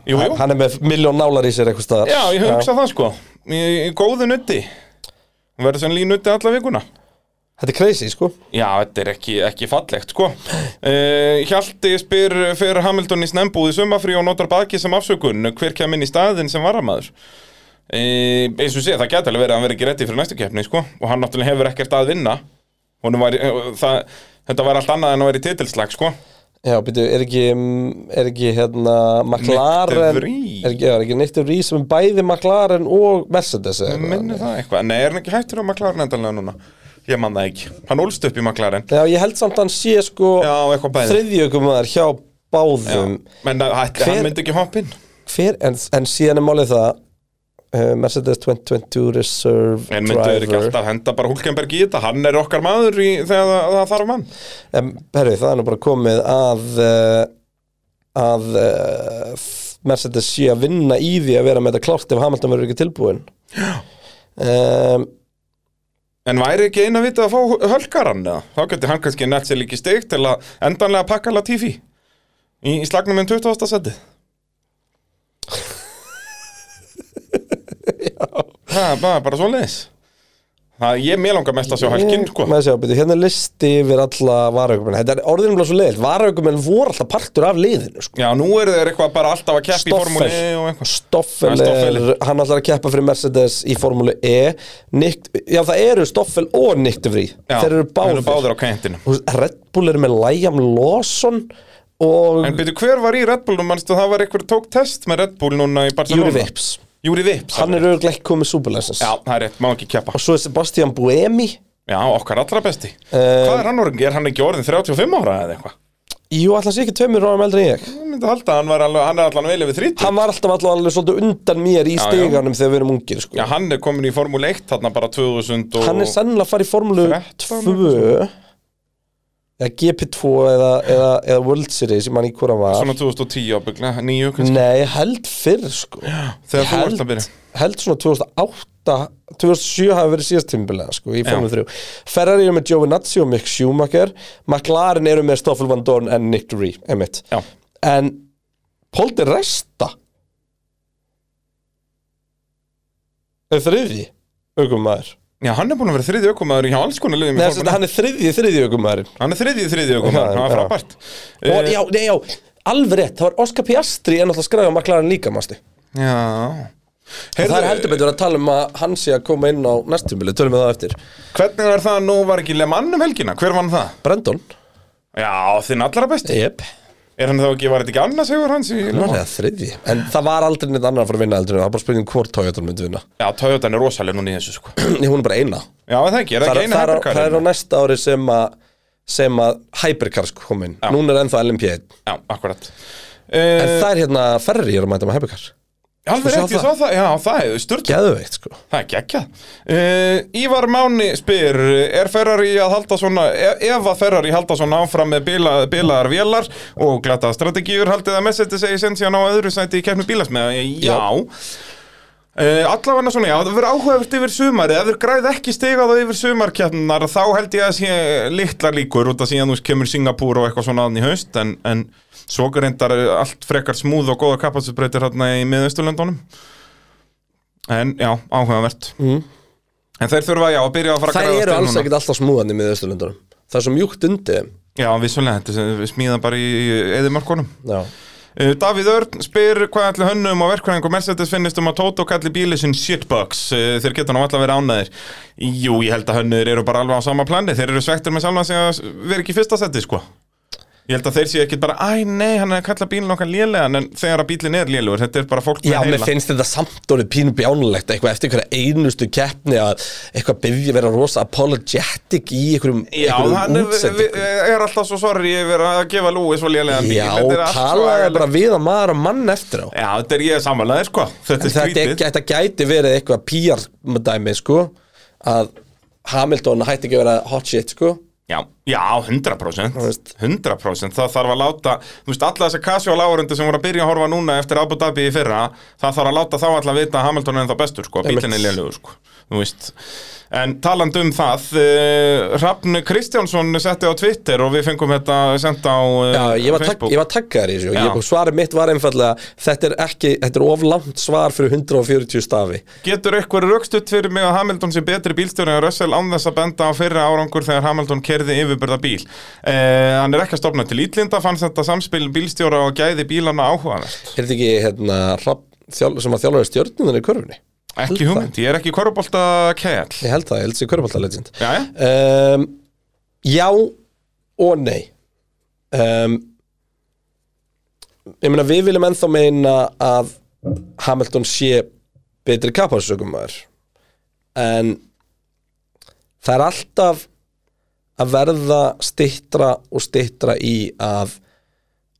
[SPEAKER 4] Jú, jú,
[SPEAKER 3] hann er með miljón nálar í sér eitthvað staðar
[SPEAKER 4] já, ég hugsa það sko Í, í góðu nutti Verður sem lín nutti alla vikuna
[SPEAKER 3] þetta er crazy sko
[SPEAKER 4] Já, þetta er ekki, ekki fallegt, sko. Uh, Hjalti spyr fyrir Hamilton í snembúði sumafrí og notar baki sem afsökun. Hver kem inn í staðin sem varamæður? Uh, eins og sé, það gæti alveg verið að hann verið ekki rétti fyrir næstu keppni, sko. Og hann náttúrulega hefur ekkert að vinna. Honum Var, uh, það, þetta var allt annað en að vera í titilslag, sko.
[SPEAKER 3] já, býtu, er ekki mm, er ekki hérna McLaren
[SPEAKER 4] Nick de Vries.
[SPEAKER 3] er ekki, já, er ekki Nick de Vries sem er bæði McLaren og Mercedes eða eitthvað?
[SPEAKER 4] Minni það eitthvað. Nei, er hann ekki hættur á McLaren endanlega núna? Ég man það ekki. Hann ólst upp í McLaren.
[SPEAKER 3] Já, ég held samt að hann sé sko
[SPEAKER 4] Já, eitthvað bæði.
[SPEAKER 3] þriðjögumar hjá báðum
[SPEAKER 4] Men það-
[SPEAKER 3] Hver-
[SPEAKER 4] hann myndi ekki hoppa inn.
[SPEAKER 3] Hver, en, en síðan er málið það uh, Mercedes 2020 Reserve
[SPEAKER 4] En myndu þeir ekki
[SPEAKER 3] Driver
[SPEAKER 4] alltaf henda bara Hulkenberg í þetta? Hann er okkar maður í, þegar það, það þarf mann.
[SPEAKER 3] en, herri, það er nú bara komið að uh, að uh, Mercedes sé að vinna í því að vera með þetta klárt ef Hamilton verður ekki tilbúin um,
[SPEAKER 4] En væri ekki eina vitið að fá hölkaran eða? Þá geti hann kannski nett sér líki steg til að endanlega pakka Latifi í, í slagnum um 20. seti. Það er bara, bara svo leiðis. Það ég mér langar mest að sjá hölkin, sko.
[SPEAKER 3] Maður sjá, byrju, hérna er listi yfir alla varaukumenn þetta er orðinum bara svo leiðilt varaukumenn voru alltaf partur af liðinu sko.
[SPEAKER 4] Já, nú eru þeir eitthvað bara alltaf að keppi í formúli og
[SPEAKER 3] Stoffel
[SPEAKER 4] eitthvað.
[SPEAKER 3] Stoffel
[SPEAKER 4] Já,
[SPEAKER 3] er,
[SPEAKER 4] Stoffel.
[SPEAKER 3] hann ætlar að keppa fyrir Mercedes í formúlu E Nick, já það eru Stoffel og Nick de Vries
[SPEAKER 4] Já,
[SPEAKER 3] þeir eru báðir,
[SPEAKER 4] Þeir eru báðir á kæntinum.
[SPEAKER 3] Þú veist, Red Bull eru með Liam Lawson og
[SPEAKER 4] En betur, hver var í Red Bull nú, manstu, það var einhver tók test með Red Bull núna í Barcelona
[SPEAKER 3] Júri Vips
[SPEAKER 4] Júri Vips
[SPEAKER 3] hann er örugglega ekki komið superlæsins
[SPEAKER 4] Já, það er rétt, má ekki keppa
[SPEAKER 3] og svo er Sebastian Buemi
[SPEAKER 4] Já, okkar allra besti
[SPEAKER 3] Eh,
[SPEAKER 4] Hvað er hann orðin? Er hann ekki orðin 35 ára eða eitthvað?
[SPEAKER 3] jú, alltaf sé ekki tveimur árum eldri en ég
[SPEAKER 4] Ég myndi halda að hann, var alveg, hann er allan vel yfir 30
[SPEAKER 3] hann var alltaf alltaf alveg svolítið undan mér í
[SPEAKER 4] já.
[SPEAKER 3] stiganum þegar við erum ungir sko.
[SPEAKER 4] Já, hann er komin í Formule 1 þarna bara 2000 og...
[SPEAKER 3] hann er sennilega að fara í Formule
[SPEAKER 4] 13
[SPEAKER 3] 2 eða GP2 eða, eða, eða World Series, ég man í hvora var
[SPEAKER 4] Svona 2010 ábygglega, nýju kannski
[SPEAKER 3] nei, ég held fyrr sko
[SPEAKER 4] Þegar
[SPEAKER 3] Ég
[SPEAKER 4] þú ert
[SPEAKER 3] held-
[SPEAKER 4] að byrja
[SPEAKER 3] held svona 2008 2007 hafi verið síðast tímbilega sko, í Formule 3 Ferrari eru með Giovinazzi og Mick Schumacher McLaren eru með Stoffel Van Dorn en Nick Dury emitt
[SPEAKER 4] Já,
[SPEAKER 3] en Paul de Resta er þriði aukumæður
[SPEAKER 4] já hann er búin að vera þriði ökumæður hjá alls konar liðum í
[SPEAKER 3] Nei,
[SPEAKER 4] Formule
[SPEAKER 3] þess að
[SPEAKER 4] 1.
[SPEAKER 3] hann er þriðji, þriðji aukumæður
[SPEAKER 4] Hann er þriði þriði
[SPEAKER 3] Já,
[SPEAKER 4] ökumæður, það
[SPEAKER 3] já.
[SPEAKER 4] er frábært
[SPEAKER 3] og
[SPEAKER 4] Eh,
[SPEAKER 3] já, nei, já, alveg rétt það var Oscar Piastri en alltaf skræði á McLaren líka manstu.
[SPEAKER 4] Já
[SPEAKER 3] og það er heldur
[SPEAKER 4] Heyrðu,
[SPEAKER 3] betur að tala um að hann sé að koma inn á næstumbilu, tölum við það á eftir
[SPEAKER 4] hvernig var það nú var ekki Le Mans um helgina? Hver vann það?
[SPEAKER 3] Brandon,
[SPEAKER 4] Já, þinn allra besti
[SPEAKER 3] yep.
[SPEAKER 4] Er hann þá ekki, var þetta ekki annars hefur hans í Le
[SPEAKER 3] Annar
[SPEAKER 4] Mans?
[SPEAKER 3] eða þriðji En það var aldrei neitt annar að fara að vinna aldrei Það var bara spurning hvort Toyota myndi vinna
[SPEAKER 4] Já, Toyota er rosaleg núna í þessu sko Já,
[SPEAKER 3] Nei, Hún er bara eina
[SPEAKER 4] er það ekki, er
[SPEAKER 3] Það er,
[SPEAKER 4] það ekki eina hérna.
[SPEAKER 3] það er, á- það er á
[SPEAKER 4] hypercarinn?
[SPEAKER 3] næsta ári sem að sem að Hypercar sko kom inn
[SPEAKER 4] Já.
[SPEAKER 3] Núna er ennþá LMP1
[SPEAKER 4] Já, akkurat
[SPEAKER 3] En
[SPEAKER 4] Eh,
[SPEAKER 3] það er hérna Ferrari er að mæta með Hypercar Þú
[SPEAKER 4] Alveg rétt,
[SPEAKER 3] sá
[SPEAKER 4] ég sá það, já, það er sturt
[SPEAKER 3] Geðveikt sko
[SPEAKER 4] Það er geggjað. Uh, Ívar Máni spyr, er Ferrari að halda svona, e- ef að Ferrari halda svona áfram með bila, bilaðar vélar og glata strategíur, haldið að Messetti segi send síðan á öðru sæti í keppni bílasmiða? Já. já. Uh, allavega svona, já, það verður áhugavert yfir sumari, ef þeir græð ekki stigað á yfir sumarkeppnar, þá held ég að sé litla líkur út af síðan þú kemur Singapúr og eitthvað svona aðan í haust, en, en svo reyndar er allt frekar smúð og góða kapasitbreytir hérna í miðausturlöndunum. En já, áhugavert En þeir þurfa, já, að byrja að fara að
[SPEAKER 3] Það Mm. eru
[SPEAKER 4] græða stein
[SPEAKER 3] alls
[SPEAKER 4] núna.
[SPEAKER 3] ekkert alltaf smúðan í miðausturlöndunum Það er svo mjúkt undi þeim.
[SPEAKER 4] Já, vissulega, þetta er- við smíðum bara í eðimarkonum
[SPEAKER 3] Já
[SPEAKER 4] uh, Davíð Örn spyr hvað allir hönnum og verkvæðingum Mercedes finnist um að Tóto kalli bíli sinn shitbugs uh, Þeir geta nú alltaf verið ánæðir Jú, ég held að hönnur eru bara alveg á sama plani Þeir eru svektir með sjálfan sig að vera ekki í fyrsta seti, sko Ég held að þeir séu ekki bara, æ, nei, hann er að kalla bílinn okkar lélegan En þegar að bílinn er lélegur, þetta er bara fólk með
[SPEAKER 3] Já, mér
[SPEAKER 4] heila.
[SPEAKER 3] finnst þetta samt orðið pínu bjánulegt eitthvað eftir einhverja einustu keppni að eitthvað byggja vera rosa apologetic í einhverjum,
[SPEAKER 4] Já, hann er, vi- er alltaf svo sorry yfir að gefa Lúi svo lélegan bíl
[SPEAKER 3] Já,
[SPEAKER 4] Þetta er allt svo
[SPEAKER 3] talaði
[SPEAKER 4] agalegt.
[SPEAKER 3] bara við að maður að mann eftir á
[SPEAKER 4] Já, þetta er ég samanlega, sko Þetta
[SPEAKER 3] En
[SPEAKER 4] er
[SPEAKER 3] þetta, er,
[SPEAKER 4] skrítið
[SPEAKER 3] þetta gæti verið eitthvað PR dæmi, sko að Hamilton hætti ekki að vera hot shit, sko
[SPEAKER 4] Já, já, 100%
[SPEAKER 3] veist.
[SPEAKER 4] 100% Það þarf að láta, þú veist, alla þessi casual áhundu sem voru að byrja að horfa núna eftir Abu Dhabi í fyrra Það þarf að láta þá alla vita að Hamilton er ennþá bestur, sko
[SPEAKER 3] Einmitt.
[SPEAKER 4] Bílinn er lélugur, sko Þú veist En taland um það, uh, Hrafn Kristjánsson setti á Twitter og við fengum þetta sendt á uh,
[SPEAKER 3] Já, ég var, tag,
[SPEAKER 4] Facebook
[SPEAKER 3] ég var taggaður í þessu og
[SPEAKER 4] Já.
[SPEAKER 3] ég- og svarið mitt var einfallega þetta er ekki, þetta er of langt svar fyrir 140 stafi
[SPEAKER 4] Getur eitthvað raukstutt fyrir mig að Hamilton sé betri bílstjóri en Russell án þess að benda á fyrra árangur þegar Hamilton kerði yfirbyrða bíl? Eh, hann er ekki að stopna til ítlinda, fannst þetta samspil bílstjóra og gæði bílana áhugaðast.
[SPEAKER 3] Er þetta ekki, hérna, Hrafn, þjál- sem að þjálfari stjórnunar í körfunni?
[SPEAKER 4] Ekki hugmynd, ég er ekki korrupolta kæll.
[SPEAKER 3] Ég held það, ég held þessi körfaldallegend
[SPEAKER 4] Jæja,
[SPEAKER 3] um, Já og nei um, Ég meina við viljum ennþá meina að Hamilton sé betri kapasökumar en það er alltaf að verða stittra og stittra í að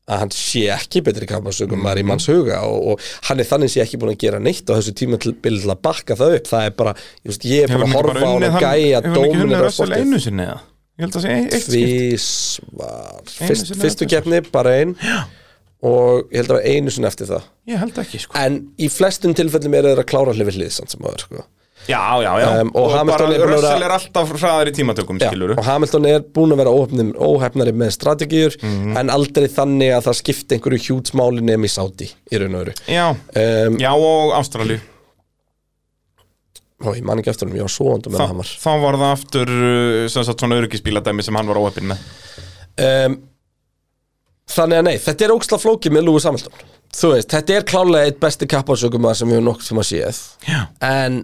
[SPEAKER 3] að hann sé ekki betri kapasökum maður í manns huga og, og hann er þannig sé ekki búin að gera neitt á þessu tíma til, til að bakka það upp það er bara, ég, veist, ég er
[SPEAKER 4] hefur
[SPEAKER 3] bara að
[SPEAKER 4] hann ekki
[SPEAKER 3] horfa
[SPEAKER 4] bara
[SPEAKER 3] á hann
[SPEAKER 4] unnið
[SPEAKER 3] að
[SPEAKER 4] hann,
[SPEAKER 3] gæja
[SPEAKER 4] hefur hann ekki
[SPEAKER 3] dóminu
[SPEAKER 4] unnið Russell einu sinni eða? Ég held að segja eitt skipt.
[SPEAKER 3] Tvísvar
[SPEAKER 4] Einu
[SPEAKER 3] Fyrst,
[SPEAKER 4] sinni
[SPEAKER 3] Fyrstu
[SPEAKER 4] eða
[SPEAKER 3] keppni, bara ein Og ég held að vera einu sinni eftir það
[SPEAKER 4] Ég held ekki, sko.
[SPEAKER 3] En í flestum tilfellum eru þeir að klára hlifir hlið samt sem áður sko.
[SPEAKER 4] Já, já, já.
[SPEAKER 3] Um, og Hamilton
[SPEAKER 4] bara
[SPEAKER 3] er búin að vera-
[SPEAKER 4] Russell er alltaf hraðar í tímatökum,
[SPEAKER 3] Já,
[SPEAKER 4] skiluru.
[SPEAKER 3] Og Hamilton er búin að vera óhefnir, óhefnari með strategíur
[SPEAKER 4] Mhm.
[SPEAKER 3] En aldrei þannig að það skipti einhverju hjútsmáli nefn í Saudi Í raun og öru
[SPEAKER 4] Já,
[SPEAKER 3] um,
[SPEAKER 4] já og Ástralíu.
[SPEAKER 3] Og ég man ekki eftir honum, ég var svo andur með
[SPEAKER 4] Þá,
[SPEAKER 3] hann var
[SPEAKER 4] þá var það aftur uh, sem sagt svona öryggisbíladæmi sem hann var óöppin með.
[SPEAKER 3] um, Þannig að nei, þetta er óksla flókið með Lúi Samhildón Þú veist, þetta er klálega eitt besti kappasökum sem við höfum nokkuð sem að séð
[SPEAKER 4] Já.
[SPEAKER 3] En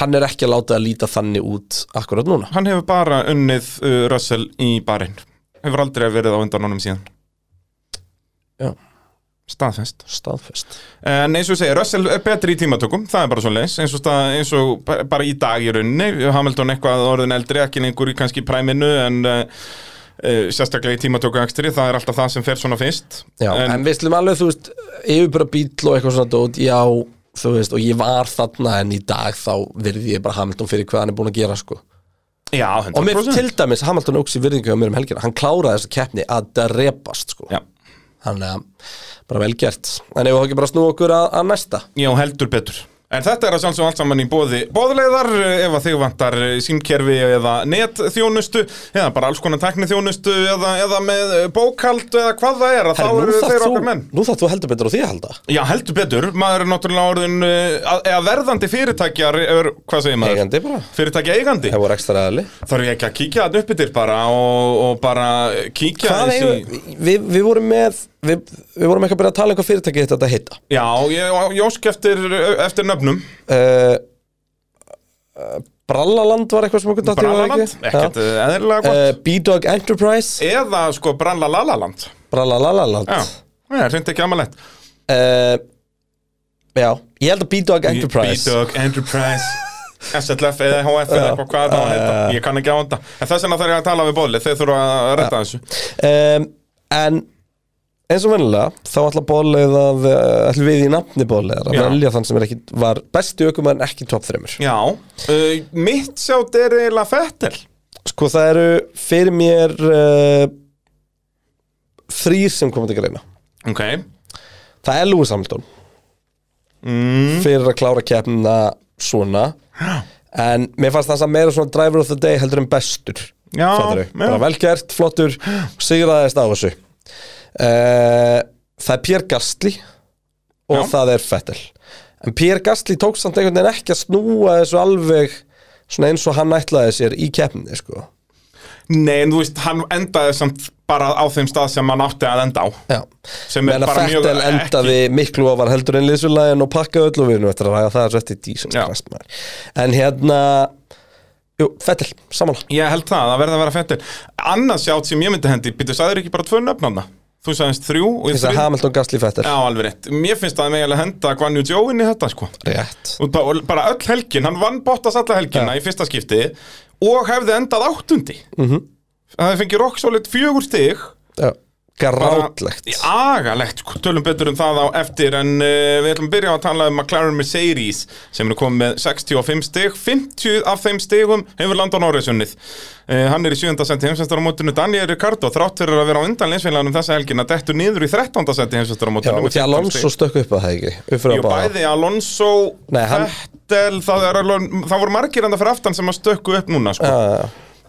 [SPEAKER 3] hann er ekki að láta að líta þannig út akkurat núna
[SPEAKER 4] Hann hefur bara unnið uh, Russell í barinn Hefur aldrei verið á undan honum síðan
[SPEAKER 3] Já.
[SPEAKER 4] staðfest
[SPEAKER 3] staðfest
[SPEAKER 4] En eins og ég segi, Russell er betri í tímatökum Það er bara svo leis, eins og, stað, eins og ba- bara í dag í rauninni Hamilton eitthvað orðin eldri, ekki lengur í kannski præminu En uh, uh, sérstaklega í tímatöku akstri Það er alltaf það sem fer svona fyrst
[SPEAKER 3] Já, en,
[SPEAKER 4] en,
[SPEAKER 3] við slum alveg, þú veist, yfirbara bíl og eitthvað svona dót, já, þú veist, og ég var þarna en í dag þá virði ég bara Hamilton fyrir hvað hann er búin að gera, sko.
[SPEAKER 4] já,
[SPEAKER 3] Og mér
[SPEAKER 4] 100%
[SPEAKER 3] til dæmis, Hamilton óks í virðingu hjá mér um helgina, hann kláraði þessa keppni að drepast, sko.
[SPEAKER 4] Já,
[SPEAKER 3] Hann er bara vel gert. En ef við þá ekki bara snú okkur að, að næsta.
[SPEAKER 4] já, heldur betur En þetta er að sjálfsögum allt saman í bóði bóðleiðar eh, ef að þig vantar eh, símkerfi eða netþjónustu eða bara alls konar tækniþjónustu eða, eða með eh, bókhald eða hvað það er
[SPEAKER 3] Herri,
[SPEAKER 4] að þá
[SPEAKER 3] nú
[SPEAKER 4] eru
[SPEAKER 3] þarft
[SPEAKER 4] þeir
[SPEAKER 3] þú-
[SPEAKER 4] okkar menn
[SPEAKER 3] Nú þarf þú heldur betur á því að halda.
[SPEAKER 4] Já, heldur betur, maður er náttúrulega orðin uh, að- eða verðandi fyrirtækjar er, hvað segir maður?
[SPEAKER 3] Eigandi bara.
[SPEAKER 4] Fyrirtækja eigandi
[SPEAKER 3] Það voru ekstra aðli.
[SPEAKER 4] Þarf ég ekki að kíkja þarna uppi til bara og, og bara kíkja
[SPEAKER 3] Hvað
[SPEAKER 4] aðeins í-
[SPEAKER 3] eigum, við, við vorum með, við, við vorum ekki að byrja að tala um hvað fyrirtæki þetta átti að heita.
[SPEAKER 4] Já, ég, ég ósk eftir, eftir nöfnum
[SPEAKER 3] uh, eh, Brallaland var eitthvað sem okkur datt í hug,
[SPEAKER 4] Brallaland,
[SPEAKER 3] ekki?
[SPEAKER 4] ekkert
[SPEAKER 3] Já.
[SPEAKER 4] eh, eðlilega
[SPEAKER 3] uh,
[SPEAKER 4] gott
[SPEAKER 3] B-Dog Enterprise
[SPEAKER 4] Eða sko Brallaland
[SPEAKER 3] Brallalalaland
[SPEAKER 4] Já, það er reyndi ekki amalett
[SPEAKER 3] uh, Já, ég held að B-Dog Enterprise
[SPEAKER 4] B-Dog Enterprise SLF eða HF eða eitthvað hvað það heita
[SPEAKER 3] Ah.
[SPEAKER 4] Ég kann ekki á þetta En þess vegna þarf ég að tala við bóðlið, þeir þurfa að
[SPEAKER 3] Ah.
[SPEAKER 4] retta þessu
[SPEAKER 3] um, En eins og vennilega þá ætla bóðleið að uh, ætlum við í nafni bóðleið að
[SPEAKER 4] Já.
[SPEAKER 3] velja þann sem er ekki, var besti ökum en ekki top 3
[SPEAKER 4] Já, uh, mitt sjátt er eiginlega Fettel
[SPEAKER 3] Sko það eru fyrir mér uh, þrýr sem komandi greina
[SPEAKER 4] Ok,
[SPEAKER 3] Það er Lewis Hamilton mm. Fyrir að klára keppnina svona En mér fannst það samt meira svona driver of the day heldur en bestur
[SPEAKER 4] Já,
[SPEAKER 3] Fattaru?
[SPEAKER 4] já.
[SPEAKER 3] Bara velgert, flottur og Sigraðist á þessu uh, Það er Pierre Gastli Og
[SPEAKER 4] Já.
[SPEAKER 3] það er Fettel En Pierre Gastli tók samt einhvern veginn ekki að snúa þessu alveg Svona eins og hann ætlaði sér í keppni sko.
[SPEAKER 4] nei en þú veist, hann endaði samt bara á þeim stað sem hann átti að enda á
[SPEAKER 3] Já
[SPEAKER 4] Sem er
[SPEAKER 3] Meðan að
[SPEAKER 4] bara mjög
[SPEAKER 3] Fettel endaði miklu ofar heldur en liðsulæðin og pakkaði öll og við erum eftir að ræða það er svo eftir dísins
[SPEAKER 4] Já.
[SPEAKER 3] krast maður En hérna Jú, Fettel, samanlá
[SPEAKER 4] Ég held það, það verði að vera Fettel Annað sjátt sem ég myndi hendi, býttu, sagður ekki bara tvö nöfnanna Þú sagðist þrjú og ég
[SPEAKER 3] Þess að
[SPEAKER 4] þrjú
[SPEAKER 3] Hamilton Gasly Fettel
[SPEAKER 4] Já, alveg rétt, mér finnst það megilega henda Guanyu Joe inn í þetta sko
[SPEAKER 3] Rétt
[SPEAKER 4] og bara, og bara öll helgin, hann vann Bottas alla helgina í fyrsta skipti og hefði endað áttundi mm
[SPEAKER 3] Mhm.
[SPEAKER 4] -hmm. Það hefði fengið rock solid fjögur stig
[SPEAKER 3] Já.
[SPEAKER 4] bara-
[SPEAKER 3] Grátlegt
[SPEAKER 4] Í- Agalegt, sko, tölum betur um það á eftir en uh, við ætlum að byrja á að tala um McLaren Mercedes sem eru komið með 65 stig 50 af þeim stigum hefur Landon Norris unnið uh, Hann er í 7. senti heimsvestaramótinu Daniel Ricardo þrátt fyrir að vera á undan leinsfélagunum þessa helgina dettur niður í 13. senti
[SPEAKER 3] Já,
[SPEAKER 4] heimsvestaramótinu
[SPEAKER 3] og því Alonso stökk upp að það ekki Upp fyrir
[SPEAKER 4] Jú,
[SPEAKER 3] að báða
[SPEAKER 4] bæði Alonso,
[SPEAKER 3] Nei, hann-
[SPEAKER 4] Fettel það, er alveg- það voru margir enda fyrir aftan sem að stökku upp núna sko.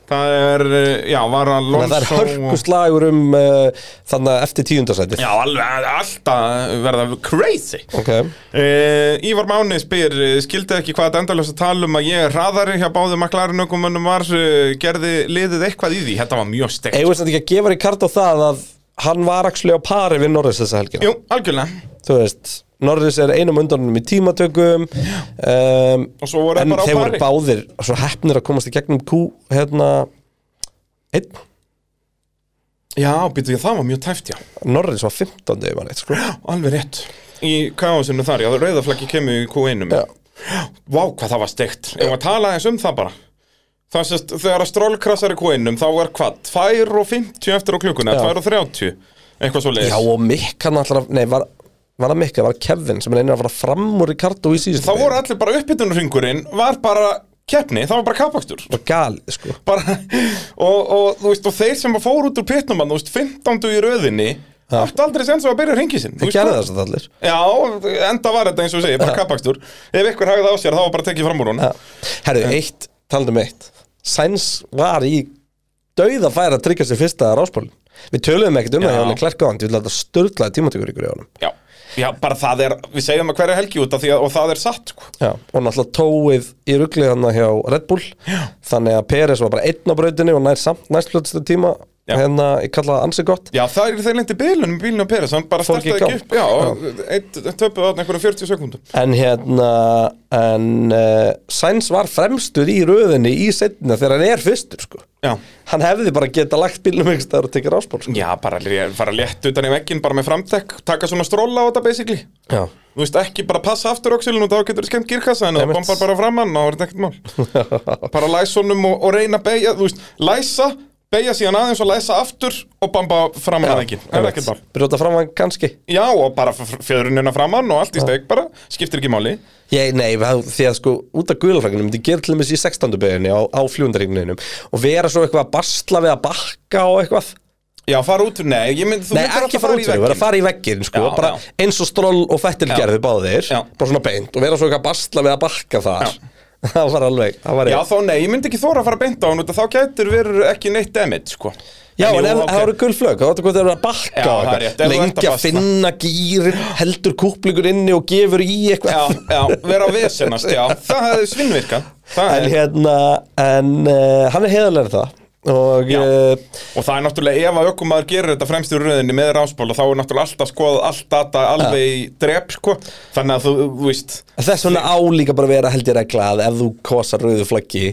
[SPEAKER 4] Það er, eh, já, var Alonso
[SPEAKER 3] Þannig að það er
[SPEAKER 4] og-
[SPEAKER 3] hörkuslagur um uh, Þannig að eftir tíundasæti
[SPEAKER 4] Já, alveg, alltaf verða crazy
[SPEAKER 3] Ok
[SPEAKER 4] Uh, Ívar Máni spyr eh, skildi ekki hvað þetta endalösa tal um að ég er hraðari hjá báðum maklarinn okkur mönnum var uh, gerði liðið eitthvað í því þetta var mjög steikt
[SPEAKER 3] Eigum við þetta ekki að gefa Ricardo það að Hann var akslu á pari við Norris þessa helgina
[SPEAKER 4] Jú, algjörlega
[SPEAKER 3] þú veist Norris er einum undanum í tímatökum um,
[SPEAKER 4] Og svo voru þeir
[SPEAKER 3] en
[SPEAKER 4] bara á
[SPEAKER 3] þeir
[SPEAKER 4] pari.
[SPEAKER 3] voru báðir svo hefnir að komast í gegnum Q hérna einn,
[SPEAKER 4] Já, býtu ég, það var mjög tæft, já
[SPEAKER 3] Norris var 15 ef hann eitt sko
[SPEAKER 4] Alveg rétt Í káðsinu þar, já, rauðaflaggi kemur í Q1
[SPEAKER 3] Já.
[SPEAKER 4] Vá, hvað það var steikt Ef að tala eins um það bara Það sést, þegar að strólkrasar í Q1 þá er hvað, 2.50 eftir á klukkuna
[SPEAKER 3] Já.
[SPEAKER 4] 2.30, eitthvað svo leiðis
[SPEAKER 3] já og Mick hann alltaf, nei var, var það Mick, það var Kevin sem er einnig að fara fram úr Ricardo í síðustu
[SPEAKER 4] Þá voru allir bara uppbytunarringurinn var bara keppni, það var bara kapakstur
[SPEAKER 3] bara gali sko
[SPEAKER 4] bara, og, og, þú veist, og þeir sem fór út úr pitnum þú veist, 15. í röðinni átti aldrei sem sem að byrja hringi sinn þú
[SPEAKER 3] þeir
[SPEAKER 4] veist
[SPEAKER 3] gerði
[SPEAKER 4] hvað-
[SPEAKER 3] það svo allir
[SPEAKER 4] Já, enda var þetta eins og ég segi, bara kappakstur Ef ykkur hafði á sér, þá var bara tekið fram úr hún
[SPEAKER 3] ja. herru, eitt, talandum eitt Sainz var í dauða færa að tryggja sér fyrsta ráspólin við töluðum ekkert um
[SPEAKER 4] Já.
[SPEAKER 3] það hjá hann í klerkaðan við láta störðlaði tímatökur ykkur í honum
[SPEAKER 4] Já. Já, bara það er, við segjum að hverja helgi út af því að, og það er satt sko.
[SPEAKER 3] Já, og náttúrulega tóið í ruglið hann hjá Red Bull Já. þannig að Peres var bara einn á brautinu og nær samt næstfljóttstu tíma
[SPEAKER 4] Já.
[SPEAKER 3] hérna, ég kalla það ansi gott
[SPEAKER 4] Já, það er þeir lendi bilunum í bílinu á Peres, hann bara
[SPEAKER 3] Fór ekki
[SPEAKER 4] startaði
[SPEAKER 3] í
[SPEAKER 4] ekki upp Já, eitt töpuð á einhverjum 40 sekundum
[SPEAKER 3] En hérna, en uh, Sainz var fremstur í röðinni í setna þegar hann er fyrstur, sko.
[SPEAKER 4] Já,
[SPEAKER 3] Hann hefði bara geta lagt bílnum ykkur staðar og tekið ráspól, sko.
[SPEAKER 4] já bara lé- fara létt utan í veggin bara með framtek, taka svona stróla á þetta basically
[SPEAKER 3] Já.
[SPEAKER 4] Þú veist, ekki bara passa aftur öxilin og þá getur þú skemmt girkassa en þú
[SPEAKER 3] Einmitt.
[SPEAKER 4] bombar bara framann og það er þetta ekkert mál Bara læsa honum og, og reyna að beigja, þú veist, læsa, beigja síðan aðeins og læsa aftur og bomba framann að ekki, það er ekkert mál
[SPEAKER 3] Brjóta fram hann kannski.
[SPEAKER 4] Já, og bara fjöðrunina framann og allt í steg bara, skiptir ekki máli
[SPEAKER 3] Ég, nei, það- því að sko, út af guðlafræknum, þetta gerir til dæmis í 16. beginni á, á fljóndaríkninum og vera svo eitthvað að basla við að bakka og eitthvað.
[SPEAKER 4] Já, fara út, nei, ég myndi, þú
[SPEAKER 3] nei,
[SPEAKER 4] myndir
[SPEAKER 3] ekki
[SPEAKER 4] alltaf
[SPEAKER 3] fara út fyrir, vera að fara í veggin, sko,
[SPEAKER 4] Já,
[SPEAKER 3] bara
[SPEAKER 4] já.
[SPEAKER 3] eins og stról og fettil
[SPEAKER 4] Já.
[SPEAKER 3] gerðu báðir,
[SPEAKER 4] Já.
[SPEAKER 3] bara svona beint og vera svo eitthvað að basla við að bakka þar. það var alveg, það var
[SPEAKER 4] Já, þá nei, ég myndi ekki þóra að fara beint á hann út að þá gætur verið ekki neitt damage, sko
[SPEAKER 3] Já, en
[SPEAKER 4] jú,
[SPEAKER 3] ef
[SPEAKER 4] ok.
[SPEAKER 3] það eru gulflög, þá áttu hvað það eru að bakka
[SPEAKER 4] Já,
[SPEAKER 3] og
[SPEAKER 4] það er rétt, ef þú ert að
[SPEAKER 3] Lengja,
[SPEAKER 4] basla.
[SPEAKER 3] finna gýrin, heldur kúplingur inni og gefur í
[SPEAKER 4] Já,
[SPEAKER 3] eitthvað
[SPEAKER 4] já, vera að vesennast, já, það hefði svinnvirka Það
[SPEAKER 3] En
[SPEAKER 4] er
[SPEAKER 3] hérna, en uh, hann er heiðarlega það Og
[SPEAKER 4] Já.
[SPEAKER 3] uh,
[SPEAKER 4] Og það er náttúrulega, ef að ökkumaður gerir þetta fremst í röðinni með rásból þá er náttúrulega alltaf skoðað allt data alveg í drep, sko Þannig að þú, þú veist,
[SPEAKER 3] þess vegna álíka bara að vera held ég regla að ef þú kosar rauðu flaggi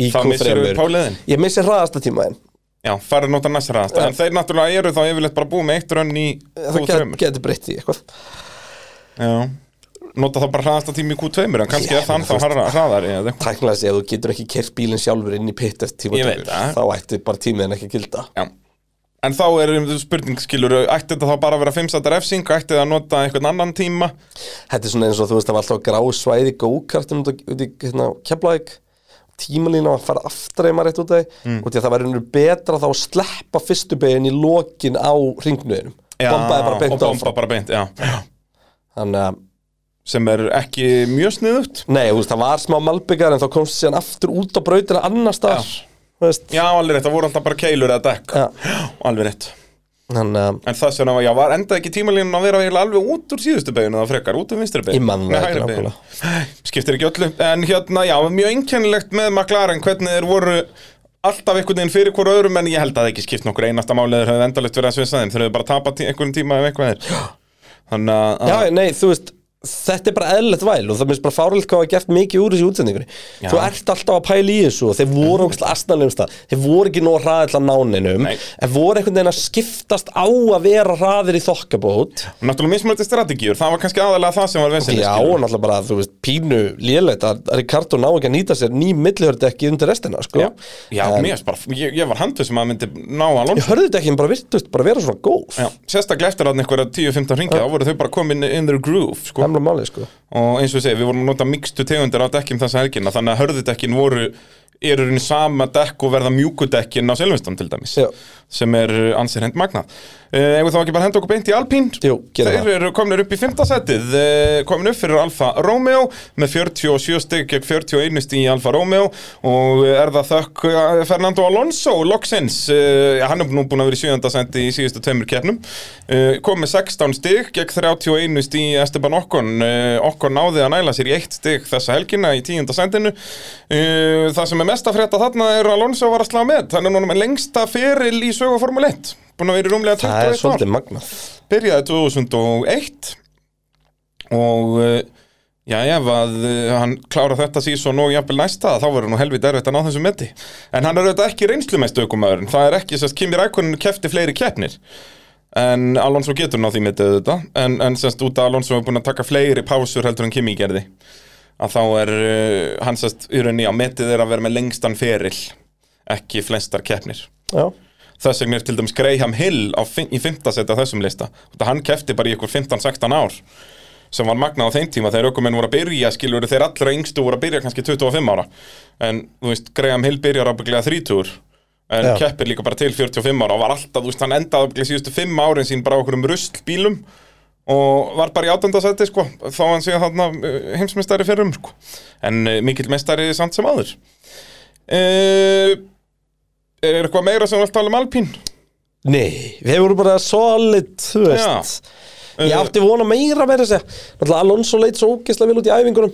[SPEAKER 3] í
[SPEAKER 4] Þá missirðu
[SPEAKER 3] Q3
[SPEAKER 4] páliðin.
[SPEAKER 3] Ég missir hraðasta tímaðin
[SPEAKER 4] já, fara að nota næst ræðast En þeir náttúrulega eru þá yfirleitt bara búið með eitt rönn í
[SPEAKER 3] Það get,
[SPEAKER 4] Q2
[SPEAKER 3] getur breytt í eitthvað
[SPEAKER 4] Já Nota þá bara hraðasta tími í Q2 en kannski
[SPEAKER 3] Já,
[SPEAKER 4] er þann
[SPEAKER 3] þú
[SPEAKER 4] þá harra- hraðari eða eitthvað.
[SPEAKER 3] Tæknilega sé að þú getur ekki kert bílinn sjálfur inn í pitt eftir
[SPEAKER 4] Ég
[SPEAKER 3] tíma
[SPEAKER 4] veit það.
[SPEAKER 3] Þá ætti bara tímiðin ekki að gilda
[SPEAKER 4] Já En þá er um, spurning, skilur, ætti þetta þá bara að vera 5 sættar F-sync, ætti það að nota einhvern annan tíma
[SPEAKER 3] Þetta er svona eins og þú veist, það var alltaf grá svæði gókartum út í- út í hérna, keflaðik tímalína að fara aftur eða maður rétt út af því mm. og því að það væri nú betra þá að sleppa fyrstu beginn í lokin á ringnuðinum bombaði bara beint
[SPEAKER 4] og bomba
[SPEAKER 3] áfram
[SPEAKER 4] bara beint, já
[SPEAKER 3] þannig að,
[SPEAKER 4] Sem er ekki mjög sniðugt
[SPEAKER 3] nei, þú veist, það var smá malbyggar en þá komst síðan aftur út á brautina annar staðar þú veist,
[SPEAKER 4] Já, alveg rétt, það voru alltaf bara keilur eða dekk
[SPEAKER 3] Já.
[SPEAKER 4] Alveg rétt
[SPEAKER 3] þannig að
[SPEAKER 4] En það sem að, já, var enda ekki tímalínun að vera eiginlega alveg út úr síðustu beginu það frekar, út úr vinstri
[SPEAKER 3] Ég
[SPEAKER 4] beginu
[SPEAKER 3] man það ekki nákvæmlega.
[SPEAKER 4] Skiptir ekki öllu, en hérna, já, mjög einkennilegt með McLaren hvernig þeir voru alltaf einhvern veginn fyrir hvora öðrum en ég held að það ekki skipt nokkur einasta málið þeir höfðu endalegt verið að svinsa þeim þeir höfðu bara tapað tí einhvern tíma ef eitthvað er Þannig að- að
[SPEAKER 3] Já, nei, þú veist Þetta er bara eðlilegt væl og það minnst bara fárlega hvað hafa gert mikið úr þessu útsendingunni Þú ert alltaf að pæla í þessu og þeir voru mm. astanlegum stað Þeir voru ekki nóg hraðið til að náninum
[SPEAKER 4] Nei.
[SPEAKER 3] En voru einhvern veginn að skiptast á að vera hraðir í þokkabót
[SPEAKER 4] Og Náttúrulega mismunandi strategíur, það var kannski aðalega það sem var vesenið
[SPEAKER 3] Já, og náttúrulega bara, þú veist, pínu lélegt að að Ricardo ná ekki að nýta sér ný millihörd ekki undir restina, sko
[SPEAKER 4] já, já mér er bara, ég, ég var handið sem að myndi ná alveg
[SPEAKER 3] Ég hörðu þetta ekki, bara virtust, bara vera svona góð
[SPEAKER 4] Já, sérstaklega eftir að einhverja 10-15 ringið, þá voru þau bara komin in their groove, sko
[SPEAKER 3] Hemla máli, sko
[SPEAKER 4] og eins og ég segi, við vorum að nota mikstu tegundir á dekkjum þessa helgina, þannig að hörðudekkin voru eru í sama dekk og verða mjúkudekkin á Silveston til dæmis
[SPEAKER 3] Já.
[SPEAKER 4] sem er uh, ansið hend magnað uh, Ef við þá ekki bara henda okkur beint í Alpín
[SPEAKER 3] Jú, gerum
[SPEAKER 4] Þeir
[SPEAKER 3] það.
[SPEAKER 4] eru komnir upp í fymtasettið uh, komin upp fyrir Alfa Romeo með 47 stygg gegn 41 stig í Alfa Romeo og uh, er það þökk uh, Fernando Alonso loksins, uh, hann er nú búin að vera í sjöndasætti í síðustu tveimur keppnum uh, kom með 16 stygg gegn 31 stig í Esteban Okkon uh, Okkon náði að næla sér í eitt stygg þessa helgina í tíundasættinu uh, það sem er mest að frétta þarna er að Alonso var að slá með, hann er núna með lengsta feril í sögu Formule 1 búin að vera í rúmlega 21
[SPEAKER 3] Það er
[SPEAKER 4] ár
[SPEAKER 3] svolítið magnað
[SPEAKER 4] byrjaði 2001 og uh, já, ef að uh, hann klára þetta síðan og jafnvel næsta þá verður nú helvið erfitt að ná þessu meti en hann er auðvitað ekki reynslumest aukumæðurinn það er ekki sérst Kimi Rækonin kefti fleiri keppnir en Alonso getur ná því metið auðvitað en, en sérst út að Alonso er búin að taka fleiri pásur heldur en Kimi gerði að þá er uh, hann sérst í rauninni á metið er að vera með lengstan feril ekki flestar keppnir
[SPEAKER 3] Já,
[SPEAKER 4] þess vegna er til dæmis Graham Hill á, fim- í 15 seti á þessum lista þetta hann kefti bara í ykkur 15-16 ár sem var magnað á þeim tíma þegar ökumenn voru að byrja skilur þeir allra yngstu voru að byrja kannski 25 ára en þú veist Graham Hill byrjar ábygglega 30 en
[SPEAKER 3] Já.
[SPEAKER 4] keppir líka bara til 45 ára og var alltaf, þú veist, hann endaði ábygglega síðustu 5 árin sín bara á okkur um ruslbílum og var bara í átöndasetti sko þá hann sé þarna uh, heimsmeistari fyrir um sko. en uh, mikill meistari samt sem aður uh, er eitthvað meira sem við allt tala um Alpín?
[SPEAKER 3] nei, við vorum bara solid, þú veist
[SPEAKER 4] Eh,
[SPEAKER 3] Ég átti vona meira verið að segja Náttúrulega Alonso leit svo ógeðslega vel út í æfingunum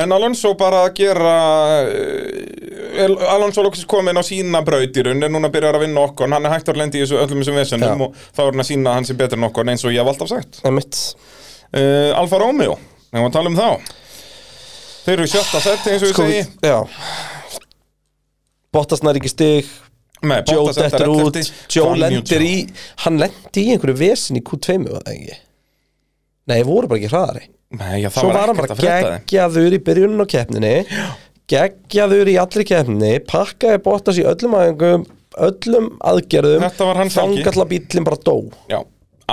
[SPEAKER 4] En Alonso bara að gera eh, El- Alonso lóksist komin á sína braut í raun en núna byrjar að vinna okkur hann er hægt að lendi í þessu öllum þessum vesenum
[SPEAKER 3] Já.
[SPEAKER 4] og þá er hann að sína að hann sé betur en okkur eins og ég hef alltaf sagt
[SPEAKER 3] Það er mitt
[SPEAKER 4] uh, Alfa Romeo, þegar maður tala um þá Þeir eru í sjötta seti eins og ég
[SPEAKER 3] Sko,
[SPEAKER 4] segi
[SPEAKER 3] Já Bottas nær ekki stig
[SPEAKER 4] Nei,
[SPEAKER 3] Joe
[SPEAKER 4] Bottas er
[SPEAKER 3] dettur
[SPEAKER 4] þetta
[SPEAKER 3] út
[SPEAKER 4] reddetti.
[SPEAKER 3] Joe
[SPEAKER 4] Hann
[SPEAKER 3] lendir
[SPEAKER 4] Newton.
[SPEAKER 3] í Hann lendir í einhverju vesin í Q2 var það ekki Nei, voru bara ekki hraðari
[SPEAKER 4] Nei, já, það
[SPEAKER 3] Svo var hann
[SPEAKER 4] ekkert
[SPEAKER 3] bara
[SPEAKER 4] að frétta þeim.
[SPEAKER 3] geggjaður í byrjunum á keppninni Geggjaður í allri keppninni Pakkaði Bottas í öllum aðingum Öllum aðgerðum
[SPEAKER 4] Þetta var hans helgi.
[SPEAKER 3] Þangall að bíllinn bara dó
[SPEAKER 4] Já,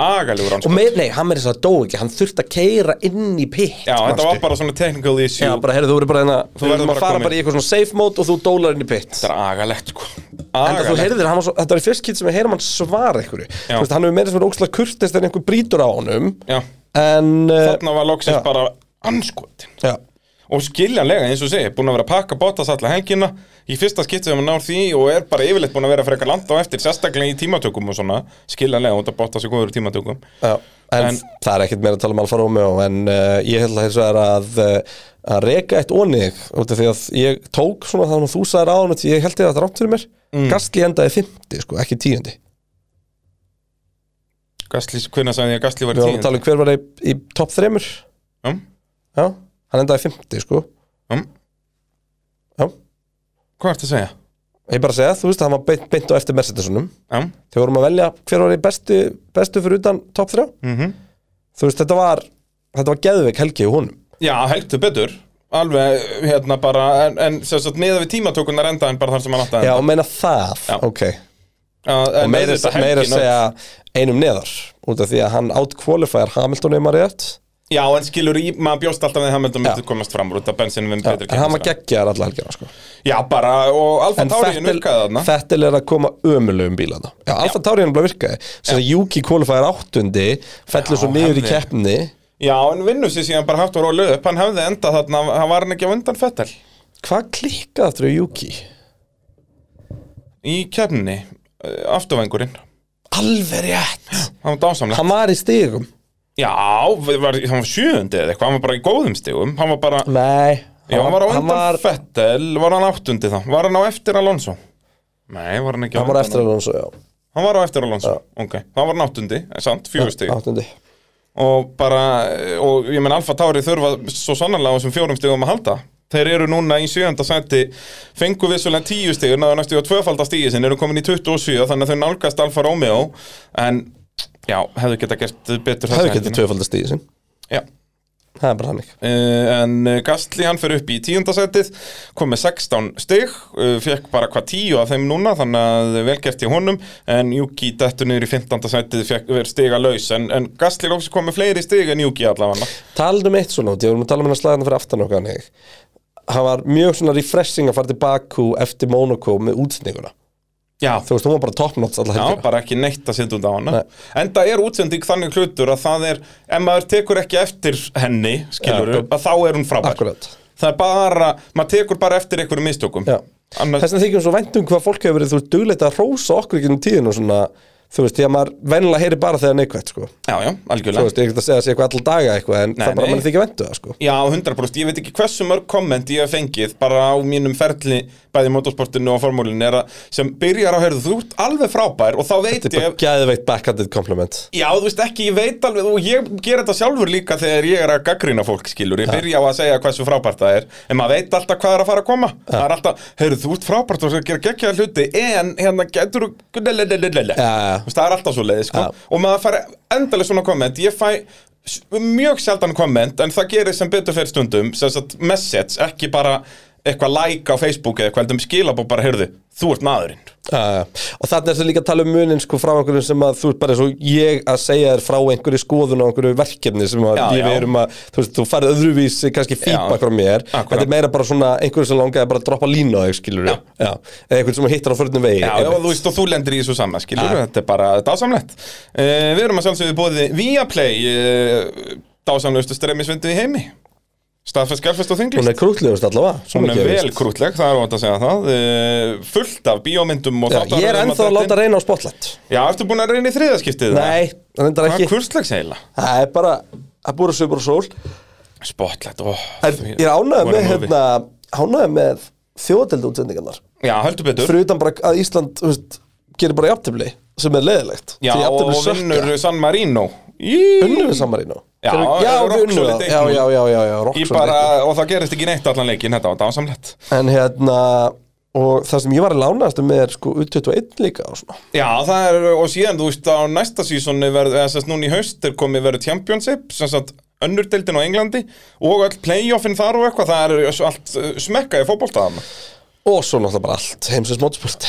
[SPEAKER 4] agalegur hans
[SPEAKER 3] Og með, nei, hann er þess að dó ekki Hann þurfti að keira inn í pitt
[SPEAKER 4] Já, þetta var bara svona technical issue
[SPEAKER 3] Já, bara, heyrðu, þú verður bara hérna Þú
[SPEAKER 4] verður
[SPEAKER 3] verður
[SPEAKER 4] bara
[SPEAKER 3] að fara
[SPEAKER 4] komin.
[SPEAKER 3] bara í eitthvað svona safe mode og þú dólar inn í pitt
[SPEAKER 4] Þetta er agalegt, sko
[SPEAKER 3] En þú
[SPEAKER 4] Agalegt
[SPEAKER 3] heyrðir, hann var svo, þetta var í fyrst kýtt sem ég heyrum hann svara einhverju
[SPEAKER 4] Já.
[SPEAKER 3] Þú veist, hann hefur meira sem er ókslega kurtist en einhver brýtur á honum
[SPEAKER 4] Já,
[SPEAKER 3] En, uh,
[SPEAKER 4] þarna var
[SPEAKER 3] Já.
[SPEAKER 4] loksins bara anskotin
[SPEAKER 3] já,
[SPEAKER 4] Og skiljanlega, eins og ég segi, búin að vera að pakka Bottas alla helgina Í fyrsta skiptið um að ná því og er bara yfirleitt búin að vera frekar landa á eftir Sérstaklega í tímatökum og svona Skiljanlega, út að Bottas er góður í tímatökum
[SPEAKER 3] já En,
[SPEAKER 4] En-
[SPEAKER 3] það er ekkert meira að tala um Alfa Romeo En uh, ég held að hins vegar að uh, að reka eitt onig út af því að ég tók svona þannig að þú sagðir á hann því ég held þér að þetta rátt fyrir mér mm. Gastli endaði 50, sko, ekki 10
[SPEAKER 4] Gastli, hvenær sagði ég að Gastli var
[SPEAKER 3] Við varum að
[SPEAKER 4] tíð?
[SPEAKER 3] tala um hver var í, í topp þremur
[SPEAKER 4] Um,
[SPEAKER 3] Já, hann endaði 50 sko
[SPEAKER 4] um,
[SPEAKER 3] Já,
[SPEAKER 4] hvað ertu að segja?
[SPEAKER 3] ég bara segja, þú veist, hann var beint, beint á eftir Mercedesunum
[SPEAKER 4] Um,
[SPEAKER 3] Þegar vorum að velja hver var í bestu, bestu fyrir utan topp þrjá
[SPEAKER 4] mhm.
[SPEAKER 3] Þú veist, þetta var, þetta var geðveik helgi í honum
[SPEAKER 4] Já, heldur betur Alveg, hérna bara, en, en sem sagt, meða við tímatökunar enda en bara þar sem hann átti að
[SPEAKER 3] Já,
[SPEAKER 4] enda
[SPEAKER 3] og meina það,
[SPEAKER 4] Já.
[SPEAKER 3] ok
[SPEAKER 4] Já,
[SPEAKER 3] Og
[SPEAKER 4] en
[SPEAKER 3] meira,
[SPEAKER 4] auðvitað
[SPEAKER 3] meira að
[SPEAKER 4] helgin öll.
[SPEAKER 3] segja einum neðar Út af því að hann outqualifier Hamilton eða maður rétt
[SPEAKER 4] Já, en skilur í, maður bjóst alltaf við Hamilton myndi
[SPEAKER 3] Já.
[SPEAKER 4] komast fram úr út af bensinum við
[SPEAKER 3] Já,
[SPEAKER 4] betri
[SPEAKER 3] En hann var
[SPEAKER 4] keppnismenn.
[SPEAKER 3] geggjaðar alla helgina sko
[SPEAKER 4] Já, bara, og Alfa
[SPEAKER 3] En
[SPEAKER 4] Tauri nurkaði þarna
[SPEAKER 3] Fettil er að koma ömulegum bílana Já, Alfa Tauri hann bara virkaði Sér að Juki qualifier áttundi Fellur svo
[SPEAKER 4] Já,
[SPEAKER 3] niður í
[SPEAKER 4] hefði-
[SPEAKER 3] keppni
[SPEAKER 4] Já, en vinnur sér síðan bara hægt og rólu upp Hann hefði endað þarna, hann var hann ekki á undan Fettel
[SPEAKER 3] Hvað klikkað aftur á Juki?
[SPEAKER 4] Í kefninni, afturvengurinn
[SPEAKER 3] Alveg rétt
[SPEAKER 4] Hann var dásamlega
[SPEAKER 3] Hann var í stigum
[SPEAKER 4] Já, við var, hann var sjöundi eða eitthvað Hann var bara í góðum stigum Hann var bara,
[SPEAKER 3] Nei
[SPEAKER 4] já, hann var á
[SPEAKER 3] hann
[SPEAKER 4] undan
[SPEAKER 3] var,
[SPEAKER 4] Fettel Var hann áttundi þá, var hann á eftir Alonso Nei, var hann ekki á
[SPEAKER 3] hann var
[SPEAKER 4] undan
[SPEAKER 3] eftir hann svo, já
[SPEAKER 4] Hann var á eftir Alonso, ok Hann var náttundi, samt, fjögustig
[SPEAKER 3] Áttundi
[SPEAKER 4] og bara, og ég menn Alfa Tauri þurfa svo sannanlega á þessum fjórum stigum að halda þeir eru núna í sjönda seti fengu vissulega tíu stigur, náðu næstu í að tvöfalda stíi sinni, eru komin í 27 þannig að þau nálgast Alfa Romeo en já, hefðu geta gert
[SPEAKER 3] Hefði
[SPEAKER 4] betur þessa
[SPEAKER 3] getið
[SPEAKER 4] helgina.
[SPEAKER 3] tvöfaldast í sin
[SPEAKER 4] Já.
[SPEAKER 3] Það er bara hann ekki
[SPEAKER 4] Uh, en uh, Gastli hann fyrir upp í tíundasætið kom með 16 stig uh, fekk bara hvað 10 af þeim núna þannig að velgert í honum en Juki dettur niður í 15. sætið fekk verið stiga laus en, en Gastli lóks kom með fleiri stig en Juki allavega
[SPEAKER 3] Talandi um eitt svona út, ég vorum að tala um hennar slæðan fyrir aftan okkar hann ekki Hann var mjög svona refreshing að fara til Baku eftir Monaco með útsendinguna
[SPEAKER 4] Já,
[SPEAKER 3] Þú veist, hún var bara topnots alla
[SPEAKER 4] já
[SPEAKER 3] helgina
[SPEAKER 4] bara ekki neitt að setja út á hana En það er útsending þannig hlutur að það er ef maður tekur ekki eftir henni skilur
[SPEAKER 3] Já.
[SPEAKER 4] að þá er hún frábær
[SPEAKER 3] Akkurat
[SPEAKER 4] Það er bara, maður tekur bara eftir einhverjum mistökum
[SPEAKER 3] Já.
[SPEAKER 4] Annars,
[SPEAKER 3] Þess vegna þykjum svo væntum hvað fólk hefur verið þú veist, duglegt að hrósa okkur ekki um tíðinu svona, þú veist, því að maður venjulega heyri bara þegar neikvægt, sko
[SPEAKER 4] Já, já,
[SPEAKER 3] Þú
[SPEAKER 4] algjörlega
[SPEAKER 3] veist, ég er ekki að segja að sé eitthvað allal daga eitthvað en
[SPEAKER 4] Nei,
[SPEAKER 3] það bara
[SPEAKER 4] nei.
[SPEAKER 3] mann þykja væntu það, sko
[SPEAKER 4] Já, 100%, ég veit ekki hversu mörg komment ég hef fengið bara á mínum ferli bæði í motorsportinu og formúlinu er að sem byrjar á herðu, þú ert alveg frábær og þá veit
[SPEAKER 3] Þetta er bara
[SPEAKER 4] ég
[SPEAKER 3] gæðveitt backhanded compliment
[SPEAKER 4] Já, þú veist ekki, ég veit alveg og ég ger þetta sjálfur líka þegar ég er að gaggrina fólk skilur, ég byrja á að segja hversu frábært það er en maður veit alltaf hvað er að fara að koma það er alltaf, heyrðu, þú ert frábært og það gera geggjaða hluti en hérna getur þú lelelelelele,
[SPEAKER 3] Já, já.
[SPEAKER 4] þú veist, það er alltaf svo leiði sko.
[SPEAKER 3] Já.
[SPEAKER 4] og maður fær endalega svona komment ég fæ s- mjög sjaldan komment en það gerir sem betur fyrir stundum sem sagt message, ekki bara eitthvað like á Facebook eða eitthvað, skilabó bara, heyrðu, þú ert maðurinn
[SPEAKER 3] Uh, og þarna er þetta líka að tala um munin sko frá einhverjum sem að þú ert bara eins og ég að segja þér frá einhverju skoðun og einhverju verkefni sem að
[SPEAKER 4] Já,
[SPEAKER 3] við
[SPEAKER 4] já.
[SPEAKER 3] erum að þú veist, þú færð öðruvísi kannski feedback frá mér
[SPEAKER 4] Akkurat.
[SPEAKER 3] þetta er meira bara svona einhverju sem langaði bara að droppa línu á þig skilur já. Já. eða einhvern sem hittar á förnum vegi
[SPEAKER 4] Já, og þú veist, og þú lendir í þessu saman, skilur Þetta er bara dásamlegt uh, Við erum að sjálfsögðu bóði Viaplay uh, Dásamlegustu streymisvindu í heimi Staðfest, skjálfest og þinglist
[SPEAKER 3] hún er krútlegust allavega svo
[SPEAKER 4] Hún er
[SPEAKER 3] mikið ég
[SPEAKER 4] vel
[SPEAKER 3] veist.
[SPEAKER 4] krútleg, það er ótt að segja það uh, Fullt af bíómyndum og um
[SPEAKER 3] já,
[SPEAKER 4] þáttaröðum
[SPEAKER 3] ég er
[SPEAKER 4] og
[SPEAKER 3] ennþá að
[SPEAKER 4] dættin.
[SPEAKER 3] láta reyna á spotlight
[SPEAKER 4] Já, ertu búin að reyna í þriðaskiptið?
[SPEAKER 3] nei, reyndar
[SPEAKER 4] Hvað
[SPEAKER 3] ekki
[SPEAKER 4] er kurslags heila?
[SPEAKER 3] Það er bara, það búið að sögur og sól
[SPEAKER 4] Spotlight, ó
[SPEAKER 3] En ég er ánægð með, hérna, ánægð með þjóðatildu útsendingarnar
[SPEAKER 4] Já, höldu betur
[SPEAKER 3] Fyrir utan bara að Ísland, þú veist, gerir bara jafntefli Sem er leiðilegt
[SPEAKER 4] Já,
[SPEAKER 3] Því
[SPEAKER 4] og
[SPEAKER 3] jafntefli sökka.
[SPEAKER 4] vinnur San Marino Í,
[SPEAKER 3] Unnum við samarinn á
[SPEAKER 4] Já,
[SPEAKER 3] já,
[SPEAKER 4] það er
[SPEAKER 3] við unnum það
[SPEAKER 4] rock solid
[SPEAKER 3] Já,
[SPEAKER 4] eignum.
[SPEAKER 3] já, já, já, já, rock
[SPEAKER 4] í
[SPEAKER 3] solid
[SPEAKER 4] bara,
[SPEAKER 3] eignum.
[SPEAKER 4] og það gerist ekki neitt allan leikin Þetta var dásamlegt
[SPEAKER 3] En hérna, og það sem ég var að lánaðast með er sko U21 líka og svona
[SPEAKER 4] Já, það er, og síðan, þú veist, á næsta sísoni verð, eða sérst núna í haust er komið verið Championship, sem sagt önnurdeildin á Englandi og öll playoffin þar og eitthvað, það er s- allt uh, smekka í fótboltaðan
[SPEAKER 3] Og svo náttúrulega bara allt, heimsins mótsport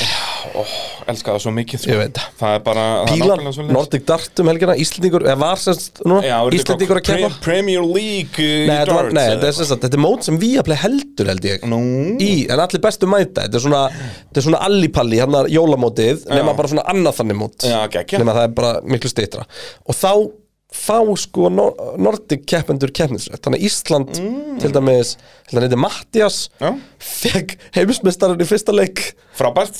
[SPEAKER 4] Elska það svo mikið, sko.
[SPEAKER 3] Ég veit það.
[SPEAKER 4] Það er bara, það er
[SPEAKER 3] Pílan,
[SPEAKER 4] nákvæmlega svoleiðis.
[SPEAKER 3] Nordic Dart um helgina, Íslendingur, eða var semst núna,
[SPEAKER 4] Já, voru þetta
[SPEAKER 3] Íslendingur að
[SPEAKER 4] eitthvað
[SPEAKER 3] kepa
[SPEAKER 4] Pre- Premier League uh,
[SPEAKER 3] Nei,
[SPEAKER 4] í
[SPEAKER 3] þetta, var,
[SPEAKER 4] darts
[SPEAKER 3] nei
[SPEAKER 4] eða
[SPEAKER 3] þetta, er
[SPEAKER 4] eitthvað.
[SPEAKER 3] sem sagt, þetta er mót sem við að play heldur held ég Nú. í, en allir bestu mæta þetta er svona, þetta er svona allipalli hann er jólamótið, nema bara svona annað þannig mót
[SPEAKER 4] Já, geggjað.
[SPEAKER 3] nema það er bara miklu stýtra og þá fá sko Nor- Nordic keppendur keppnisrætt þannig að Ísland, til dæmis til dæmis Mattias
[SPEAKER 4] Mm. Já.
[SPEAKER 3] fekk heimsmeistarinn í fyrsta leik
[SPEAKER 4] Frábært,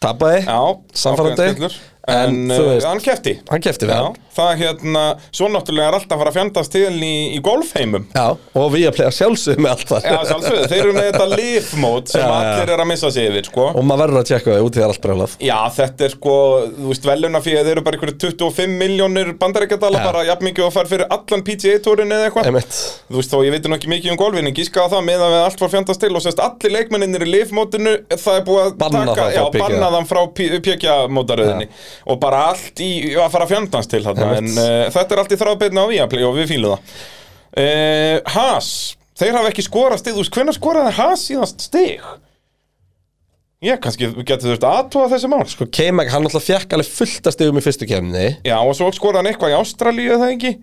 [SPEAKER 3] tapaði,
[SPEAKER 4] já
[SPEAKER 3] Sannfærandi.
[SPEAKER 4] ákveðin titillur.
[SPEAKER 3] En,
[SPEAKER 4] En,
[SPEAKER 3] þú
[SPEAKER 4] uh,
[SPEAKER 3] veist.
[SPEAKER 4] hann kefti
[SPEAKER 3] hann kefti við
[SPEAKER 4] Já,
[SPEAKER 3] hann
[SPEAKER 4] það hérna, svo náttúrulega er alltaf að fara að fjandast til í, í golfheimum
[SPEAKER 3] Já, og við að playa sjálfsögum með allt það
[SPEAKER 4] Já, sjálfsögðu, þeir eru með þetta lifmót sem
[SPEAKER 3] Já, já.
[SPEAKER 4] allir eru að missa sig yfir, sko
[SPEAKER 3] og maður verður að tjekka það út því það er allt brjálað
[SPEAKER 4] Já, þetta er sko, þú veist, veluna fyrir þeir eru bara einhverju 25 miljónir bandarækjadala
[SPEAKER 3] Já.
[SPEAKER 4] bara jafn mikið og fær fyrir allan PGA-túrin eða eitthvað
[SPEAKER 3] Einmitt.
[SPEAKER 4] Þú veist, þó ég veit nú ekki mikið um golfin en gíska á það með að við allt var fjandast til og sérst allir leikmenninir í lifmótinu það er búið að
[SPEAKER 3] Banna
[SPEAKER 4] taka,
[SPEAKER 3] það frá
[SPEAKER 4] já,
[SPEAKER 3] PGA.
[SPEAKER 4] banna þann frá pjekja-mótaröðinni og bara allt í að fara að fjandast til þarna en
[SPEAKER 3] Einmitt.
[SPEAKER 4] uh, þetta er allt í þráðbeinna á Viaplay og við fýlum það uh, Haas, þeir hafa ekki skorað stig, þú veist, hvenær skoraði Haas síðast stig? Ég kannski getur þurft að aðtóa þessi mál
[SPEAKER 3] Sko K-Mag, hann alltaf fekk alveg fullt að stigum í fyrstu kemni
[SPEAKER 4] Já, og svo skoraði hann eitthvað í Ástralíu eða ekki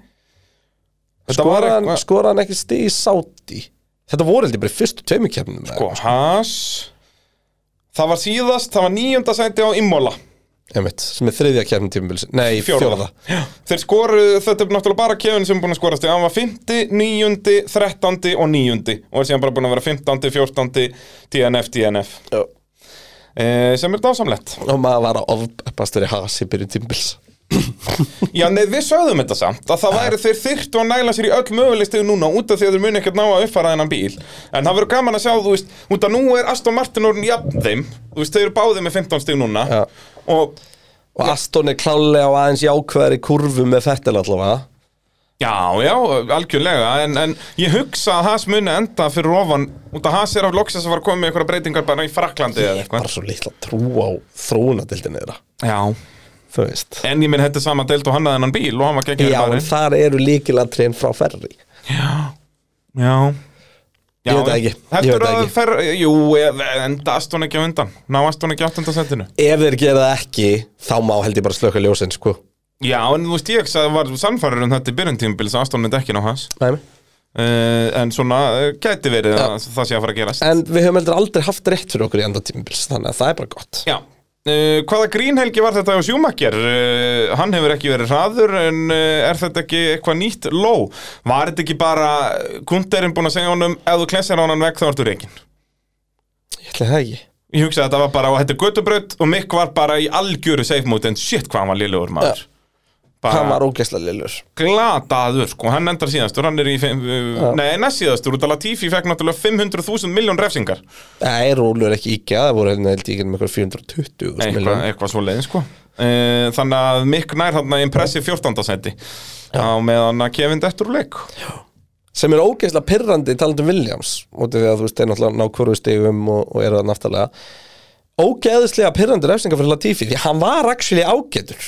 [SPEAKER 4] Þetta var
[SPEAKER 3] Skoraði hann,
[SPEAKER 4] eitthvað-
[SPEAKER 3] skora hann ekki stig í sáti Þetta voru heldur bara í fyrstu tveimur kemnum
[SPEAKER 4] Sko, Haas Það var síðast, það var níunda sæti á Immola
[SPEAKER 3] Einmitt, sem er þriðja kemnum tímabils Nei,
[SPEAKER 4] Fjórða
[SPEAKER 3] fjórða
[SPEAKER 4] Já. Þeir skoru, þetta er náttúrulega bara Kevin sem er búin að skorast Hann var 50, 9, 13 og 9 Og er síðan bara búin að vera 15, 14 DNF, DNF
[SPEAKER 3] Já.
[SPEAKER 4] eh, Sem er dásamlett
[SPEAKER 3] Og maður var að ofbæstur í has í byrjun tímabils
[SPEAKER 4] Já, nei, við sögðum þetta samt að það væri þeir þyrftu að næla sér í öll mögulegstegu núna út af því að þeir muni ekkert ná að uppfara þennan bíl en það verður gaman að sjá, þú veist, út af nú er Aston Martin orðin jafn þeim þú veist, þeir eru báðið með 15 steg núna
[SPEAKER 3] Já.
[SPEAKER 4] og
[SPEAKER 3] Og Aston er klálega og aðeins jákvæðar í kurvu með Fettel allavega
[SPEAKER 4] já, já, algjörlega en, en ég hugsa að Haas muni enda fyrir ofan út af Haas er af loksins að fara að koma með einhverja breytingar bara í Fraklandi eða
[SPEAKER 3] Bara
[SPEAKER 4] eitthvað
[SPEAKER 3] svo litla trú á þróunadildin þeirra
[SPEAKER 4] Já,
[SPEAKER 3] Þú veist
[SPEAKER 4] en ég minn þetta er sama deilt og hann að þennan bíl og hann var geggjur
[SPEAKER 3] Já, en þar eru líkilatriðin frá ferri
[SPEAKER 4] Já
[SPEAKER 3] Ég veit það ekki, ég veit
[SPEAKER 4] Heldur
[SPEAKER 3] það
[SPEAKER 4] að
[SPEAKER 3] ekki.
[SPEAKER 4] fer, jú, enda Aston ekki á undan Ná Aston ekki áttundasendinu
[SPEAKER 3] Ef þeir gera það ekki, þá má held ég bara slöka ljósin, sko
[SPEAKER 4] Já, en þú veist ég ekki að var sannfærir um þetta í byrjun tímabils að Aston myndi ekki ná hans
[SPEAKER 3] Nei, nei.
[SPEAKER 4] uh, En svona, uh, gæti verið að það sé að fara að gerast
[SPEAKER 3] En við höfum heldur aldrei haft rétt fyrir okkur í enda tímabils Þannig að það er bara gott
[SPEAKER 4] Já Uh, hvaða grínhelgi var þetta á Sjúmakker? Uh, hann hefur ekki verið hraður en uh, er þetta ekki eitthvað nýtt ló? Var þetta ekki bara kunderinn búin að segja honum ef þú klessir á hann vekk þá ertu reygin?
[SPEAKER 3] Ég ætla það ekki
[SPEAKER 4] Ég hugsa að þetta var bara á þetta er götubraut og Mikk var bara í algjöru safe mode en shit hvað hann var liðlegur maður bara
[SPEAKER 3] Hann var ógeðslega lillur
[SPEAKER 4] glataður sko, hann endar síðastur, hann er í fimm, uh, nei, næst síðastur, út af Latifi fekk náttúrulega 500.000 miljón refsingar
[SPEAKER 3] Nei, rólur ekki íkja, það voru hérna held ég ekki um eitthvað 420 þúsund
[SPEAKER 4] eitthvað,
[SPEAKER 3] milljón.
[SPEAKER 4] eitthvað svo leiðin sko uh, þannig að Mikk nær hann að impressi 14. seti á meðan að Kevin dettur úr leik
[SPEAKER 3] sem er ógeðslega pirrandi talandi um Williams út af því að þú veist, þeir náttúrulega ná hverju stigum og, og eru það náttúrulega ógeðslega pirrandi refsingar fyrir Latifi því hann var actually ágætur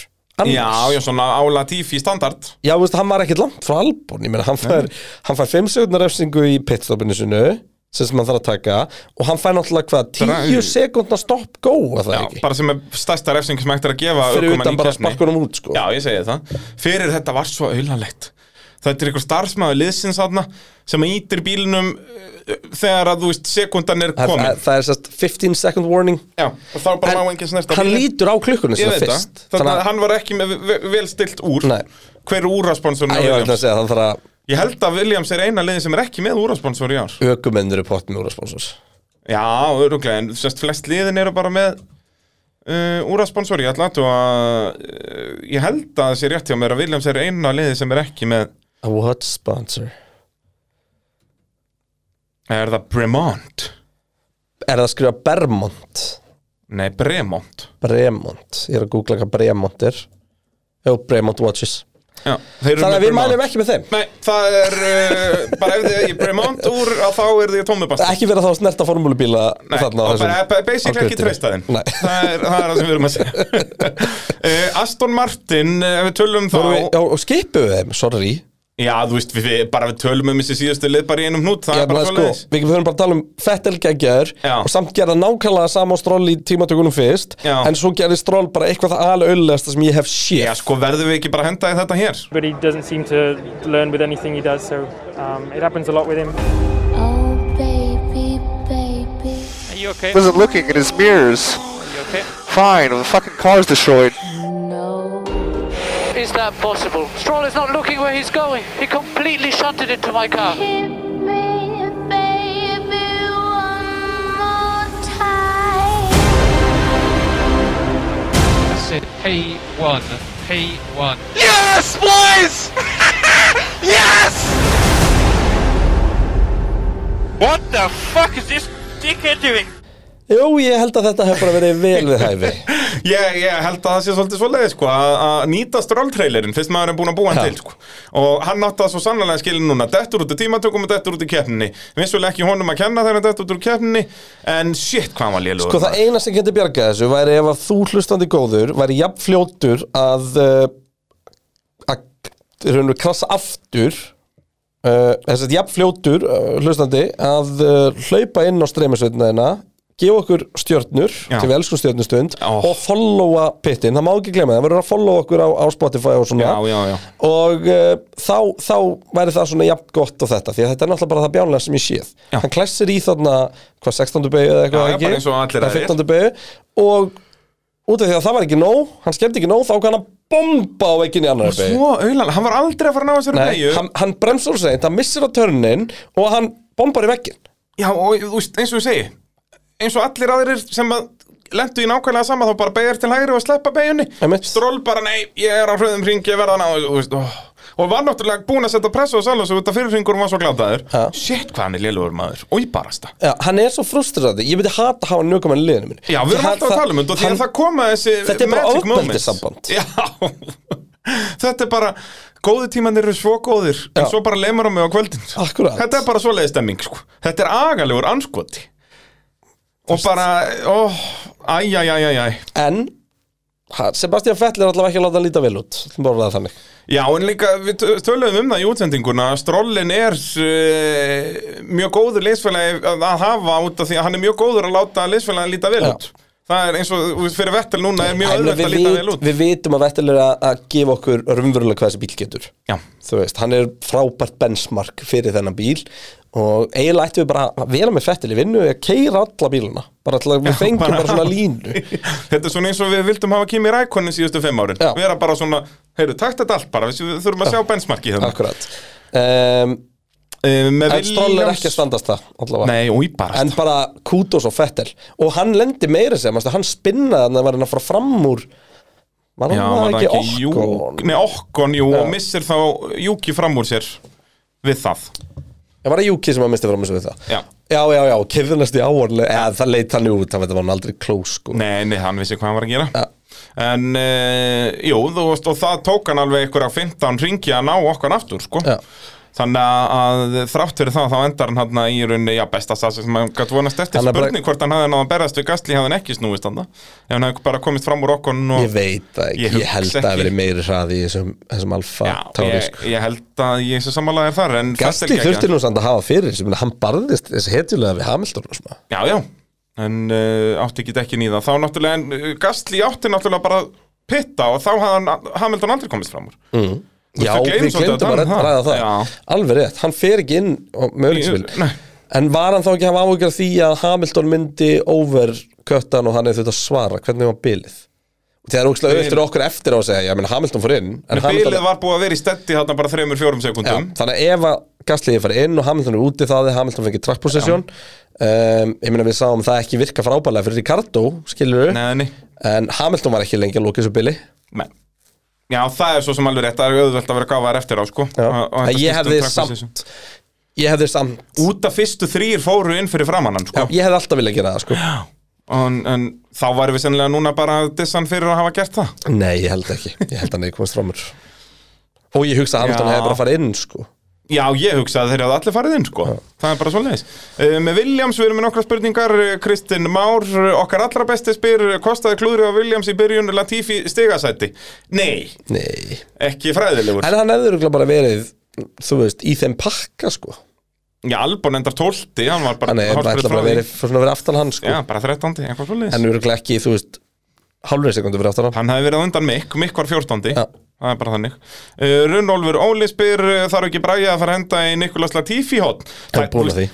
[SPEAKER 3] annars.
[SPEAKER 4] já, já, svona á Latifi standard
[SPEAKER 3] Já, þú veist, hann var ekkit langt frá Albon ég meina, hann fær, hann fær 5 sekundar refsingu í pitstopinu sinu sem sem hann þarf að taka og hann fær náttúrulega hvað 10
[SPEAKER 4] Drag-
[SPEAKER 3] sekundar stopp go að það
[SPEAKER 4] já,
[SPEAKER 3] ekki
[SPEAKER 4] bara sem er stærsta refsing sem hægt er að gefa
[SPEAKER 3] fyrir
[SPEAKER 4] ökumanni hérna í
[SPEAKER 3] utan bara
[SPEAKER 4] keppni.
[SPEAKER 3] sparkunum út sko
[SPEAKER 4] Já, ég segi það Fyrir þetta var svo auðanlegt Þetta er einhver starfsmæður liðsins aðna sem ítir bílinum uh, þegar að þú veist sekundan er
[SPEAKER 3] það, það,
[SPEAKER 4] komin
[SPEAKER 3] það er sérst 15 second warning
[SPEAKER 4] Já, og þá bara má enginn snerta
[SPEAKER 3] hann
[SPEAKER 4] bílinn.
[SPEAKER 3] lítur á klukkunni
[SPEAKER 4] Ég
[SPEAKER 3] sinna
[SPEAKER 4] veit það,
[SPEAKER 3] fyrst
[SPEAKER 4] þannig að hann var ekki með ve- vel stilt úr
[SPEAKER 3] Nei.
[SPEAKER 4] Hver er úrasponsorinn á
[SPEAKER 3] Æ, ég var ekki að
[SPEAKER 4] Williams?
[SPEAKER 3] segja að hann þarf að
[SPEAKER 4] Ég held að Williams er eina liðin sem er ekki með úrasponsor í ár
[SPEAKER 3] ökumennur er pott með úrsponsors
[SPEAKER 4] Já, öruglega, en sérst flest liðin eru bara með uh, úr að sponsori, ég ætla að uh, ég held að það sé rétt hjá mér að Williams er eina liðið sem er ekki með
[SPEAKER 3] What sponsor?
[SPEAKER 4] er það Bremont?
[SPEAKER 3] Er það að skrifa Bermont?
[SPEAKER 4] Nei, Bremont
[SPEAKER 3] Bremont, ég er að googla hvað Bremont er Jó, Bremont Watches
[SPEAKER 4] Já, þeir
[SPEAKER 3] Þannig
[SPEAKER 4] eru með
[SPEAKER 3] að við
[SPEAKER 4] Bremont.
[SPEAKER 3] mælum ekki með þeim
[SPEAKER 4] Nei, það er uh, bara ef þið er Bremont úr að þá er þið tómubast
[SPEAKER 3] Ekki vera þá að snerta formúlubíla
[SPEAKER 4] Nei,
[SPEAKER 3] þarna á
[SPEAKER 4] og bara
[SPEAKER 3] þessum-
[SPEAKER 4] ba-
[SPEAKER 3] á
[SPEAKER 4] basically ekki
[SPEAKER 3] götunni.
[SPEAKER 4] treysta þeim
[SPEAKER 3] Nei.
[SPEAKER 4] það er, það er það sem við erum að segja uh, Aston Martin, eh, ef við tölum þá
[SPEAKER 3] Vorum við, já, og skipuðu þeim, sorry
[SPEAKER 4] Já, þú veist, við, við bara við tölum um þessi síðustu lið bara í einum hnút, það
[SPEAKER 3] Ég
[SPEAKER 4] er bara
[SPEAKER 3] meina, sko,
[SPEAKER 4] svoleiðis
[SPEAKER 3] við þurfum bara að tala um Fettel geggjaður
[SPEAKER 4] Já.
[SPEAKER 3] og samt gera nákvæmlega sama og stról í tímatökunum fyrst
[SPEAKER 4] Já.
[SPEAKER 3] en svo gerði stról bara eitthvað það alveg auðlegasta sem ég hef
[SPEAKER 4] Já,
[SPEAKER 3] séð
[SPEAKER 4] sko, verðum við ekki bara að henda í þetta hér?
[SPEAKER 5] but he doesn't seem to learn with anything he does, so um, it happens a lot with him.
[SPEAKER 6] Oh, baby, baby.
[SPEAKER 7] Are you okay?
[SPEAKER 1] Wasn't looking at his mirrors.
[SPEAKER 7] Are you okay?
[SPEAKER 1] Fine, the fucking car's destroyed.
[SPEAKER 6] No.
[SPEAKER 7] Is that possible? Stroll is not looking where he's going. He completely shunted into my car.
[SPEAKER 6] Hit me, baby, one more time.
[SPEAKER 8] That's it. P1. P1.
[SPEAKER 9] What the fuck is this dickhead doing?
[SPEAKER 3] Jú, ég held að þetta hef bara verið vel við hæfi
[SPEAKER 4] Ég, ég held að það sé svolítið svoleiði sko, að að nýta strolltrailerinn fyrst maður er búin að búa hann
[SPEAKER 3] Já.
[SPEAKER 4] til sko. og hann átti það svo sannlega skilin núna dettur út í tímatökum og dettur út í keppninni vissulega ekki honum að kenna þegar hann dettur út úr keppninni en shit hvað hann var lélugur
[SPEAKER 3] Sko það eina sem getur bjargað þessu væri ef að þú hlustandi góður væri jafn fljótur að uh, að raunum krasa aftur uh, þess að jafn fljótur uh, hlustandi að uh, hlaupa inn á streymisveitna þeirna gefa okkur stjörnur
[SPEAKER 4] Já.
[SPEAKER 3] til við elskum stjörnustund
[SPEAKER 4] Ó.
[SPEAKER 3] og followa pittin, það má ekki glemma það verður að followa okkur á, á Spotify og svona
[SPEAKER 4] Já, já, já
[SPEAKER 3] og uh, þá, þá væri það svona jafn gott og þetta því að þetta er náttúrulega bara það bjánlega sem ég séð
[SPEAKER 4] Já.
[SPEAKER 3] hann klessir í þarna, hvað 16. beigju eða
[SPEAKER 4] Já,
[SPEAKER 3] eitthvað
[SPEAKER 4] já, bara eins og allir
[SPEAKER 3] eða
[SPEAKER 4] aðrir.
[SPEAKER 3] 15. beigju og út af því að það var ekki nóg hann skemmti ekki nóg, þá kann hann bomba á veginn í annar beigju
[SPEAKER 4] Svo auðvitað, hann var aldrei að fara að ná þessari beygju.
[SPEAKER 3] hann, hann bremsur úr seint, hann missir á törnin og hann bombar í vegginn
[SPEAKER 4] Já, og þú veist, eins og ég segi eins og allir aðrir sem að lendu í nákvæmlega sama þá bara beigjar til hægri og sleppa beigjunni
[SPEAKER 3] Einmitt.
[SPEAKER 4] stról bara nei, ég er á hröðum hring ég verða ná, þú veist ó. og var náttúrulega búin að setja pressu á Salas og þetta fyrir hringur var svo glataður
[SPEAKER 3] Ha.
[SPEAKER 4] shit hvað hann er lélugur maður, og ég barasta
[SPEAKER 3] Já, hann er svo frustrandi, ég myndi hata að hafa njögum enn liðinu mínu
[SPEAKER 4] Já, við erum
[SPEAKER 3] Ég
[SPEAKER 4] alltaf að
[SPEAKER 3] það-
[SPEAKER 4] tala um þetta og því
[SPEAKER 3] hann-
[SPEAKER 4] að það koma þessi
[SPEAKER 3] Þetta er bara
[SPEAKER 4] magic moments.
[SPEAKER 3] ofbeldissamband.
[SPEAKER 4] Já, þetta er bara góðu tímanir eru svo góðir en
[SPEAKER 3] Já.
[SPEAKER 4] svo bara lemur á mig á kvöldin
[SPEAKER 3] Akkúrat.
[SPEAKER 4] Þetta er bara svoleiði stemming sko. Þetta er agalegur anskoti og bara oh, ó, æ, æ, æ, æ, æ
[SPEAKER 3] En ha- Sebastian Vettel er allavega ekki að láta hann líta vel út bara það þannig
[SPEAKER 4] Já, en líka við tö- töluðum um það í útsendinguna að Strollin er uh, mjög góður leysfélagi að að hafa út af því að hann er mjög góður að láta leysfélagi líta vel
[SPEAKER 3] Já.
[SPEAKER 4] út Það er eins og fyrir Vettel núna er mjög
[SPEAKER 3] Æ,
[SPEAKER 4] auðvelt
[SPEAKER 3] við,
[SPEAKER 4] að líta
[SPEAKER 3] vit-
[SPEAKER 4] vel út
[SPEAKER 3] við vitum að Vettel er að, að gefa okkur raunverulega hvað þessi bíl getur
[SPEAKER 4] Já.
[SPEAKER 3] þú veist, hann er frábært benchmark fyrir þennan bíl og eiginlega ættum við bara að vera með Vettel í vinnu og að keira alla bíluna bara til að við fengum bara,
[SPEAKER 4] bara-
[SPEAKER 3] svona línu
[SPEAKER 4] Þetta er svona eins og við vildum hafa Kimi Rækonin síðustu fimm árin
[SPEAKER 3] Já.
[SPEAKER 4] Við erum bara svona, heyrðu, takt þetta allt bara Við við þurfum að sjá benchmarki hérna
[SPEAKER 3] akkurat um,
[SPEAKER 4] Eh, Með
[SPEAKER 3] en Stroll er ekki að standast það allavega
[SPEAKER 4] Nei, új bara
[SPEAKER 3] en bara kútos og Vettel og hann lendi meira sem, hann spinnaði þannig að var hann að fara fram úr var
[SPEAKER 4] Já,
[SPEAKER 3] hann það
[SPEAKER 4] var það
[SPEAKER 3] ekki,
[SPEAKER 4] ekki
[SPEAKER 3] ekki
[SPEAKER 4] Júk Nei, Okkon, jú, og missir þá Júki fram úr sér Við það
[SPEAKER 3] Það var að Júki sem að misti fram þessu við það
[SPEAKER 4] Já.
[SPEAKER 3] já, já, já kyrðunast í áorlega eða það leit hann út, það var hann aldrei klós sko.
[SPEAKER 4] Nei, nei, hann vissi hvað hann var að gera En, uh, jú, þú veist Og það tók hann alveg einhverja 15 ringi að ná Okkon aftur, sko
[SPEAKER 3] Já.
[SPEAKER 4] Þannig að að þrátt fyrir það þá endar hann hann í rauninni, já, besta stað sem hann gætt vonast eftir
[SPEAKER 3] Hann er bara-
[SPEAKER 4] spurning hvort hann hafði náðan berast við gasli hafði hann ekki snúist hann ef hann hafði bara komist fram úr okkur og...
[SPEAKER 3] ég veit það ekki, ég,
[SPEAKER 4] Ég hugsa
[SPEAKER 3] held að það
[SPEAKER 4] ekki.
[SPEAKER 3] hafi verið meiri hraði í þessum, þessum alfa
[SPEAKER 4] Já,
[SPEAKER 3] tári
[SPEAKER 4] ég,
[SPEAKER 3] sko.
[SPEAKER 4] ég held að ég sé samanlega er þar en
[SPEAKER 3] Gasti
[SPEAKER 4] Vettel geggjaður.
[SPEAKER 3] þurfti nú samt að hafa fyrir sem hann barðist þessi hetjulega við Hamilton og svona.
[SPEAKER 4] Já, já, en uh, átti ekki ekki nýða Þá náttúrulega, en uh, Gastli átti náttúrulega bara að pitta og þá hafði hann- Hamilton aldrei komist fram úr
[SPEAKER 3] Já,
[SPEAKER 4] við gleymum
[SPEAKER 3] við
[SPEAKER 4] svolítið að
[SPEAKER 3] glemdum að
[SPEAKER 4] tala um
[SPEAKER 3] ræða
[SPEAKER 4] það.
[SPEAKER 3] það Alveg rétt, hann fer ekki inn og
[SPEAKER 4] Ég-
[SPEAKER 3] mögulegsvill
[SPEAKER 4] nei.
[SPEAKER 3] En var hann þá ekki að hafa áhugjur því að Hamilton myndi overköttan og hann hefði þetta að svara, hvernig var bilið? Þegar úkslega
[SPEAKER 4] Bil-
[SPEAKER 3] auðvitað okkur eftir á að segja, ég meina Hamilton fór inn
[SPEAKER 4] En
[SPEAKER 3] Hamilton-
[SPEAKER 4] bilið var búið að vera í steddi hann bara 3-4
[SPEAKER 3] Já,
[SPEAKER 4] sekundum
[SPEAKER 3] þannig að ef að Gasliði farið inn og Hamilton er úti þá hefði Hamilton fengið track possession um, ég meina við sáum það ekki virka frábælega fyrir Ricardo skilur
[SPEAKER 4] Nei, nei,
[SPEAKER 3] en Hamilton var ekki lengi að lóka þessu bili
[SPEAKER 4] Men. Já, það er svo sem alveg rétt, það er auðvelt að vera gáfaðar eftir á, sko. Og- og þetta
[SPEAKER 3] en ég
[SPEAKER 4] snýst um
[SPEAKER 3] hefði
[SPEAKER 4] track position.
[SPEAKER 3] samt ég hefði samt
[SPEAKER 4] Út af fyrstu þrýr fóru inn fyrir framannan, sko.
[SPEAKER 3] já, ég hefði alltaf viljað gera það sko
[SPEAKER 4] En, en þá varum við sennilega núna bara að dissa hann fyrir að hafa gert það.
[SPEAKER 3] nei, ég held ekki, ég held að hann hefði komast framur og ég hugsa að Hamilton
[SPEAKER 4] Já.
[SPEAKER 3] hefði bara farið inn sko
[SPEAKER 4] Já, ég hugsa að þeir hefði allir farið inn, sko. Það er bara svoleiðis. Uh, með Williams, við erum með nokkra spurningar. Uh, Kristinn Már, uh, okkar allra besti spyr, uh, kostaði klúðrið á Williams í byrjun Latifi stigasæti? Nei,
[SPEAKER 3] nei,
[SPEAKER 4] ekki fræðilegur.
[SPEAKER 3] en hann hefði örugglega bara verið þú veist, í þeim pakka sko
[SPEAKER 4] Já, Albon endar 12, hann var bara
[SPEAKER 3] hann hefði bara
[SPEAKER 4] hálfsprett
[SPEAKER 3] ætla
[SPEAKER 4] frá
[SPEAKER 3] bara
[SPEAKER 4] því.
[SPEAKER 3] verið svona verið aftan hann sko
[SPEAKER 4] Já, bara 13, eitthvað svoleiðis.
[SPEAKER 3] en örugglega ekki, þú veist hálfur sekundu verið aftan hann
[SPEAKER 4] Hann hefði verið á undan Mikk, Mikk var 14.
[SPEAKER 3] Já.
[SPEAKER 4] Það er bara þannig. Uh, Runnólfur Óli spyr, uh, þarf ekki bræði að fara að henda í Nikolas Latifi hótt?
[SPEAKER 3] hann er búin að því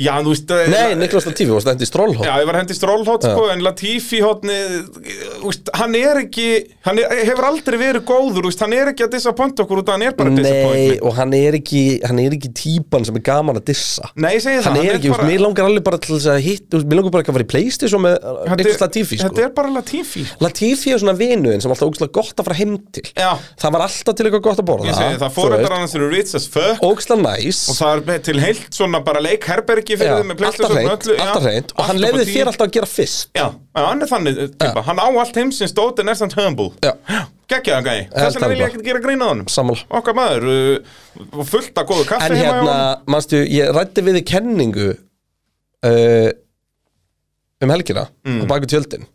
[SPEAKER 4] Já, þú veist... eh,
[SPEAKER 3] nei, Niklas Latifi var stendt í strólhótt
[SPEAKER 4] Já, ég var að hendi Stroll hótt, sko, en Latifi hóttni, hann er ekki, hann er, hefur aldrei verið góður, úst, hann er ekki að disappointa okkur út af hann er bara að
[SPEAKER 3] Nei,
[SPEAKER 4] disappointa.
[SPEAKER 3] og hann er ekki hann er ekki típan sem er gaman að dissa
[SPEAKER 4] Nei, ég segi það.
[SPEAKER 3] hann er ekki, bara... mér langar alveg bara til þess að hitt mér langar bara ekki að fara í Playstation með
[SPEAKER 4] Þetta er-
[SPEAKER 3] Niklas Latifi
[SPEAKER 4] Þetta
[SPEAKER 3] sko.
[SPEAKER 4] er bara Latifi.
[SPEAKER 3] Latifi er svona vinuðin sem er alltaf ógslag gott að fara heim til
[SPEAKER 4] Já.
[SPEAKER 3] það var alltaf til eitthvað gott að borða
[SPEAKER 4] Ég segi það, fórættar hans eru rich as fuck.
[SPEAKER 3] ógslag næs
[SPEAKER 4] Og það er til heilt svona bara leikherbergi fyrir
[SPEAKER 3] Já,
[SPEAKER 4] þið með
[SPEAKER 3] alltaf
[SPEAKER 4] PlayStation og
[SPEAKER 3] hreint,
[SPEAKER 4] öllu, já.
[SPEAKER 3] alltaf hreint og hann
[SPEAKER 4] Allt upp á
[SPEAKER 3] leiði
[SPEAKER 4] 10.
[SPEAKER 3] þér alltaf að gera fyrst
[SPEAKER 4] Já, já, hann er þannig typa, hann á allt heimsins dót en er samt humble
[SPEAKER 3] Já.
[SPEAKER 4] Gekkjaðan gæði,
[SPEAKER 3] það
[SPEAKER 4] þess vegna vil ég
[SPEAKER 3] bara.
[SPEAKER 4] ekkert gera grín að honum
[SPEAKER 3] Sammála.
[SPEAKER 4] Okkar maður, uh, og fullt af góðu kaffi
[SPEAKER 3] en
[SPEAKER 4] heima hjá
[SPEAKER 3] hérna,
[SPEAKER 4] honum.
[SPEAKER 3] mannstu, ég rætti við í kenningu uh, um helgina mm. og baku tjöldin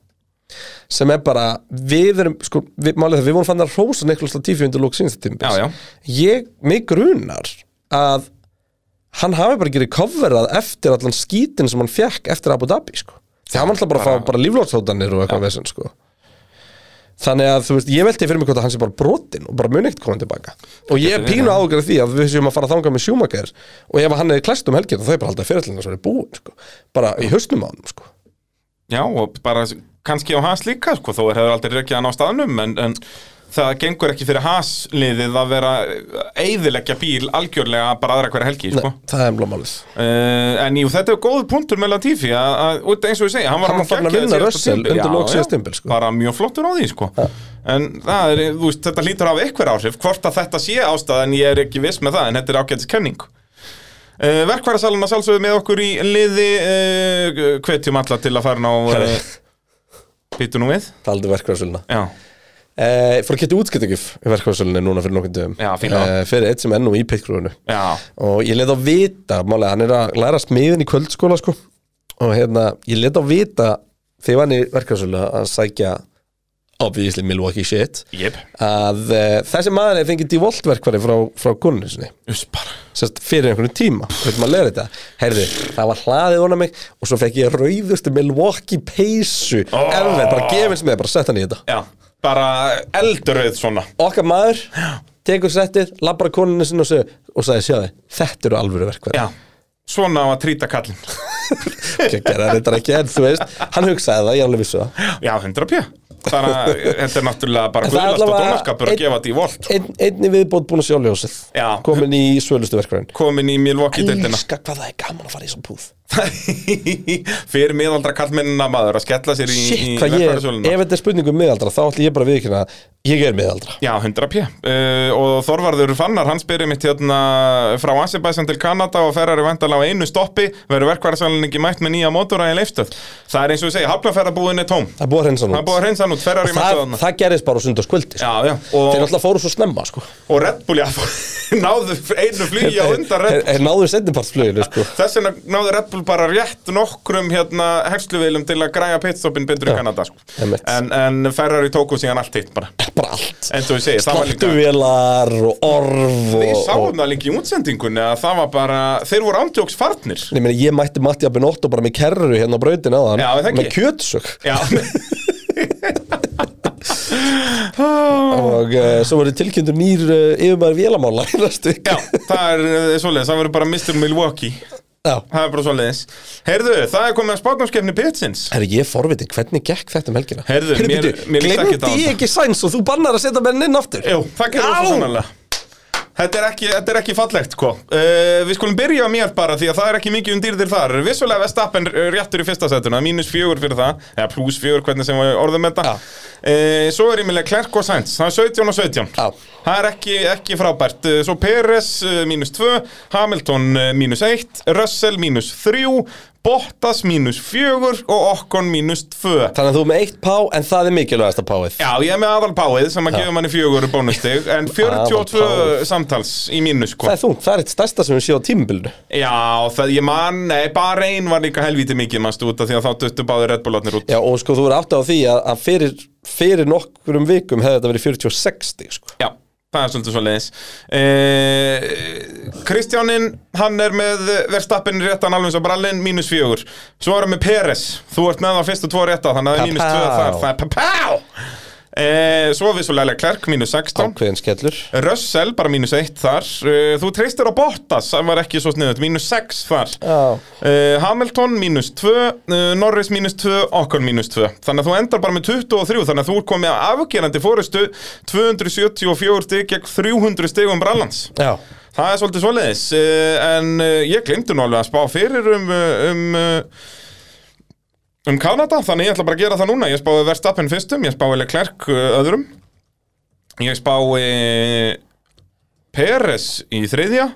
[SPEAKER 3] sem er bara, við erum sko, við, málið það, við vorum fann að hrósa Niklas Latifi undir lók sínsta tímpis
[SPEAKER 4] Já, já.
[SPEAKER 3] ég, mig grunar að hann hafi bara gerið coverað eftir allan skítin sem hann fekk eftir Abu Dhabi, sko því hann var alltaf bara að fá bara líflótshótanir og eitthvað vesend, sko Þannig að, þú veist, ég velti fyrir mig hvort að hann sé bara brotinn og bara muni ekkert koma tilbaka. Og ég er pínu ágjörð því að við séum að fara að þanga með sjúmakar og ef hann hefði klæst um helgir þá þau bara haldið fyrirlina sem er búin, sko. Bara í hausnum á hann, sko.
[SPEAKER 4] Já, og bara s- kannski á Haas líka sko, þó er hefur aldrei rekkið hann á staðnum en, en það gengur ekki fyrir Haas liðið að vera eigðileggja bíl algjörlega bara aðra hverja helgi sko.
[SPEAKER 3] Nei, það er blómálið.
[SPEAKER 4] Uh, en jú, þetta er góð punktur með Latifi að, að, út eins og ég segi, hann var
[SPEAKER 3] Hann var farinn að
[SPEAKER 4] geggjaður
[SPEAKER 3] vinna
[SPEAKER 4] síðasta
[SPEAKER 3] Russell
[SPEAKER 4] tímabil.
[SPEAKER 3] undir
[SPEAKER 4] Já,
[SPEAKER 3] lok
[SPEAKER 4] já,
[SPEAKER 3] síðasta tímabils, sko.
[SPEAKER 4] bara mjög flottur á því sko. en það er, þú veist, þetta lítur af eitthvað áhrif hvort að þetta sé ástæð en ég er ekki viss með það en þetta er ágætis kenning uh, verkværasalana sálsögðu með okkur í liði uh, hvetjum alla til að fara ná uh, býtu nú við
[SPEAKER 3] Það aldrei verkvæðsöluna.
[SPEAKER 4] já,
[SPEAKER 3] Uh, fór að geta útskiptingif í verkvæðsölunni núna fyrir nokkuð dögum.
[SPEAKER 4] Já, fínt það.
[SPEAKER 3] Eh, fyrir eitt sem er nú í pitkrúinu.
[SPEAKER 4] já,
[SPEAKER 3] Og ég let á vita, málega, hann er að læra smiðin í kvöldskóla, sko. Og hérna, ég let á vita þegar hann er verkvæðsölu að sækja obviously Milwaukee shit.
[SPEAKER 4] jip
[SPEAKER 3] að uh, þessi maður hefði fengið Devolt verkværi frá, frá kunni sinni
[SPEAKER 4] uspar
[SPEAKER 3] Sest, fyrir einhvern tíma veitum að leiða þetta Heyrðu, það var hlaðið honum mig og svo fekk ég rauðustu Milwaukee peysu oh. ever, bara gefins með, bara sett hann í þetta
[SPEAKER 4] já, bara elduröð svona
[SPEAKER 3] okkar maður tekur settið, labbar að koninu sinni og, seg, og sagði, sjáðu, þetta eru alvöru verkværi
[SPEAKER 4] já, svona á að trýta kallinn
[SPEAKER 3] ekki að gera þetta ekki, en þú veist hann hugsaði það, ég er alveg vissu það
[SPEAKER 4] Já, 100 pjö Þannig að þetta er náttúrulega bara
[SPEAKER 3] Það er
[SPEAKER 4] guðlast og
[SPEAKER 3] allavega
[SPEAKER 4] dónaskapur að
[SPEAKER 3] einn-
[SPEAKER 4] gefa þetta í volt
[SPEAKER 3] Ein, einni viðbót búin að sjá ljósið
[SPEAKER 4] Já.
[SPEAKER 3] komin í svölustu verkværin
[SPEAKER 4] komin í Milwaukee-deildina
[SPEAKER 3] elska hvað það er gaman að fara í svona púð
[SPEAKER 4] fyrir miðaldra kallmennina maður að skella sér í,
[SPEAKER 3] Shit,
[SPEAKER 4] í
[SPEAKER 3] hvað ég er,
[SPEAKER 4] verkfærasöluna.
[SPEAKER 3] ef þetta er spurning um miðaldra þá ætlum ég bara að viðkynna að ég er miðaldra
[SPEAKER 4] Já, 100 pjö uh, og Þorvarður Fannar, hann spyrir mitt hérna frá Asibæsan til Kanada og ferrar í vendala á einu stoppi verður verkvarðarsalinn ekki mætt með nýja mótora í leifstöð það er eins og ég segi, hafnaferðarbúin er tóm
[SPEAKER 3] Það er búið að reynsa nú
[SPEAKER 4] það er búið að reynsa hann út, ferrar í
[SPEAKER 3] það,
[SPEAKER 4] mættu
[SPEAKER 3] það gerist bara á sundagskvöldi sko.
[SPEAKER 4] Já, já,
[SPEAKER 3] Þeir
[SPEAKER 4] og,
[SPEAKER 3] náttúrulega fóru svo snemma sko.
[SPEAKER 4] og Red Bull, já, náðu einu flugi á undan Red
[SPEAKER 3] Þeir þeir náðu setnipartsfluginu sko.
[SPEAKER 4] Þess vegna náði Red Bull bara rétt nokkrum hérna hefsluvilum til að græja pitstoppin betur í
[SPEAKER 3] Já,
[SPEAKER 4] Kanada sko.
[SPEAKER 3] einmitt.
[SPEAKER 4] en, en Ferrari tóku síðan allt hitt bara
[SPEAKER 3] Bara allt
[SPEAKER 4] eins og ég segi, það var líka
[SPEAKER 3] Sláttuvélar og orf
[SPEAKER 4] Við
[SPEAKER 3] og,
[SPEAKER 4] sáum
[SPEAKER 3] og,
[SPEAKER 4] það líka í útsendingunni að það var bara þeir voru ándjóks farnir
[SPEAKER 3] Ég, meina, ég mætti Matti Abinotto bara með kerru hérna á brautin aðan
[SPEAKER 4] Já, það ekki.
[SPEAKER 3] með kjötsök
[SPEAKER 4] Já,
[SPEAKER 3] og uh, svo verður tilkynntur nýr uh, yfirmaður vélamála í næstu viku.
[SPEAKER 4] já það er eh, svoleiðis, það verður bara Mr. Milwaukee
[SPEAKER 3] Já.
[SPEAKER 4] Það er bara svoleiðis Heyrðu, það er komið að spátnámskeppni pitsins
[SPEAKER 3] Herri, ég er forvitin, hvernig gekk þetta um helgina?
[SPEAKER 4] Heyrðu, mér-
[SPEAKER 3] bíddu,
[SPEAKER 4] mér líst ekkert á
[SPEAKER 3] gleymdi ég
[SPEAKER 4] þetta.
[SPEAKER 3] ekki sæns og þú bannar að setja menn inn aftur?
[SPEAKER 4] Jú, það gerur
[SPEAKER 3] Já.
[SPEAKER 4] svo sannlega Þetta er ekki, þetta er ekki fallegt, sko uh, Við skulum byrja á mér bara því að það er ekki mikið um dýrðir þar Vissulega Vestappen réttur í fyrsta setuna Mínus fjögur fyrir það Eða plus fjögur, hvernig sem við orðum þetta
[SPEAKER 3] Já.
[SPEAKER 4] uh, Svo er ímjölega Klerk og Sainz Það er 17 og 17
[SPEAKER 3] Já.
[SPEAKER 4] Það er ekki, ekki frábært Eh, Svo Peres uh, mínus 2 Hamilton uh, mínus 1 Russell mínus 3 Bottas mínus 4 Og Okkon mínus 2
[SPEAKER 3] Þannig að þú er með eitt pá en það er mikilvægast að páið
[SPEAKER 4] Já, ég er með aðalpáið sem að gefa manni fjögur bónustig en 42
[SPEAKER 3] Aðalpáið.
[SPEAKER 4] samtals í mínus sko.
[SPEAKER 3] Það er þú, það er eitt stærsta sem við séu á tímubilinu
[SPEAKER 4] Já, það ég man, nei, bara ein var líka helvítið mikið mannstu út af því að þá duttu báði Red Bullarnir út
[SPEAKER 3] Já og sko þú er átt á því að, að fyrir, fyrir nokkrum vikum hefði þetta verið 40 og 60 sko.
[SPEAKER 4] Já, það er svolítið svo leiðis eh, Kristjáninn, hann er með verðstappin réttan alveg svo brallinn, mínus fjögur Svo erum við Peres, þú ert með það fyrstu tvo rétta þannig að það er mínus
[SPEAKER 3] Papá.
[SPEAKER 4] tvö þar, það er papá eh, Svo vissulega Klerk, mínus 16
[SPEAKER 3] Ákveðin skellur
[SPEAKER 4] Russell, bara mínus 1 þar Eh, Þú treystir á Bottas, það var ekki svo sniðut Mínus 6 þar
[SPEAKER 3] Já.
[SPEAKER 4] Eh, Hamilton mínus 2 Norris mínus 2, Okkon mínus 2 Þannig að þú endar bara með 23 Þannig að þú er komið að afgerandi fórustu 274 stig gegn 300 stigum brallans
[SPEAKER 3] Já,
[SPEAKER 4] Það er svolítið svoleiðis eh, En eh, ég glemdi nú alveg að spá fyrir um eh, um, eh, um Kanada Þannig ég ætla bara að gera það núna Ég spáði Verstappen fyrstum, ég spáði Leclerc eh, öðrum Ég spáði Peres í þriðja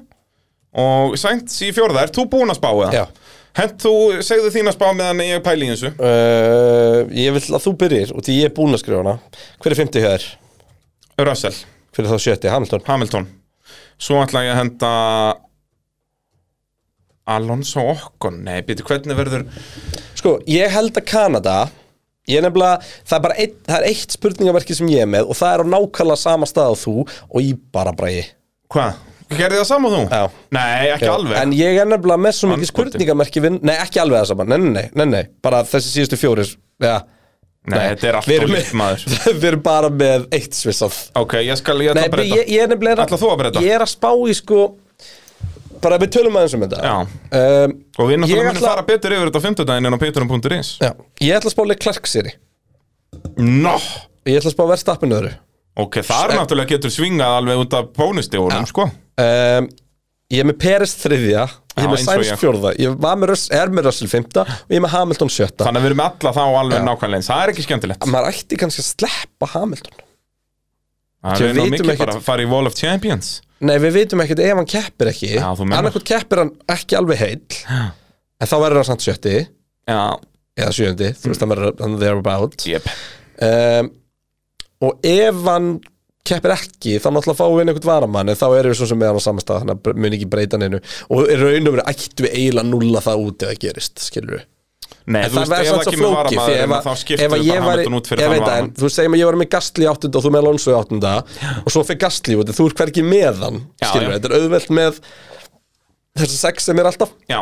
[SPEAKER 4] Og Sainz í fjórða Ert þú búin að spá
[SPEAKER 3] já
[SPEAKER 4] það? Hent þú, segðu þín að spá meðan ég pæli í þessu
[SPEAKER 3] uh, Ég vil að þú byrjir og því ég er búinn að skrifa hana Hver er 50 hér?
[SPEAKER 4] Russell,
[SPEAKER 3] Hver er þá 70? Hamilton
[SPEAKER 4] Hamilton Svo ætla ég að henda Alonso Okkon Nei, býtu, hvernig verður
[SPEAKER 3] Sko, ég held að Kanada Ég er nefnilega, það er bara eitt, það er eitt spurningaverki sem ég er með og það er á nákvæmlega sama stað og þú og ég bara bræði
[SPEAKER 4] Hvað? Gerði það saman þú?
[SPEAKER 3] Já.
[SPEAKER 4] Nei, ekki alveg
[SPEAKER 3] En ég er nefnilega með svo mikið
[SPEAKER 4] Andskotinn.
[SPEAKER 3] spurningamerki vinn, nei ekki alveg það saman, nei, nei, nei, nei, nei, bara þessi síðustu fjórir, já,
[SPEAKER 4] Nei, þetta er allt
[SPEAKER 3] við erum
[SPEAKER 4] og
[SPEAKER 3] með-
[SPEAKER 4] líkt maður
[SPEAKER 3] við erum bara með eitt svissað.
[SPEAKER 4] Ok, ég skal, ég ætla
[SPEAKER 3] Nei,
[SPEAKER 4] að
[SPEAKER 3] ég,
[SPEAKER 4] breyta
[SPEAKER 3] ég er nefnilega,
[SPEAKER 4] Ætlar þú að breyta?
[SPEAKER 3] Ég er að spá í sko, bara við tölum aðeins um þetta.
[SPEAKER 4] Já.
[SPEAKER 3] Um,
[SPEAKER 4] Og við
[SPEAKER 3] ég
[SPEAKER 4] náttúrulega munum
[SPEAKER 3] ætla-
[SPEAKER 4] fara betur yfir þetta á fimmtudaginn en á patreon.is
[SPEAKER 3] Já, ég ætla að spá leik klarksýri,
[SPEAKER 4] Nó
[SPEAKER 3] ég ætla að spá verðstappinu öðru.
[SPEAKER 4] Ok, þar náttúrulega getur svingað alveg út af bónustegunum, sko
[SPEAKER 3] um, Ég er með Peres þriðja Ég
[SPEAKER 4] Já,
[SPEAKER 3] er með
[SPEAKER 4] eins og
[SPEAKER 3] Sainz
[SPEAKER 4] ég.
[SPEAKER 3] fjórða Ég var með Russell, er með Russell fymta Og ég er með Hamilton sjötta
[SPEAKER 4] Þannig að við erum alla þá alveg
[SPEAKER 3] Já.
[SPEAKER 4] nákvæmlega eins Það er ekki skemmtilegt
[SPEAKER 3] Maður ætti kannski að sleppa Hamilton
[SPEAKER 4] Það
[SPEAKER 3] við
[SPEAKER 4] er nú
[SPEAKER 3] vitum
[SPEAKER 4] mikið
[SPEAKER 3] ekkert-
[SPEAKER 4] bara að fara í Wall of Champions
[SPEAKER 3] Nei, við vitum ekkert ef hann keppir ekki
[SPEAKER 4] Já, þú meinar.
[SPEAKER 3] Annarkvort keppir hann ekki alveg heill
[SPEAKER 4] Já.
[SPEAKER 3] En þá verður hann samt sjötti
[SPEAKER 4] Já,
[SPEAKER 3] Eða sjöndi, þú veist hann verður hann thereabout
[SPEAKER 4] jep
[SPEAKER 3] um, Og ef hann keppir ekki, þá náttúrulega fáum við inn einhvern varamann en þá erum við svo sem með hann á samastað þannig að mun ekki breyta hann einu og í raun og verið ættu við eiginlega að núlla það út ef það gerist, skilur við
[SPEAKER 4] Nei,
[SPEAKER 3] En
[SPEAKER 4] þú
[SPEAKER 3] það
[SPEAKER 4] veist,
[SPEAKER 3] verður
[SPEAKER 4] ef
[SPEAKER 3] samt
[SPEAKER 4] það
[SPEAKER 3] svo
[SPEAKER 4] kemur
[SPEAKER 3] flókið því
[SPEAKER 4] varamaður
[SPEAKER 3] ef
[SPEAKER 4] en
[SPEAKER 3] að-
[SPEAKER 4] þá
[SPEAKER 3] ef að
[SPEAKER 4] skiptum við bara
[SPEAKER 3] ég væri-
[SPEAKER 4] Hamilton út fyrir
[SPEAKER 3] ég
[SPEAKER 4] þann
[SPEAKER 3] veit það, en
[SPEAKER 4] varamann
[SPEAKER 3] Þú segir mig ég var með Gastli í áttunda og þú með Alonso í áttunda og svo fyrir Gastli út, en þú er hvergi með hann
[SPEAKER 4] Já,
[SPEAKER 3] skilur
[SPEAKER 4] já.
[SPEAKER 3] við, þetta er auðvelt með þessi sex sem er alltaf
[SPEAKER 4] Já,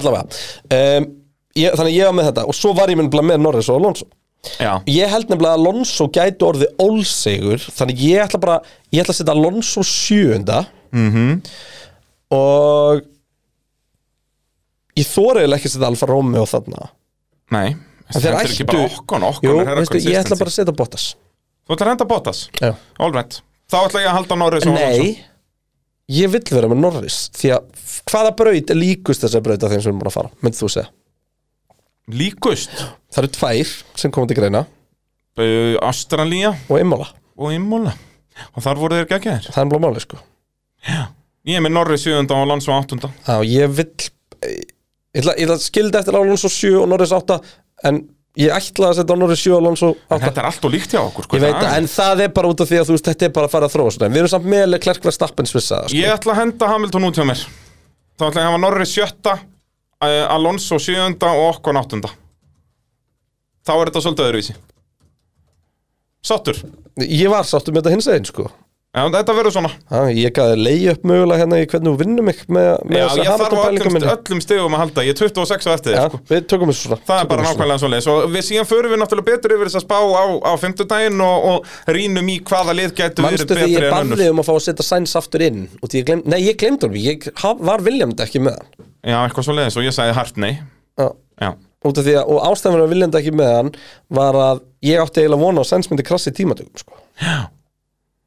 [SPEAKER 3] allavega um, ég, þannig að ég var með þetta og svo var ég minn með Norris og Alonso
[SPEAKER 4] já
[SPEAKER 3] ég held nefnilega að Alonso gæti orðið ólsegur þannig ég ætla bara ég ætla að setja Alonso sjöunda
[SPEAKER 4] Mhm.
[SPEAKER 3] -hmm. og ég þóriðilega ekki að setja Alfa Romeo þarna
[SPEAKER 4] Nei,
[SPEAKER 3] En þeir
[SPEAKER 4] þetta er
[SPEAKER 3] ættu
[SPEAKER 4] ekki bara okkon, okkon
[SPEAKER 3] Jú,
[SPEAKER 4] er herra
[SPEAKER 3] veistu, ég ætla
[SPEAKER 4] consistency.
[SPEAKER 3] bara að setja Bottas
[SPEAKER 4] Þú ætlar að henda Bottas?
[SPEAKER 3] Já.
[SPEAKER 4] All right. Þá ætla ég að halda Norris og Alonso.
[SPEAKER 3] Nei, ég vill vera með Norris Því að f- hvaða braut er líkust þessar braut af þeim sem er búin að fara, myndið þú segja
[SPEAKER 4] Líkust.
[SPEAKER 3] Það eru tvær sem komið til greina
[SPEAKER 4] Uh, Australía
[SPEAKER 3] og Imola,
[SPEAKER 4] og Imola. Og þar voru þeir geggjaðir.
[SPEAKER 3] það er blá máli sko
[SPEAKER 4] Ég er með Norris 7. og Alonso 8.
[SPEAKER 3] Já, ég vill eh, Ég ætla, ég ætla að skildi eftir Alonso 7 og Norris 8 En ég ætla að setja Norris 7 og Alonso 8
[SPEAKER 4] Þetta er allt og líkt hjá okkur. Sko,
[SPEAKER 3] Ég veit
[SPEAKER 4] það
[SPEAKER 3] það,
[SPEAKER 4] er-
[SPEAKER 3] en það er bara út af því að þú veist Þetta er bara að fara að þróa svona En Við erum samt meðlega klerkverð stappensvissa sko.
[SPEAKER 4] Ég ætla að henda Hamilton út hjá mér. Þá ætla ég að hafa Norris 7. Uh, Alonso 7. og okkon 8. Þá er þetta svolítið öðruvísi. Sáttur.
[SPEAKER 3] Ég var sáttum með þetta hins einn sko
[SPEAKER 4] Já, þetta verður svona.
[SPEAKER 3] Já, ég gaði leið upp mögulega hérna í hvernig þú vinnum mig með, með
[SPEAKER 4] Já,
[SPEAKER 3] þessa
[SPEAKER 4] ég þarf á sko.
[SPEAKER 3] Hamilton-pælingum
[SPEAKER 4] öllum,
[SPEAKER 3] minni.
[SPEAKER 4] öllum stegum að halda. Ég er 26 á eftir þér.
[SPEAKER 3] Já,
[SPEAKER 4] sko.
[SPEAKER 3] við tökum þessu svona
[SPEAKER 4] Það er
[SPEAKER 3] tökum
[SPEAKER 4] bara
[SPEAKER 3] þessu svona.
[SPEAKER 4] nákvæmlega svoleiðis og við síðan förum við náttúrulega betur yfir þess að spá á, á fimmtudaginn og, og rínum í hvaða lið gætu verið
[SPEAKER 3] Manstu því
[SPEAKER 4] betri
[SPEAKER 3] ég
[SPEAKER 4] en önnur
[SPEAKER 3] bannið um að fá að setja Sainz aftur inn og því ég glemd, Nei, ég glemd honum, ég ha- var Viljand ekki með hann
[SPEAKER 4] Já, eitthvað svoleiðis og ég sagði hart nei
[SPEAKER 3] Já,
[SPEAKER 4] Já,
[SPEAKER 3] Út af því að, og ástæðan fyrir að Viljand ekki með hann var að ég átti eiginlega vona á Sainz myndi krassi í tímatökum sko.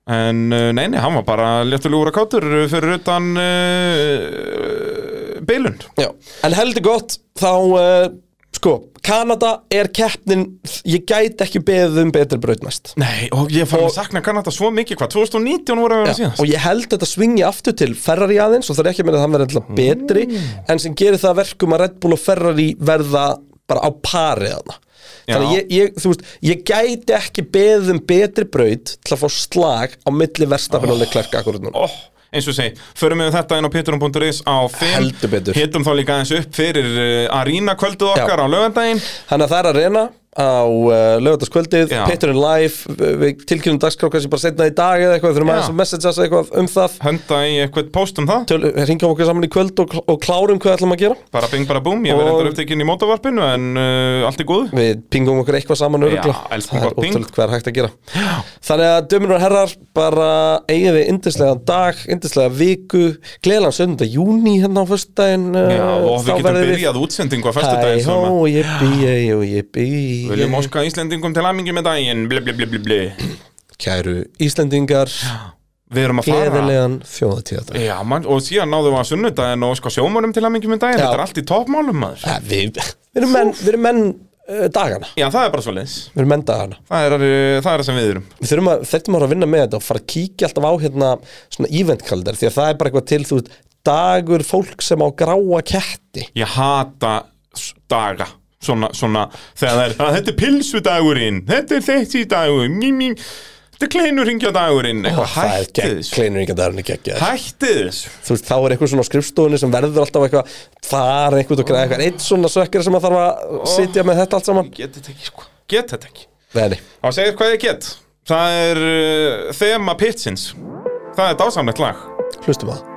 [SPEAKER 4] En uh, nei, nei, hann var bara léttulegur að kátur fyrir utan uh, bilund.
[SPEAKER 3] Já, en heldur gott þá, uh, sko, Kanada er keppnin, ég gæti ekki beðið um betri braut næst
[SPEAKER 4] Nei, og ég fann að sakna Kanada svo mikið, hvað, 2019 voru að vera
[SPEAKER 3] Já,
[SPEAKER 4] síðast?
[SPEAKER 3] og ég held þetta svingi aftur til Ferrari aðeins og það er ekki að meina að hann verði
[SPEAKER 4] Mm.
[SPEAKER 3] alltaf betri en sem gerir það að verkum að Red Bull og Ferrari verða bara á pari þarna þannig að
[SPEAKER 4] Já.
[SPEAKER 3] ég, ég, þú veist, ég gæti ekki beðið um betri braut til að fá slag á milli verstafinn og Leclerc akkurat núna
[SPEAKER 4] oh, eins og segi, förum við þetta inn á pitturum.is á 5,
[SPEAKER 3] Heldur betur.
[SPEAKER 4] hittum þá líka aðeins upp fyrir uh, Arena kvölduð
[SPEAKER 3] Já.
[SPEAKER 4] okkar á lögandaginn
[SPEAKER 3] Þannig að það er að reyna á uh, lögataskvöldið,
[SPEAKER 4] Já.
[SPEAKER 3] Patreon live, uh, við tilkynum dagskráka sem bara setna í dag eða eitthvað, þurfum
[SPEAKER 4] Já.
[SPEAKER 3] aðeins að messagea sig eitthvað um það,
[SPEAKER 4] henda í eitthvað post um það
[SPEAKER 3] ringjum okkur saman í kvöld og, og klárum hvað ætlum að gera.
[SPEAKER 4] bara bing bara búm, ég verði
[SPEAKER 3] Og-
[SPEAKER 4] þetta upptekinn í mótavarpinu en uh, allt er góð
[SPEAKER 3] Við pingum okkur eitthvað saman örugla,
[SPEAKER 4] Já, elskum
[SPEAKER 3] það er
[SPEAKER 4] gott ping.
[SPEAKER 3] ótrúlega hvað er hægt að gera. Þannig að dömur og herrar, bara eigið við yndislega dag, yndislega viku, gleðilega söndag júni hérna á föstudaginn. eh,
[SPEAKER 4] Já, og við getum byrjað útsendingu á
[SPEAKER 3] Hæ,
[SPEAKER 4] festudaginn sem að-
[SPEAKER 3] hó, ég bý, ég bý,
[SPEAKER 4] Viljum óska Íslendingum til hamingi með daginn bli, bli, bli, bli, bli.
[SPEAKER 3] Kæru Íslendingar,
[SPEAKER 4] Við erum að fara
[SPEAKER 3] gleðilegan þjóðatíðadag.
[SPEAKER 4] Já, man, og síðan náðum við að sunnudaginn og sko sjómanum til hamingi með daginn
[SPEAKER 3] Já.
[SPEAKER 4] Þetta er allt í toppmálum maður
[SPEAKER 3] Ja, við, við erum menn, við erum menn uh, dagana
[SPEAKER 4] Já, það er bara svo leis
[SPEAKER 3] Við erum menn dagana
[SPEAKER 4] Það er, uh, það er það sem við erum
[SPEAKER 3] Við þurfum að, þurfum að vinna með þetta og fara að kíkja alltaf á hérna svona event kalendar því að það er bara eitthvað til, þú veist, dagur fólk sem á gráa ketti
[SPEAKER 4] Ég hata s- daga Svona, svona, þegar það er að þetta er pilsudagurinn, þetta er þessi dagur mí, mí, þetta er kleinurringjadagurinn eitthvað
[SPEAKER 3] Það er
[SPEAKER 4] hættið þessu
[SPEAKER 3] kleinurinn ekki ekki
[SPEAKER 4] hættið þessu
[SPEAKER 3] Þú veist, þá er eitthvað svona á skrifstofunni sem verður alltaf eitthvað Það er eitthvað að græða eitthvað Eitt svona sökkir sem að þarf að sitja með þetta allt saman
[SPEAKER 4] Ég get þetta ekki, sko, get þetta ekki
[SPEAKER 3] Veni,
[SPEAKER 4] Á að segja hvað ég get eh, Það er uh, þema pitsins Það er dásamlegt lag
[SPEAKER 3] hlustum að það